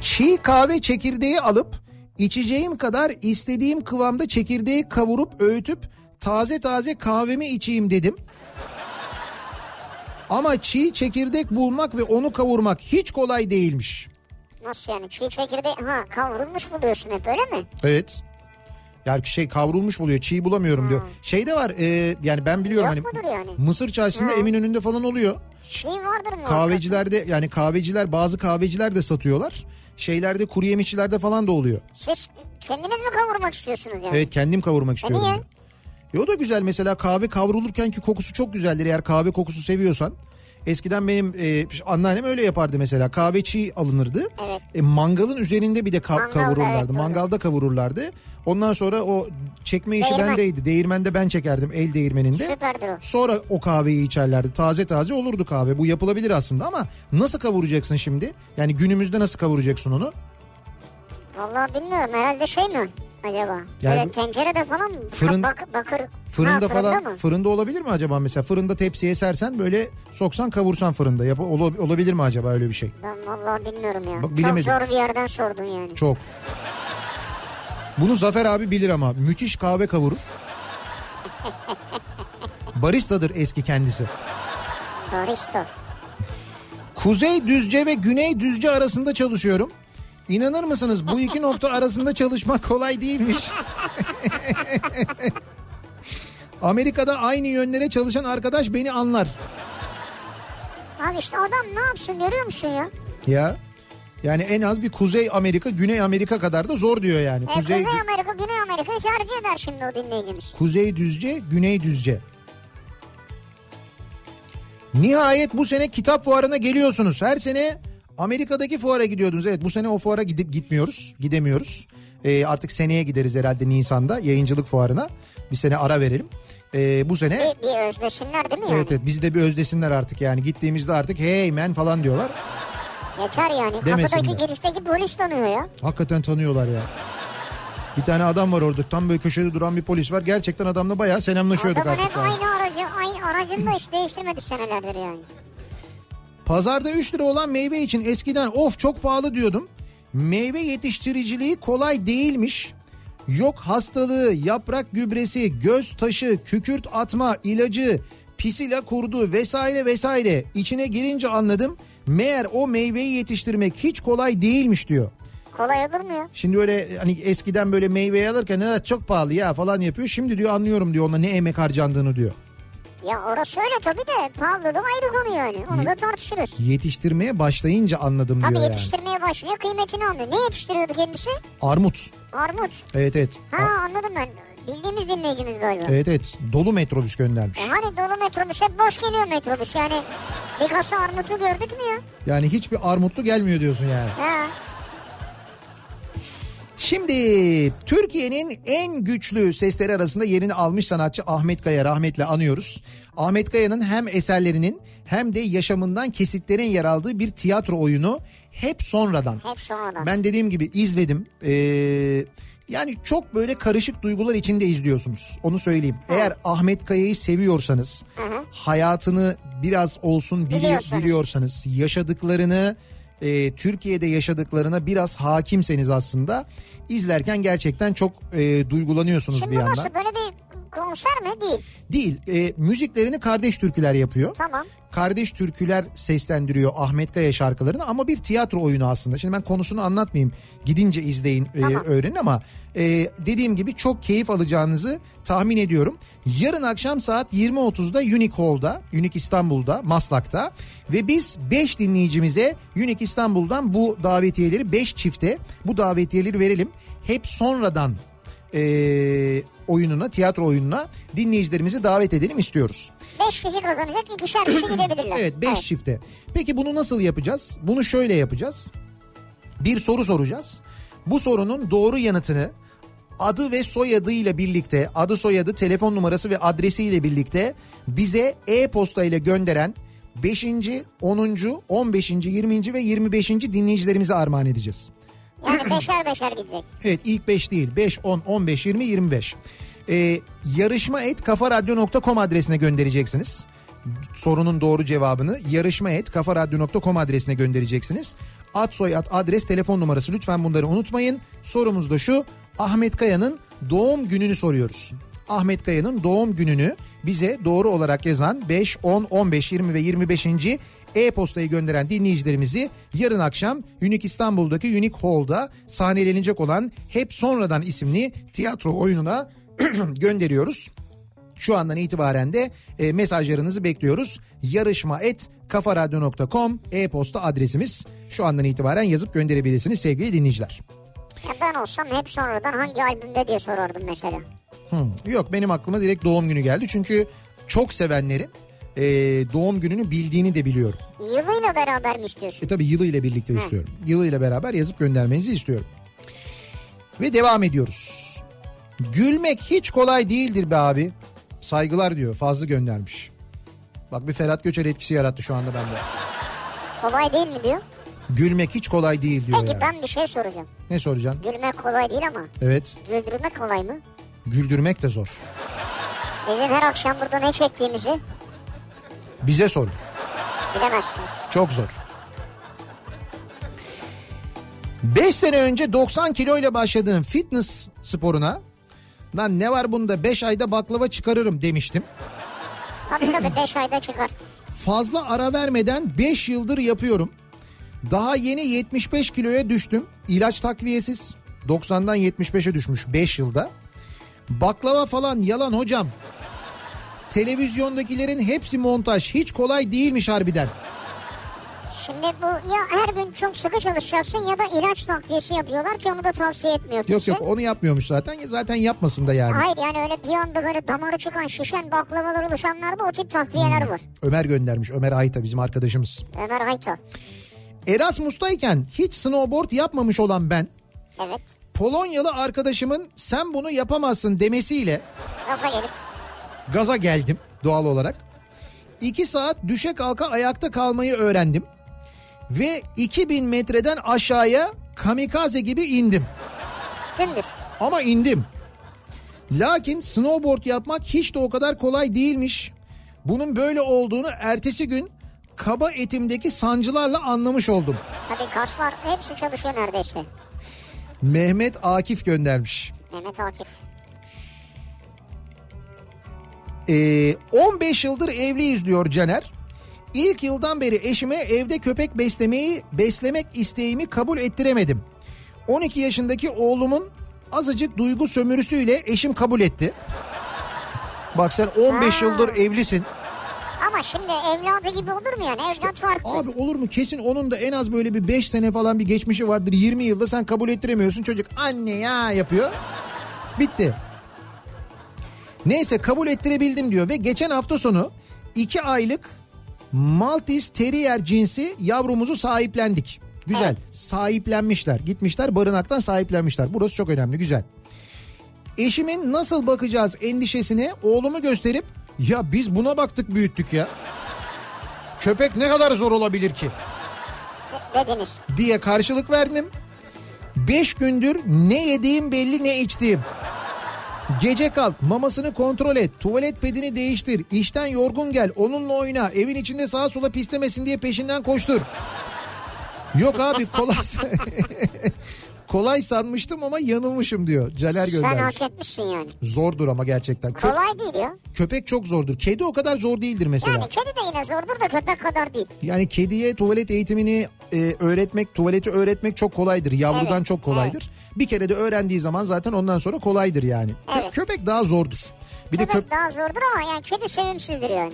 Speaker 1: çiğ kahve çekirdeği alıp içeceğim kadar istediğim kıvamda çekirdeği kavurup öğütüp taze taze kahvemi içeyim dedim. Ama çiğ çekirdek bulmak ve onu kavurmak hiç kolay değilmiş.
Speaker 2: Nasıl yani çiğ çekirdeği ha kavrulmuş mu diyorsun hep öyle mi?
Speaker 1: Evet. Yani şey kavrulmuş buluyor çiğ bulamıyorum diyor. Şey de var e, yani ben biliyorum
Speaker 2: Hmm. Yok
Speaker 1: hani
Speaker 2: mudur yani?
Speaker 1: Mısır çarşısında
Speaker 2: Ha.
Speaker 1: Eminönü'nde falan oluyor.
Speaker 2: Çiğ vardır mı?
Speaker 1: Kahvecilerde yani kahveciler bazı kahveciler de satıyorlar. Şeylerde kuru yemişçilerde falan da oluyor.
Speaker 2: Siz kendiniz mi kavurmak istiyorsunuz yani?
Speaker 1: Evet kendim kavurmak istiyorum.
Speaker 2: niye?
Speaker 1: diyor. E o da güzel mesela kahve kavrulurken ki kokusu çok güzeldir eğer kahve kokusu seviyorsan. Eskiden benim e, anneannem öyle yapardı mesela kahve çiğ alınırdı.
Speaker 2: Evet.
Speaker 1: E, mangalın üzerinde bir de ka-
Speaker 2: Mangalda,
Speaker 1: kavururlardı
Speaker 2: evet, doğru.
Speaker 1: mangalda kavururlardı. Ondan sonra o çekme işi
Speaker 2: Değirmen.
Speaker 1: bendeydi değirmende ben çekerdim el değirmeninde.
Speaker 2: Süperdir o.
Speaker 1: Sonra o kahveyi içerlerdi. Taze taze olurdu kahve. Bu yapılabilir aslında ama nasıl kavuracaksın şimdi? Yani günümüzde nasıl kavuracaksın onu?
Speaker 2: Vallahi bilmiyorum herhalde şey mi acaba?
Speaker 1: Yani
Speaker 2: Böyle
Speaker 1: bu-
Speaker 2: tencerede falan mı?
Speaker 1: Fırın-
Speaker 2: Ha, bak, bakır.
Speaker 1: Fırında
Speaker 2: ha, fırında
Speaker 1: falan
Speaker 2: mı?
Speaker 1: fırında olabilir mi acaba mesela fırında tepsiye sersen böyle soksan kavursan fırında yap ola- olabilir mi acaba öyle bir şey?
Speaker 2: Ben vallahi bilmiyorum ya.
Speaker 1: Bak, bilemedim.
Speaker 2: Çok zor bir yerden sordun yani.
Speaker 1: Çok. Bunu Zafer abi bilir ama müthiş kahve kavurur. Baristadır eski kendisi.
Speaker 2: Barista.
Speaker 1: Kuzey Düzce ve Güney Düzce arasında çalışıyorum. İnanır mısınız bu iki nokta arasında çalışmak kolay değilmiş. Amerika'da aynı yönlere çalışan arkadaş beni anlar.
Speaker 2: Abi işte adam ne yapsın görüyor musun ya?
Speaker 1: Ya yani en az bir Kuzey Amerika, Güney Amerika kadar da zor diyor yani.
Speaker 2: E,
Speaker 1: Kuzey
Speaker 2: Kuzey, Amerika, Güney Amerika tercih eder şimdi o dinleyicimiz.
Speaker 1: Kuzey Düzce, Güney Düzce. Nihayet bu sene kitap fuarına geliyorsunuz. Her sene Amerika'daki fuara gidiyordunuz. Evet bu sene o fuara gidip gitmiyoruz. Gidemiyoruz. Ee, artık seneye gideriz herhalde Nisan'da yayıncılık fuarına. Bir sene ara verelim. Ee, bu sene
Speaker 2: Bir, bir özdeşinler değil mi yani?
Speaker 1: evet, evet bizi de bir özdesinler artık yani. Gittiğimizde artık hey man falan diyorlar.
Speaker 2: Yeter yani.
Speaker 1: Demesinler.
Speaker 2: Kapıdaki girişteki polis tanıyor ya.
Speaker 1: Hakikaten tanıyorlar ya. Bir tane adam var orada tam böyle köşede duran bir polis var. Gerçekten adamla bayağı selamlaşıyorduk
Speaker 2: Adamın
Speaker 1: artık.
Speaker 2: hep
Speaker 1: yani.
Speaker 2: aynı aracı, aynı aracını da hiç değiştirmedi senelerdir yani.
Speaker 1: Pazarda 3 lira olan meyve için eskiden of çok pahalı diyordum. Meyve yetiştiriciliği kolay değilmiş. Yok hastalığı, yaprak gübresi, göz taşı, kükürt atma, ilacı, pisila kurdu vesaire vesaire. İçine girince anladım. Meğer o meyveyi yetiştirmek hiç kolay değilmiş diyor.
Speaker 2: Kolay olur mu ya?
Speaker 1: Şimdi öyle hani eskiden böyle meyveyi alırken "Ha, çok pahalı ya falan yapıyor. Şimdi diyor anlıyorum diyor ona ne emek harcandığını diyor.
Speaker 2: Ya orası öyle tabii de pahalılığı ayrı konu yani. Onu da tartışırız.
Speaker 1: Yetiştirmeye başlayınca anladım
Speaker 2: Tabii
Speaker 1: diyor yani.
Speaker 2: yetiştirmeye başlıyor kıymetini anlıyor. Ne yetiştiriyordu kendisi?
Speaker 1: Armut.
Speaker 2: Armut.
Speaker 1: Evet evet.
Speaker 2: Ha anladım ben. Bildiğimiz dinleyicimiz galiba.
Speaker 1: Evet evet dolu metrobüs göndermiş.
Speaker 2: E hani dolu metrobüs hep boş geliyor metrobüs yani. Bir kasa armutu gördük mü ya?
Speaker 1: Yani hiçbir armutlu gelmiyor diyorsun yani.
Speaker 2: Ha.
Speaker 1: Şimdi Türkiye'nin en güçlü sesleri arasında yerini almış sanatçı Ahmet Kaya rahmetle anıyoruz. Ahmet Kaya'nın hem eserlerinin hem de yaşamından kesitlerin yer aldığı bir tiyatro oyunu hep sonradan.
Speaker 2: Hep sonradan.
Speaker 1: Ben dediğim gibi izledim. Ee, yani çok böyle karışık duygular içinde izliyorsunuz. Onu söyleyeyim. Eğer Ahmet Kaya'yı seviyorsanız, hayatını biraz olsun bili-
Speaker 2: Biliyorsanız.
Speaker 1: biliyorsanız, yaşadıklarını e, Türkiye'de yaşadıklarına biraz hakimseniz aslında izlerken gerçekten çok e, duygulanıyorsunuz
Speaker 2: Şimdi
Speaker 1: bir
Speaker 2: bu
Speaker 1: yandan.
Speaker 2: nasıl böyle bir konser mi? Değil.
Speaker 1: Değil, e, müziklerini kardeş türküler yapıyor.
Speaker 2: Tamam.
Speaker 1: Kardeş türküler seslendiriyor Ahmet Kaya şarkılarını ama bir tiyatro oyunu aslında. Şimdi ben konusunu anlatmayayım. Gidince izleyin, e,
Speaker 2: Tamam.
Speaker 1: öğrenin ama e, dediğim gibi çok keyif alacağınızı tahmin ediyorum. Yarın akşam saat 20.30'da Unique Hall'da, Unique İstanbul'da, Maslak'ta ve biz 5 dinleyicimize Unique İstanbul'dan bu davetiyeleri 5 çifte bu davetiyeleri verelim. Hep sonradan e, oyununa, tiyatro oyununa dinleyicilerimizi davet edelim istiyoruz.
Speaker 2: Beş kişi kazanacak ikişer kişi gidebilirler.
Speaker 1: Evet 5 çifte. Peki bunu nasıl yapacağız? Bunu şöyle yapacağız. Bir soru soracağız. Bu sorunun doğru yanıtını adı ve soyadıyla birlikte, adı soyadı, telefon numarası ve adresiyle birlikte bize e-posta ile gönderen 5. 10. 15. 20. ve 25. dinleyicilerimize armağan edeceğiz.
Speaker 2: Yani beşer beşer gidecek.
Speaker 1: Evet ilk 5 değil 5, 10, 15, 20, 25. Ee, yarışma et kafaradyo.com adresine göndereceksiniz. Sorunun doğru cevabını yarışma et kafaradyo.com adresine göndereceksiniz. Ad soyad adres telefon numarası lütfen bunları unutmayın. Sorumuz da şu Ahmet Kaya'nın doğum gününü soruyoruz. Ahmet Kaya'nın doğum gününü bize doğru olarak yazan 5, 10, 15, 20 ve 25. e-postayı gönderen dinleyicilerimizi yarın akşam Unique İstanbul'daki Unique Hall'da sahnelenecek olan Hep Sonradan isimli tiyatro oyununa gönderiyoruz. Şu andan itibaren de e, mesajlarınızı bekliyoruz. Yarışma et kafaradyo.com e-posta adresimiz. Şu andan itibaren yazıp gönderebilirsiniz sevgili dinleyiciler.
Speaker 2: Ya ben olsam hep sonradan hangi albümde diye sorardım mesela.
Speaker 1: Hmm, Yok benim aklıma direkt doğum günü geldi. Çünkü çok sevenlerin e, doğum gününü bildiğini de biliyorum.
Speaker 2: Yılıyla beraber mi istiyorsun?
Speaker 1: E tabi yılıyla birlikte istiyorum. Yılıyla beraber yazıp göndermenizi istiyorum. Ve devam ediyoruz. Gülmek hiç kolay değildir be abi. Saygılar diyor fazla göndermiş. Bak bir Ferhat Göçer etkisi yarattı şu anda bende.
Speaker 2: Kolay değil mi diyor.
Speaker 1: Gülmek hiç kolay değil diyor
Speaker 2: Peki
Speaker 1: yani.
Speaker 2: ben bir şey soracağım.
Speaker 1: Ne soracaksın?
Speaker 2: Gülmek kolay değil ama
Speaker 1: Evet.
Speaker 2: güldürmek kolay mı?
Speaker 1: Güldürmek de zor.
Speaker 2: Bizim her akşam burada ne çektiğimizi
Speaker 1: Bize sor.
Speaker 2: bilemezsiniz.
Speaker 1: Çok zor. 5 sene önce 90 kiloyla başladığım fitness sporuna lan ne var bunda 5 ayda baklava çıkarırım demiştim.
Speaker 2: Tabii tabii 5 ayda çıkar.
Speaker 1: Fazla ara vermeden 5 yıldır yapıyorum. Daha yeni 75 kiloya düştüm. İlaç takviyesiz. 90'dan 75'e düşmüş 5 yılda. Baklava falan yalan hocam. Televizyondakilerin hepsi montaj. Hiç kolay değilmiş harbiden.
Speaker 2: Şimdi bu ya her gün çok sıkı çalışacaksın ya da ilaç takviyesi yapıyorlar ki onu da tavsiye etmiyor
Speaker 1: Yok
Speaker 2: kimse.
Speaker 1: yok onu yapmıyormuş zaten. Zaten yapmasın da yani.
Speaker 2: Hayır yani öyle bir anda böyle damarı çıkan şişen baklavalar oluşanlarda o tip takviyeler var.
Speaker 1: Ömer göndermiş. Ömer Ayta bizim arkadaşımız.
Speaker 2: Ömer Hayto.
Speaker 1: Erasmus'tayken hiç snowboard yapmamış olan ben
Speaker 2: Evet.
Speaker 1: Polonyalı arkadaşımın sen bunu yapamazsın demesiyle
Speaker 2: Gaza gelip
Speaker 1: gaza geldim doğal olarak. İki saat düşe kalka ayakta kalmayı öğrendim. Ve 2000 metreden aşağıya kamikaze gibi indim.
Speaker 2: dümdüz.
Speaker 1: Ama indim. Lakin snowboard yapmak hiç de o kadar kolay değilmiş. Bunun böyle olduğunu ertesi gün kaba etimdeki sancılarla anlamış oldum.
Speaker 2: Tabii kaslar hepsi çalışıyor neredeyse.
Speaker 1: Mehmet Akif göndermiş.
Speaker 2: Mehmet Akif.
Speaker 1: Ee, 15 yıldır evliyiz diyor Caner. İlk yıldan beri eşime evde köpek beslemeyi beslemek isteğimi kabul ettiremedim. 12 yaşındaki oğlumun azıcık duygu sömürüsüyle eşim kabul etti. Bak sen 15 yıldır evlisin.
Speaker 2: Ama şimdi evladı gibi olur mu yani? Evlat farklı.
Speaker 1: Abi olur mu kesin onun da en az böyle bir 5 sene falan bir geçmişi vardır. 20 yılda sen kabul ettiremiyorsun çocuk anne ya yapıyor. Bitti. Neyse kabul ettirebildim diyor ve geçen hafta sonu 2 aylık Maltese Terrier cinsi yavrumuzu sahiplendik. Güzel sahiplenmişler gitmişler barınaktan sahiplenmişler burası çok önemli güzel. Eşimin nasıl bakacağız endişesine oğlumu gösterip ya biz buna baktık büyüttük ya. Köpek ne kadar zor olabilir ki?
Speaker 2: de- Dediniz.
Speaker 1: diye karşılık verdim. Beş gündür ne yediğim belli ne içtiğim. Gece kalk, mamasını kontrol et, tuvalet pedini değiştir, işten yorgun gel, onunla oyna, evin içinde sağa sola pislemesin diye peşinden koştur. Yok abi kolay kolay sanmıştım ama yanılmışım diyor. Caner
Speaker 2: Sen
Speaker 1: göndermiş.
Speaker 2: hak etmişsin yani.
Speaker 1: Zordur ama gerçekten. Kö-
Speaker 2: Kolay değil ya.
Speaker 1: köpek çok zordur. Kedi o kadar zor değildir mesela.
Speaker 2: Yani kedi de yine zordur da köpek kadar değil.
Speaker 1: Yani kediye tuvalet eğitimini e, öğretmek, tuvaleti öğretmek çok kolaydır. Yavrudan
Speaker 2: Evet,
Speaker 1: çok kolaydır. Bir kere de öğrendiği zaman zaten ondan sonra kolaydır yani. Kö-
Speaker 2: Evet.
Speaker 1: Köpek daha zordur. Bir de
Speaker 2: Köpek
Speaker 1: köp
Speaker 2: daha zordur ama yani kedi sevimsizdir yani.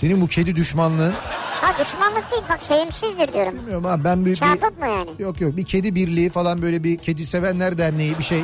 Speaker 1: senin bu kedi düşmanlığın
Speaker 2: Ha düşmanlık değil bak sevimsizdir diyorum.
Speaker 1: Bilmiyorum abi ben büyük bir...
Speaker 2: Çarpık mı yani?
Speaker 1: Yok yok bir kedi birliği falan böyle bir kedi sevenler derneği bir şey.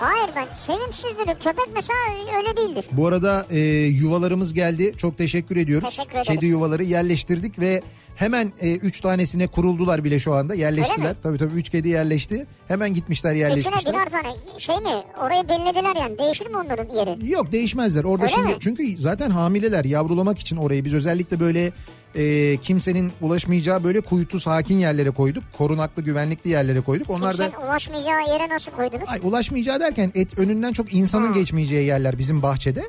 Speaker 2: Hayır ben sevimsizdir. Köpek mesela öyle değildir.
Speaker 1: Bu arada e, yuvalarımız geldi. Çok teşekkür ediyoruz.
Speaker 2: Teşekkür ederiz.
Speaker 1: Kedi yuvaları yerleştirdik ve hemen 3 tanesine kuruldular bile şu anda.
Speaker 2: Öyle
Speaker 1: Yerleştiler.
Speaker 2: mi?
Speaker 1: Tabii tabii 3 kedi yerleşti. Hemen gitmişler
Speaker 2: İçine
Speaker 1: yerleşmişler.
Speaker 2: birer tane şey mi orayı belirlediler yani değişir mi onların yeri?
Speaker 1: Yok değişmezler. Orada
Speaker 2: Öyle
Speaker 1: şimdi
Speaker 2: mi?
Speaker 1: çünkü zaten hamileler yavrulamak için orayı biz özellikle böyle e, kimsenin ulaşmayacağı böyle kuytu sakin yerlere koyduk. Korunaklı güvenlikli yerlere koyduk. Onlar da
Speaker 2: Kimsenin ulaşmayacağı yere nasıl koydunuz?
Speaker 1: Ay, ulaşmayacağı derken et önünden çok insanın geçmeyeceği yerler bizim bahçede.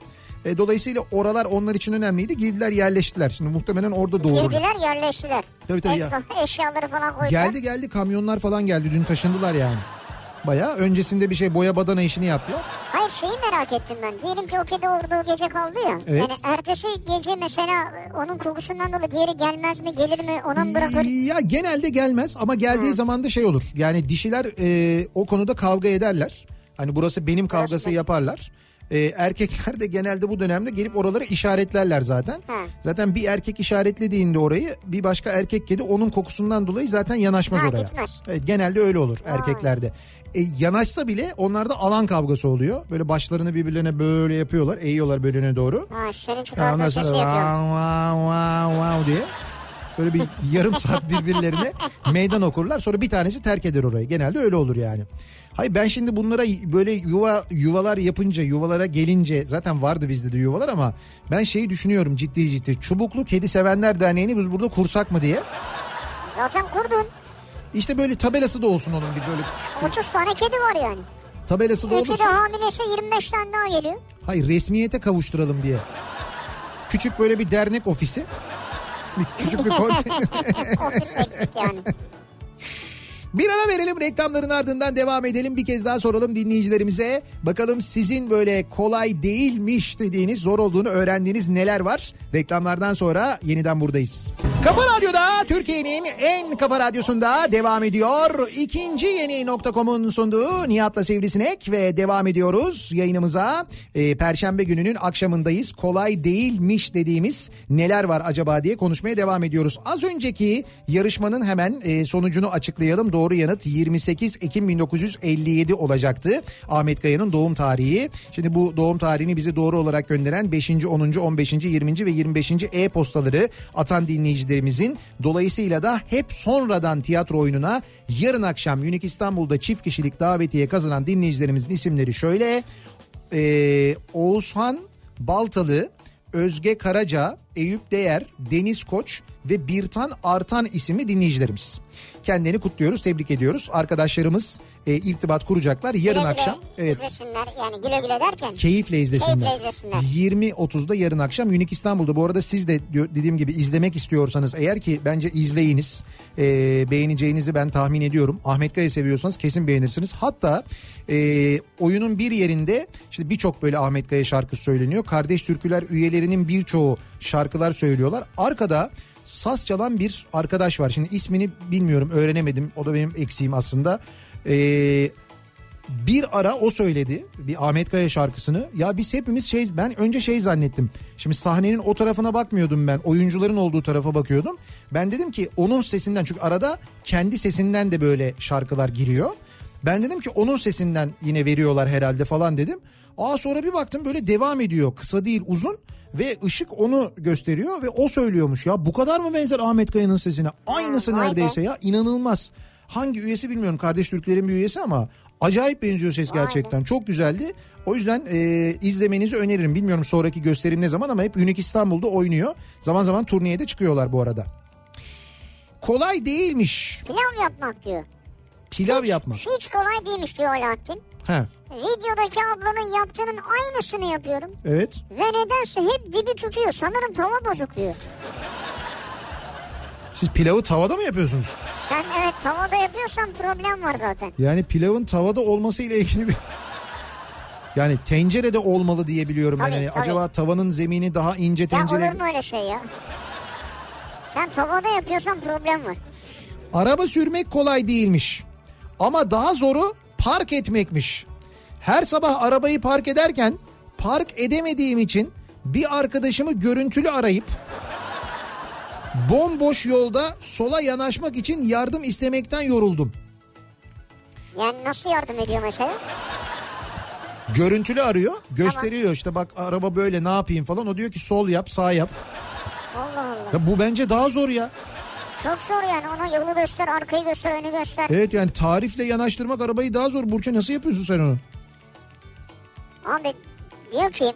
Speaker 1: E, dolayısıyla oralar onlar için önemliydi. Girdiler yerleştiler. Şimdi muhtemelen orada doğurur.
Speaker 2: Girdiler yerleştiler.
Speaker 1: Tabii, tabii
Speaker 2: Et-
Speaker 1: ya.
Speaker 2: Eşyaları falan koydular.
Speaker 1: Geldi geldi kamyonlar falan geldi. Dün taşındılar yani. Bayağı öncesinde bir şey boya badana işini yaptılar.
Speaker 2: Hayır şeyi merak ettim ben. Diyelim ki o kedi orada o gece kaldı ya.
Speaker 1: Evet.
Speaker 2: Yani ertesi gece mesela e, onun kokusundan dolayı diğeri gelmez mi gelir mi ona mı bırakır?
Speaker 1: Ya genelde gelmez ama geldiği zaman da şey olur. Yani dişiler e, o konuda kavga ederler. Hani burası benim kavgası
Speaker 2: benim.
Speaker 1: yaparlar. E, erkekler de genelde bu dönemde gelip oraları işaretlerler zaten.
Speaker 2: Ha.
Speaker 1: Zaten bir erkek işaretlediğinde orayı bir başka erkek kedi onun kokusundan dolayı zaten yanaşmaz
Speaker 2: Ha,
Speaker 1: oraya.
Speaker 2: gitmez.
Speaker 1: Evet, genelde öyle olur erkeklerde. E, yanaşsa bile onlarda alan kavgası oluyor. Böyle başlarını birbirlerine böyle yapıyorlar. Eğiyorlar birbirine doğru.
Speaker 2: Ha, senin
Speaker 1: Ya
Speaker 2: çıkardığın
Speaker 1: ondan
Speaker 2: sesi
Speaker 1: sonra
Speaker 2: yapıyor.
Speaker 1: vav vav vav vav diye böyle bir yarım saat birbirlerine meydan okurlar. Sonra bir tanesi terk eder orayı. Genelde öyle olur yani. Hayır ben şimdi bunlara böyle yuva yuvalar yapınca yuvalara gelince zaten vardı bizde de yuvalar ama ben şeyi düşünüyorum ciddi ciddi. Çubuklu Kedi Sevenler Derneği'ni biz burada kursak mı diye.
Speaker 2: Zaten kurdun.
Speaker 1: İşte böyle tabelası da olsun onun bir böyle
Speaker 2: 30 tane kedi var yani.
Speaker 1: tabelası da
Speaker 2: Üçü de
Speaker 1: olursa
Speaker 2: hamilese 25 tane daha geliyor.
Speaker 1: hayır resmiyete kavuşturalım diye. Küçük böyle bir dernek ofisi. Bir küçük bir konteyner.
Speaker 2: Ofis eksik yani.
Speaker 1: Bir ara verelim reklamların ardından devam edelim. Bir kez daha soralım dinleyicilerimize. Bakalım sizin böyle kolay değilmiş dediğiniz, zor olduğunu öğrendiğiniz neler var? Reklamlardan sonra yeniden buradayız. Kafa Radyo'da Türkiye'nin en kafa radyosunda devam ediyor. İkinci yeni nokta.com'un sunduğu Nihat'la Sivrisinek ve devam ediyoruz yayınımıza. Ee, Perşembe gününün akşamındayız. Kolay değilmiş dediğimiz neler var acaba diye konuşmaya devam ediyoruz. Az önceki yarışmanın hemen e, sonucunu açıklayalım. Doğru yanıt 28 Ekim 1957 olacaktı. Ahmet Kaya'nın doğum tarihi. Şimdi bu doğum tarihini bize doğru olarak gönderen 5. 10. 15. 20. ve 25. e-postaları atan dinleyicilerimizin dolayısıyla da hep sonradan tiyatro oyununa yarın akşam Unique İstanbul'da çift kişilik davetiye kazanan dinleyicilerimizin isimleri şöyle. Ee, Oğuzhan Baltalı, Özge Karaca, Eyüp Değer, Deniz Koç ve Birtan Artan isimli dinleyicilerimiz. Kendilerini kutluyoruz, tebrik ediyoruz. Arkadaşlarımız e, irtibat kuracaklar yarın
Speaker 2: Güle güle
Speaker 1: akşam. Evet.
Speaker 2: izlesinler. Yani güle güle derken.
Speaker 1: Keyifle izlesinler.
Speaker 2: Keyifle izlesinler.
Speaker 1: 20.30'da yarın akşam Unique İstanbul'da. Bu arada siz de diyor- dediğim gibi izlemek istiyorsanız eğer ki bence izleyiniz. Ee, beğeneceğinizi ben tahmin ediyorum. Ahmet Kaya seviyorsanız kesin beğenirsiniz. Hatta e, oyunun bir yerinde işte birçok böyle Ahmet Kaya şarkısı söyleniyor. Kardeş Türküler üyelerinin birçoğu şarkılar söylüyorlar. Arkada saz çalan bir arkadaş var. Şimdi ismini bilmiyorum öğrenemedim. O da benim eksiğim aslında. Ee, Eee bir ara o söyledi bir Ahmet Kaya şarkısını. Ya biz hepimiz şey ben önce şey zannettim. Şimdi sahnenin o tarafına bakmıyordum ben. Oyuncuların olduğu tarafa bakıyordum. Ben dedim ki onun sesinden çünkü arada kendi sesinden de böyle şarkılar giriyor. Ben dedim ki onun sesinden yine veriyorlar herhalde falan dedim. Aa sonra bir baktım böyle devam ediyor. Kısa değil uzun ve ışık onu gösteriyor ve o söylüyormuş ya. Bu kadar mı benzer Ahmet Kaya'nın sesine? Aynısı
Speaker 2: vay be.
Speaker 1: neredeyse ya inanılmaz. Hangi üyesi bilmiyorum kardeş Türklerin bir üyesi ama acayip benziyor ses
Speaker 2: Vay be.
Speaker 1: gerçekten. Çok güzeldi. O yüzden e, izlemenizi öneririm. Bilmiyorum sonraki gösterim ne zaman ama hep Unique İstanbul'da oynuyor. Zaman zaman turneye de çıkıyorlar bu arada. Kolay değilmiş
Speaker 2: Pilav yapmak diyor.
Speaker 1: pilav
Speaker 2: Hiç-
Speaker 1: yapmak.
Speaker 2: Hiç kolay değilmiş diyor Alaaddin.
Speaker 1: Ha,
Speaker 2: Videodaki ablanın yaptığının aynısını yapıyorum.
Speaker 1: evet.
Speaker 2: Ve nedense hep dibi tutuyor. Sanırım tava bozuk diyor.
Speaker 1: Siz pilavı tavada mı yapıyorsunuz?
Speaker 2: Sen evet tavada yapıyorsan problem var zaten.
Speaker 1: Yani pilavın tavada olması ile ilgili bir yani tencerede olmalı diye biliyorum ben.
Speaker 2: Tabii,
Speaker 1: Yani
Speaker 2: tabii.
Speaker 1: acaba tavanın zemini daha ince
Speaker 2: Ya
Speaker 1: tencere.
Speaker 2: olur mu öyle şey ya? Sen tavada yapıyorsan problem var.
Speaker 1: Araba sürmek kolay değilmiş. Ama daha zoru park etmekmiş. Her sabah arabayı park ederken park edemediğim için bir arkadaşımı görüntülü arayıp Bomboş yolda sola yanaşmak için yardım istemekten yoruldum.
Speaker 2: Yani nasıl yardım ediyor mesela?
Speaker 1: Görüntülü arıyor, gösteriyor işte bak araba böyle ne yapayım falan. O diyor ki sol yap, sağ yap.
Speaker 2: Allah Allah.
Speaker 1: Ya bu bence daha zor ya.
Speaker 2: Çok zor yani ona yolu göster, arkayı göster, önü göster.
Speaker 1: Evet yani tarifle yanaştırmak arabayı daha zor. Burcu nasıl yapıyorsun sen onu?
Speaker 2: Abi diyor ki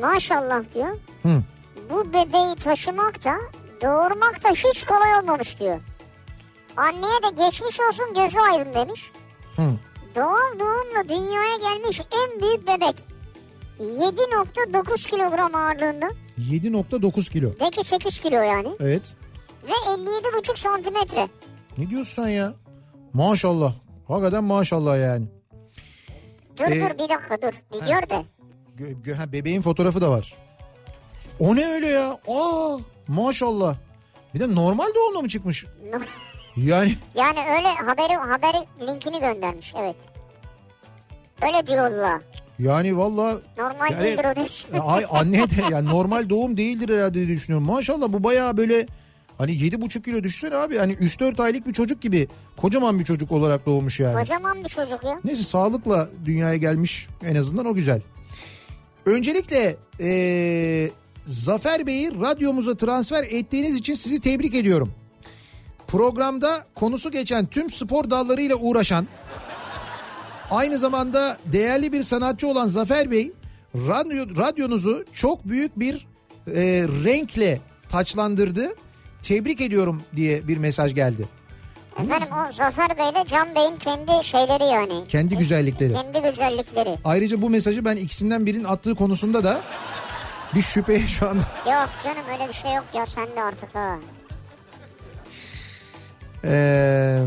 Speaker 2: maşallah diyor.
Speaker 1: Hı.
Speaker 2: Bu bebeği taşımak da doğurmak da hiç kolay olmamış diyor. Anneye de geçmiş olsun gözü aydın demiş.
Speaker 1: Hı.
Speaker 2: Doğal doğumla dünyaya gelmiş en büyük bebek. 7.9 kilogram ağırlığında.
Speaker 1: 7.9 kilo.
Speaker 2: De ki 8 kilo yani.
Speaker 1: Evet.
Speaker 2: Ve 57,5 santimetre.
Speaker 1: Ne diyorsun sen ya? Maşallah. Hakikaten maşallah yani.
Speaker 2: Dur
Speaker 1: Ee,
Speaker 2: dur bir dakika dur. Bir gör de.
Speaker 1: Gö- gö- ha, bebeğin fotoğrafı da var. O ne öyle ya? Aa maşallah. Bir de normal doğumla mı çıkmış? Yani
Speaker 2: Yani öyle haberi haber linkini göndermiş evet. Öyle diyor valla.
Speaker 1: yani valla
Speaker 2: Normal
Speaker 1: Yani-
Speaker 2: değildir o demiş.
Speaker 1: ay anne de yani normal doğum değildir herhalde diye düşünüyorum. Maşallah bu bayağı böyle hani 7,5 kilo düşsene abi. Hani 3-4 aylık bir çocuk gibi kocaman bir çocuk olarak doğmuş yani.
Speaker 2: Kocaman bir çocuk ya.
Speaker 1: Neyse sağlıkla dünyaya gelmiş en azından o güzel. Öncelikle eee, Zafer Bey'i radyomuza transfer ettiğiniz için sizi tebrik ediyorum. Programda konusu geçen tüm spor dallarıyla uğraşan aynı zamanda değerli bir sanatçı olan Zafer Bey radyo, radyonuzu çok büyük bir eee, renkle taçlandırdı. Tebrik ediyorum diye bir mesaj geldi.
Speaker 2: Efendim o Zafer Bey'le Can Bey'in kendi şeyleri yani.
Speaker 1: Kendi güzellikleri.
Speaker 2: Kendi güzellikleri.
Speaker 1: Ayrıca bu mesajı ben ikisinden birinin attığı konusunda da bir şüpheye şu anda.
Speaker 2: Yok canım öyle bir şey yok ya sen de artık ha.
Speaker 1: Ee,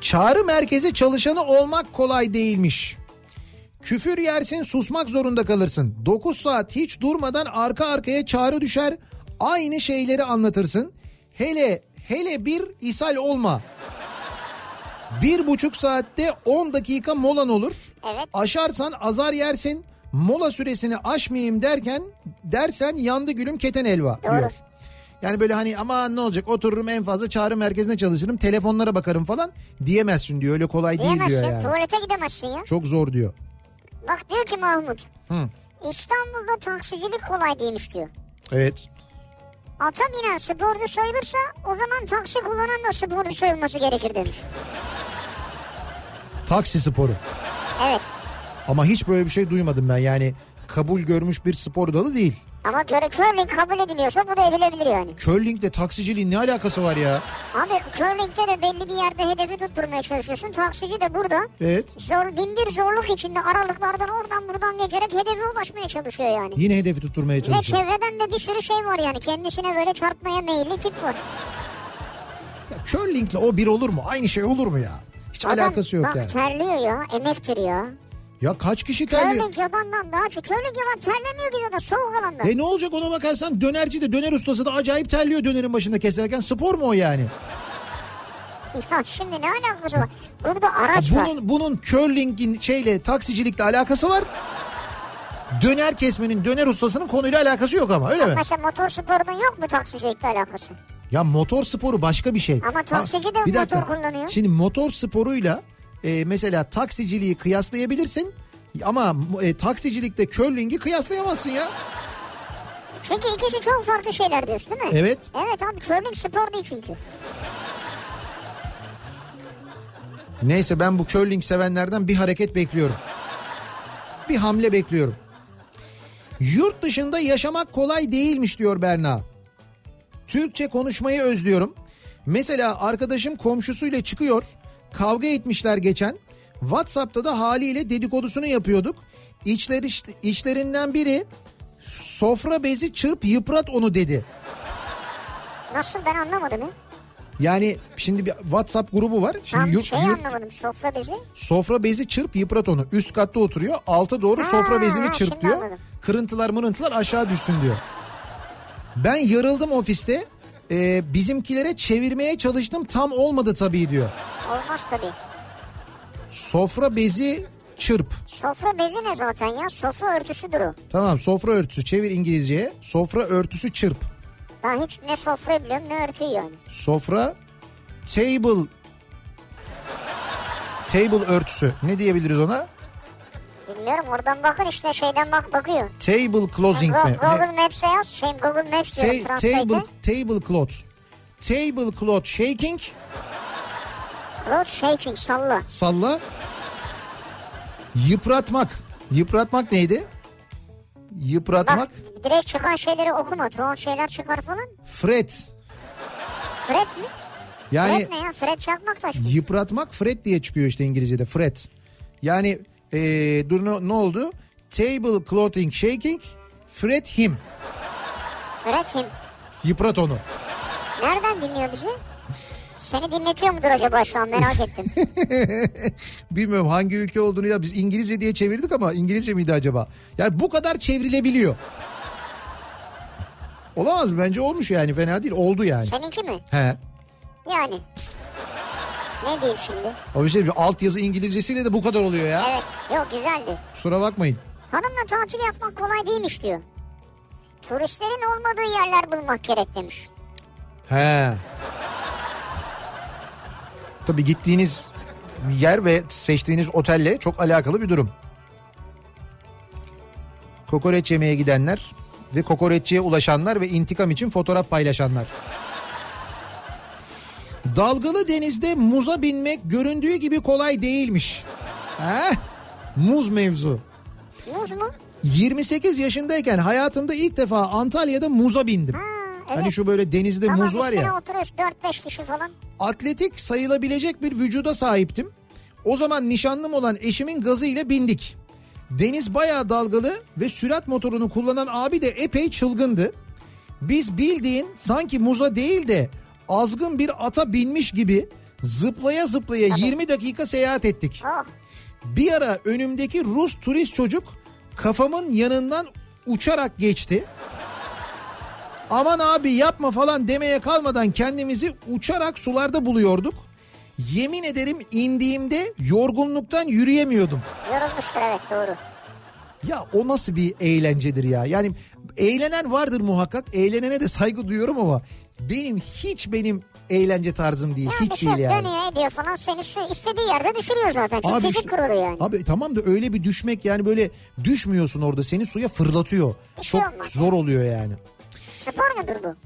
Speaker 1: çağrı merkezi çalışanı olmak kolay değilmiş. Küfür yersin susmak zorunda kalırsın. 9 saat hiç durmadan arka arkaya çağrı düşer. Aynı şeyleri anlatırsın. Hele hele bir ishal olma. Bir buçuk saatte 10 dakika molan olur.
Speaker 2: Evet.
Speaker 1: Aşarsan azar yersin. Mola süresini aşmayayım derken dersen yandı gülüm keten elva
Speaker 2: Doğru.
Speaker 1: diyor. Yani böyle hani aman ne olacak otururum en fazla çağrı merkezine çalışırım telefonlara bakarım falan diyemezsin diyor. Öyle kolay değil
Speaker 2: Diyemezsin
Speaker 1: diyor yani.
Speaker 2: tuvalete gidemezsin ya.
Speaker 1: Çok zor diyor.
Speaker 2: Bak diyor ki Mahmut.
Speaker 1: Hı.
Speaker 2: İstanbul'da taksicilik kolay değilmiş diyor.
Speaker 1: Evet.
Speaker 2: Ata binen sporcu sayılırsa o zaman taksi kullanan da sporcu sayılması gerekir demiş.
Speaker 1: Taksi sporu.
Speaker 2: Evet
Speaker 1: Ama hiç böyle bir şey duymadım ben. Yani kabul görmüş bir spor dalı değil.
Speaker 2: ama göre curling kabul ediliyorsa bu da edilebilir yani.
Speaker 1: Curling'de taksiciliğin ne alakası var ya?
Speaker 2: Abi curling'de de belli bir yerde hedefi tutturmaya çalışıyorsun. Taksici de burada
Speaker 1: Evet.
Speaker 2: zor bin bir zorluk içinde aralıklardan oradan buradan geçerek hedefe ulaşmaya çalışıyor yani.
Speaker 1: Yine hedefi tutturmaya
Speaker 2: Ve
Speaker 1: çalışıyor.
Speaker 2: çevreden de bir sürü şey var yani kendisine böyle çarpmaya meyilli tip var.
Speaker 1: Ya Curling'le o bir olur mu? Aynı şey olur mu ya? Hiç alakası yok
Speaker 2: bak,
Speaker 1: yani.
Speaker 2: terliyor ya emektir ya.
Speaker 1: Ya kaç kişi terliyor?
Speaker 2: Curling yabandan daha çok. Curling yaban terlemiyor ki zaten soğuk alanda.
Speaker 1: E ne olacak ona bakarsan dönerci de döner ustası da acayip terliyor dönerin başında keserken. Spor mu o yani?
Speaker 2: Ya şimdi ne alakası var? Burada
Speaker 1: Ya
Speaker 2: araç var.
Speaker 1: bunun bunun curling'in şeyle taksicilikle alakası var. Döner kesmenin döner ustasının konuyla alakası yok ama öyle mi?
Speaker 2: Mesela motorsporunun yok mu taksicilikle alakası?
Speaker 1: Ya motor sporu başka bir şey.
Speaker 2: Ama taksici de
Speaker 1: Ha, bir
Speaker 2: motor
Speaker 1: dakika.
Speaker 2: kullanıyor.
Speaker 1: Şimdi motor sporuyla e, mesela taksiciliği kıyaslayabilirsin. Ama e, taksicilikte curling'i kıyaslayamazsın ya.
Speaker 2: Çünkü ikisi çok farklı şeyler diyorsun değil mi?
Speaker 1: Evet.
Speaker 2: Evet abi curling spor değil çünkü.
Speaker 1: Neyse ben bu curling sevenlerden bir hareket bekliyorum. Bir hamle bekliyorum. Yurt dışında yaşamak kolay değilmiş diyor Berna. Türkçe konuşmayı özlüyorum. Mesela arkadaşım komşusuyla çıkıyor. Kavga etmişler geçen. WhatsApp'ta da haliyle dedikodusunu yapıyorduk. İçler, içlerinden biri sofra bezi çırp yıprat onu dedi.
Speaker 2: Nasıl ben anlamadım ya.
Speaker 1: Yani şimdi bir WhatsApp grubu var. Şimdi
Speaker 2: Tam
Speaker 1: yurt-
Speaker 2: şey
Speaker 1: yurt-
Speaker 2: anlamadım sofra bezi.
Speaker 1: Sofra bezi çırp yıprat onu. Üst katta oturuyor. Alta doğru
Speaker 2: Ha,
Speaker 1: sofra bezini
Speaker 2: ha,
Speaker 1: çırp
Speaker 2: şimdi
Speaker 1: diyor.
Speaker 2: anladım.
Speaker 1: Kırıntılar mırıntılar aşağı düşsün diyor. Ben yarıldım ofiste. Ee, bizimkilere çevirmeye çalıştım tam olmadı tabii diyor.
Speaker 2: Olmaz tabii.
Speaker 1: Sofra bezi çırp.
Speaker 2: Sofra bezi ne zaten ya? Sofra örtüsüdür o.
Speaker 1: Tamam sofra örtüsü çevir İngilizceye. Sofra örtüsü çırp.
Speaker 2: Ben hiç ne sofrayı biliyorum ne örtüyü yani.
Speaker 1: Sofra table table örtüsü. Ne diyebiliriz ona?
Speaker 2: Bilmiyorum oradan bakın işte şeyden bak bakıyor.
Speaker 1: Table closing
Speaker 2: Go-
Speaker 1: mi?
Speaker 2: Google Maps'e yaz. Şey, Google Maps diyor.
Speaker 1: Te- table
Speaker 2: Translate'e.
Speaker 1: table cloth. Table cloth shaking
Speaker 2: Road shaking salla.
Speaker 1: salla. Yıpratmak. Yıpratmak neydi? Yıpratmak.
Speaker 2: Bak direkt çıkan şeyleri okuma. Tuhaf şeyler çıkar falan.
Speaker 1: Fret.
Speaker 2: Fred mi?
Speaker 1: Yani
Speaker 2: Fred ne ya? Fred Çakmaktaş mı?
Speaker 1: yıpratmak fret diye çıkıyor işte İngilizce'de fret. Yani ee, dur ne, ne oldu? Table clothing shaking fret him.
Speaker 2: Fred kim?
Speaker 1: Yıprat onu.
Speaker 2: Nereden dinliyor bizi? Seni dinletiyor mudur acaba şu an merak ettim.
Speaker 1: Bilmiyorum hangi ülke olduğunu ya biz İngilizce diye çevirdik ama İngilizce miydi acaba? Yani bu kadar çevrilebiliyor. Olamaz mı? Bence olmuş yani fena değil. Oldu yani.
Speaker 2: Seninki mi?
Speaker 1: He.
Speaker 2: Yani. Ne diyeyim şimdi?
Speaker 1: Ama bir şey altyazı İngilizcesiyle de bu kadar oluyor ya.
Speaker 2: Evet. Yok güzeldi.
Speaker 1: Kusura bakmayın.
Speaker 2: Hanımla tatil yapmak kolay değilmiş diyor. Turistlerin olmadığı yerler bulmak gerek demiş.
Speaker 1: He. Tabii gittiğiniz yer ve seçtiğiniz otelle çok alakalı bir durum. Kokoreç yemeye gidenler ve kokoreççiye ulaşanlar ve intikam için fotoğraf paylaşanlar. Dalgalı denizde muza binmek göründüğü gibi kolay değilmiş. He? Muz mevzu.
Speaker 2: Muz mu?
Speaker 1: 28 yaşındayken hayatımda ilk defa Antalya'da muza bindim.
Speaker 2: evet.
Speaker 1: Hani şu böyle denizde
Speaker 2: Tamam
Speaker 1: muz var
Speaker 2: üstüne
Speaker 1: ya
Speaker 2: oturuyoruz 4-5 kişi falan.
Speaker 1: atletik sayılabilecek bir vücuda sahiptim. O zaman nişanlım olan eşimin gazı ile bindik. Deniz bayağı dalgalı ve sürat motorunu kullanan abi de epey çılgındı. Biz bildiğin sanki muza değil de azgın bir ata binmiş gibi zıplaya zıplaya 20 dakika seyahat ettik.
Speaker 2: Oh.
Speaker 1: Bir ara önümdeki Rus turist çocuk kafamın yanından uçarak geçti. Aman abi yapma falan demeye kalmadan kendimizi uçarak sularda buluyorduk. Yemin ederim indiğimde yorgunluktan yürüyemiyordum.
Speaker 2: Yorulmuştur evet doğru.
Speaker 1: Ya o nasıl bir eğlencedir ya? Yani eğlenen vardır muhakkak. Eğlenene de saygı duyuyorum ama benim hiç benim eğlence tarzım değil.
Speaker 2: Ya bir
Speaker 1: hiç
Speaker 2: şey
Speaker 1: değil yani.
Speaker 2: dönüyor ediyor falan seni şu istediği yerde düşürüyor zaten. Çünkü
Speaker 1: Abi
Speaker 2: fizik
Speaker 1: işte-
Speaker 2: kurulu yani.
Speaker 1: Abi tamam da öyle bir düşmek yani böyle düşmüyorsun orada seni suya fırlatıyor.
Speaker 2: Bir şey
Speaker 1: Çok
Speaker 2: olmaz.
Speaker 1: zor oluyor yani.
Speaker 2: Spor mudur bu?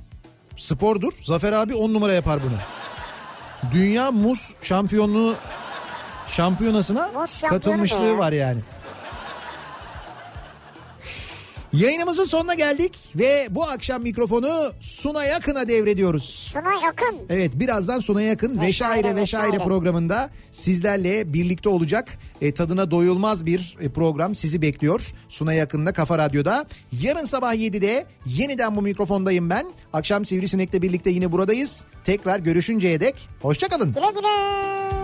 Speaker 1: Spordur. Zafer abi 10 numara yapar bunu. Dünya muz şampiyonluğu şampiyonasına
Speaker 2: Muz şampiyonu
Speaker 1: katılmışlığı
Speaker 2: ne ya?
Speaker 1: var yani. Yayınımızın sonuna geldik ve bu akşam mikrofonu Suna Yakın'a devrediyoruz.
Speaker 2: Sunay Akın.
Speaker 1: Evet birazdan sona yakın ve şaire ve şaire
Speaker 2: Veşaire.
Speaker 1: programında sizlerle birlikte olacak E, tadına doyulmaz bir e, program sizi bekliyor. Suna yakında Kafa Radyo'da. Yarın sabah 7'de yeniden bu mikrofondayım ben. Akşam Sivrisinek'le birlikte yine buradayız. Tekrar görüşünceye dek hoşçakalın.
Speaker 2: Güle güle.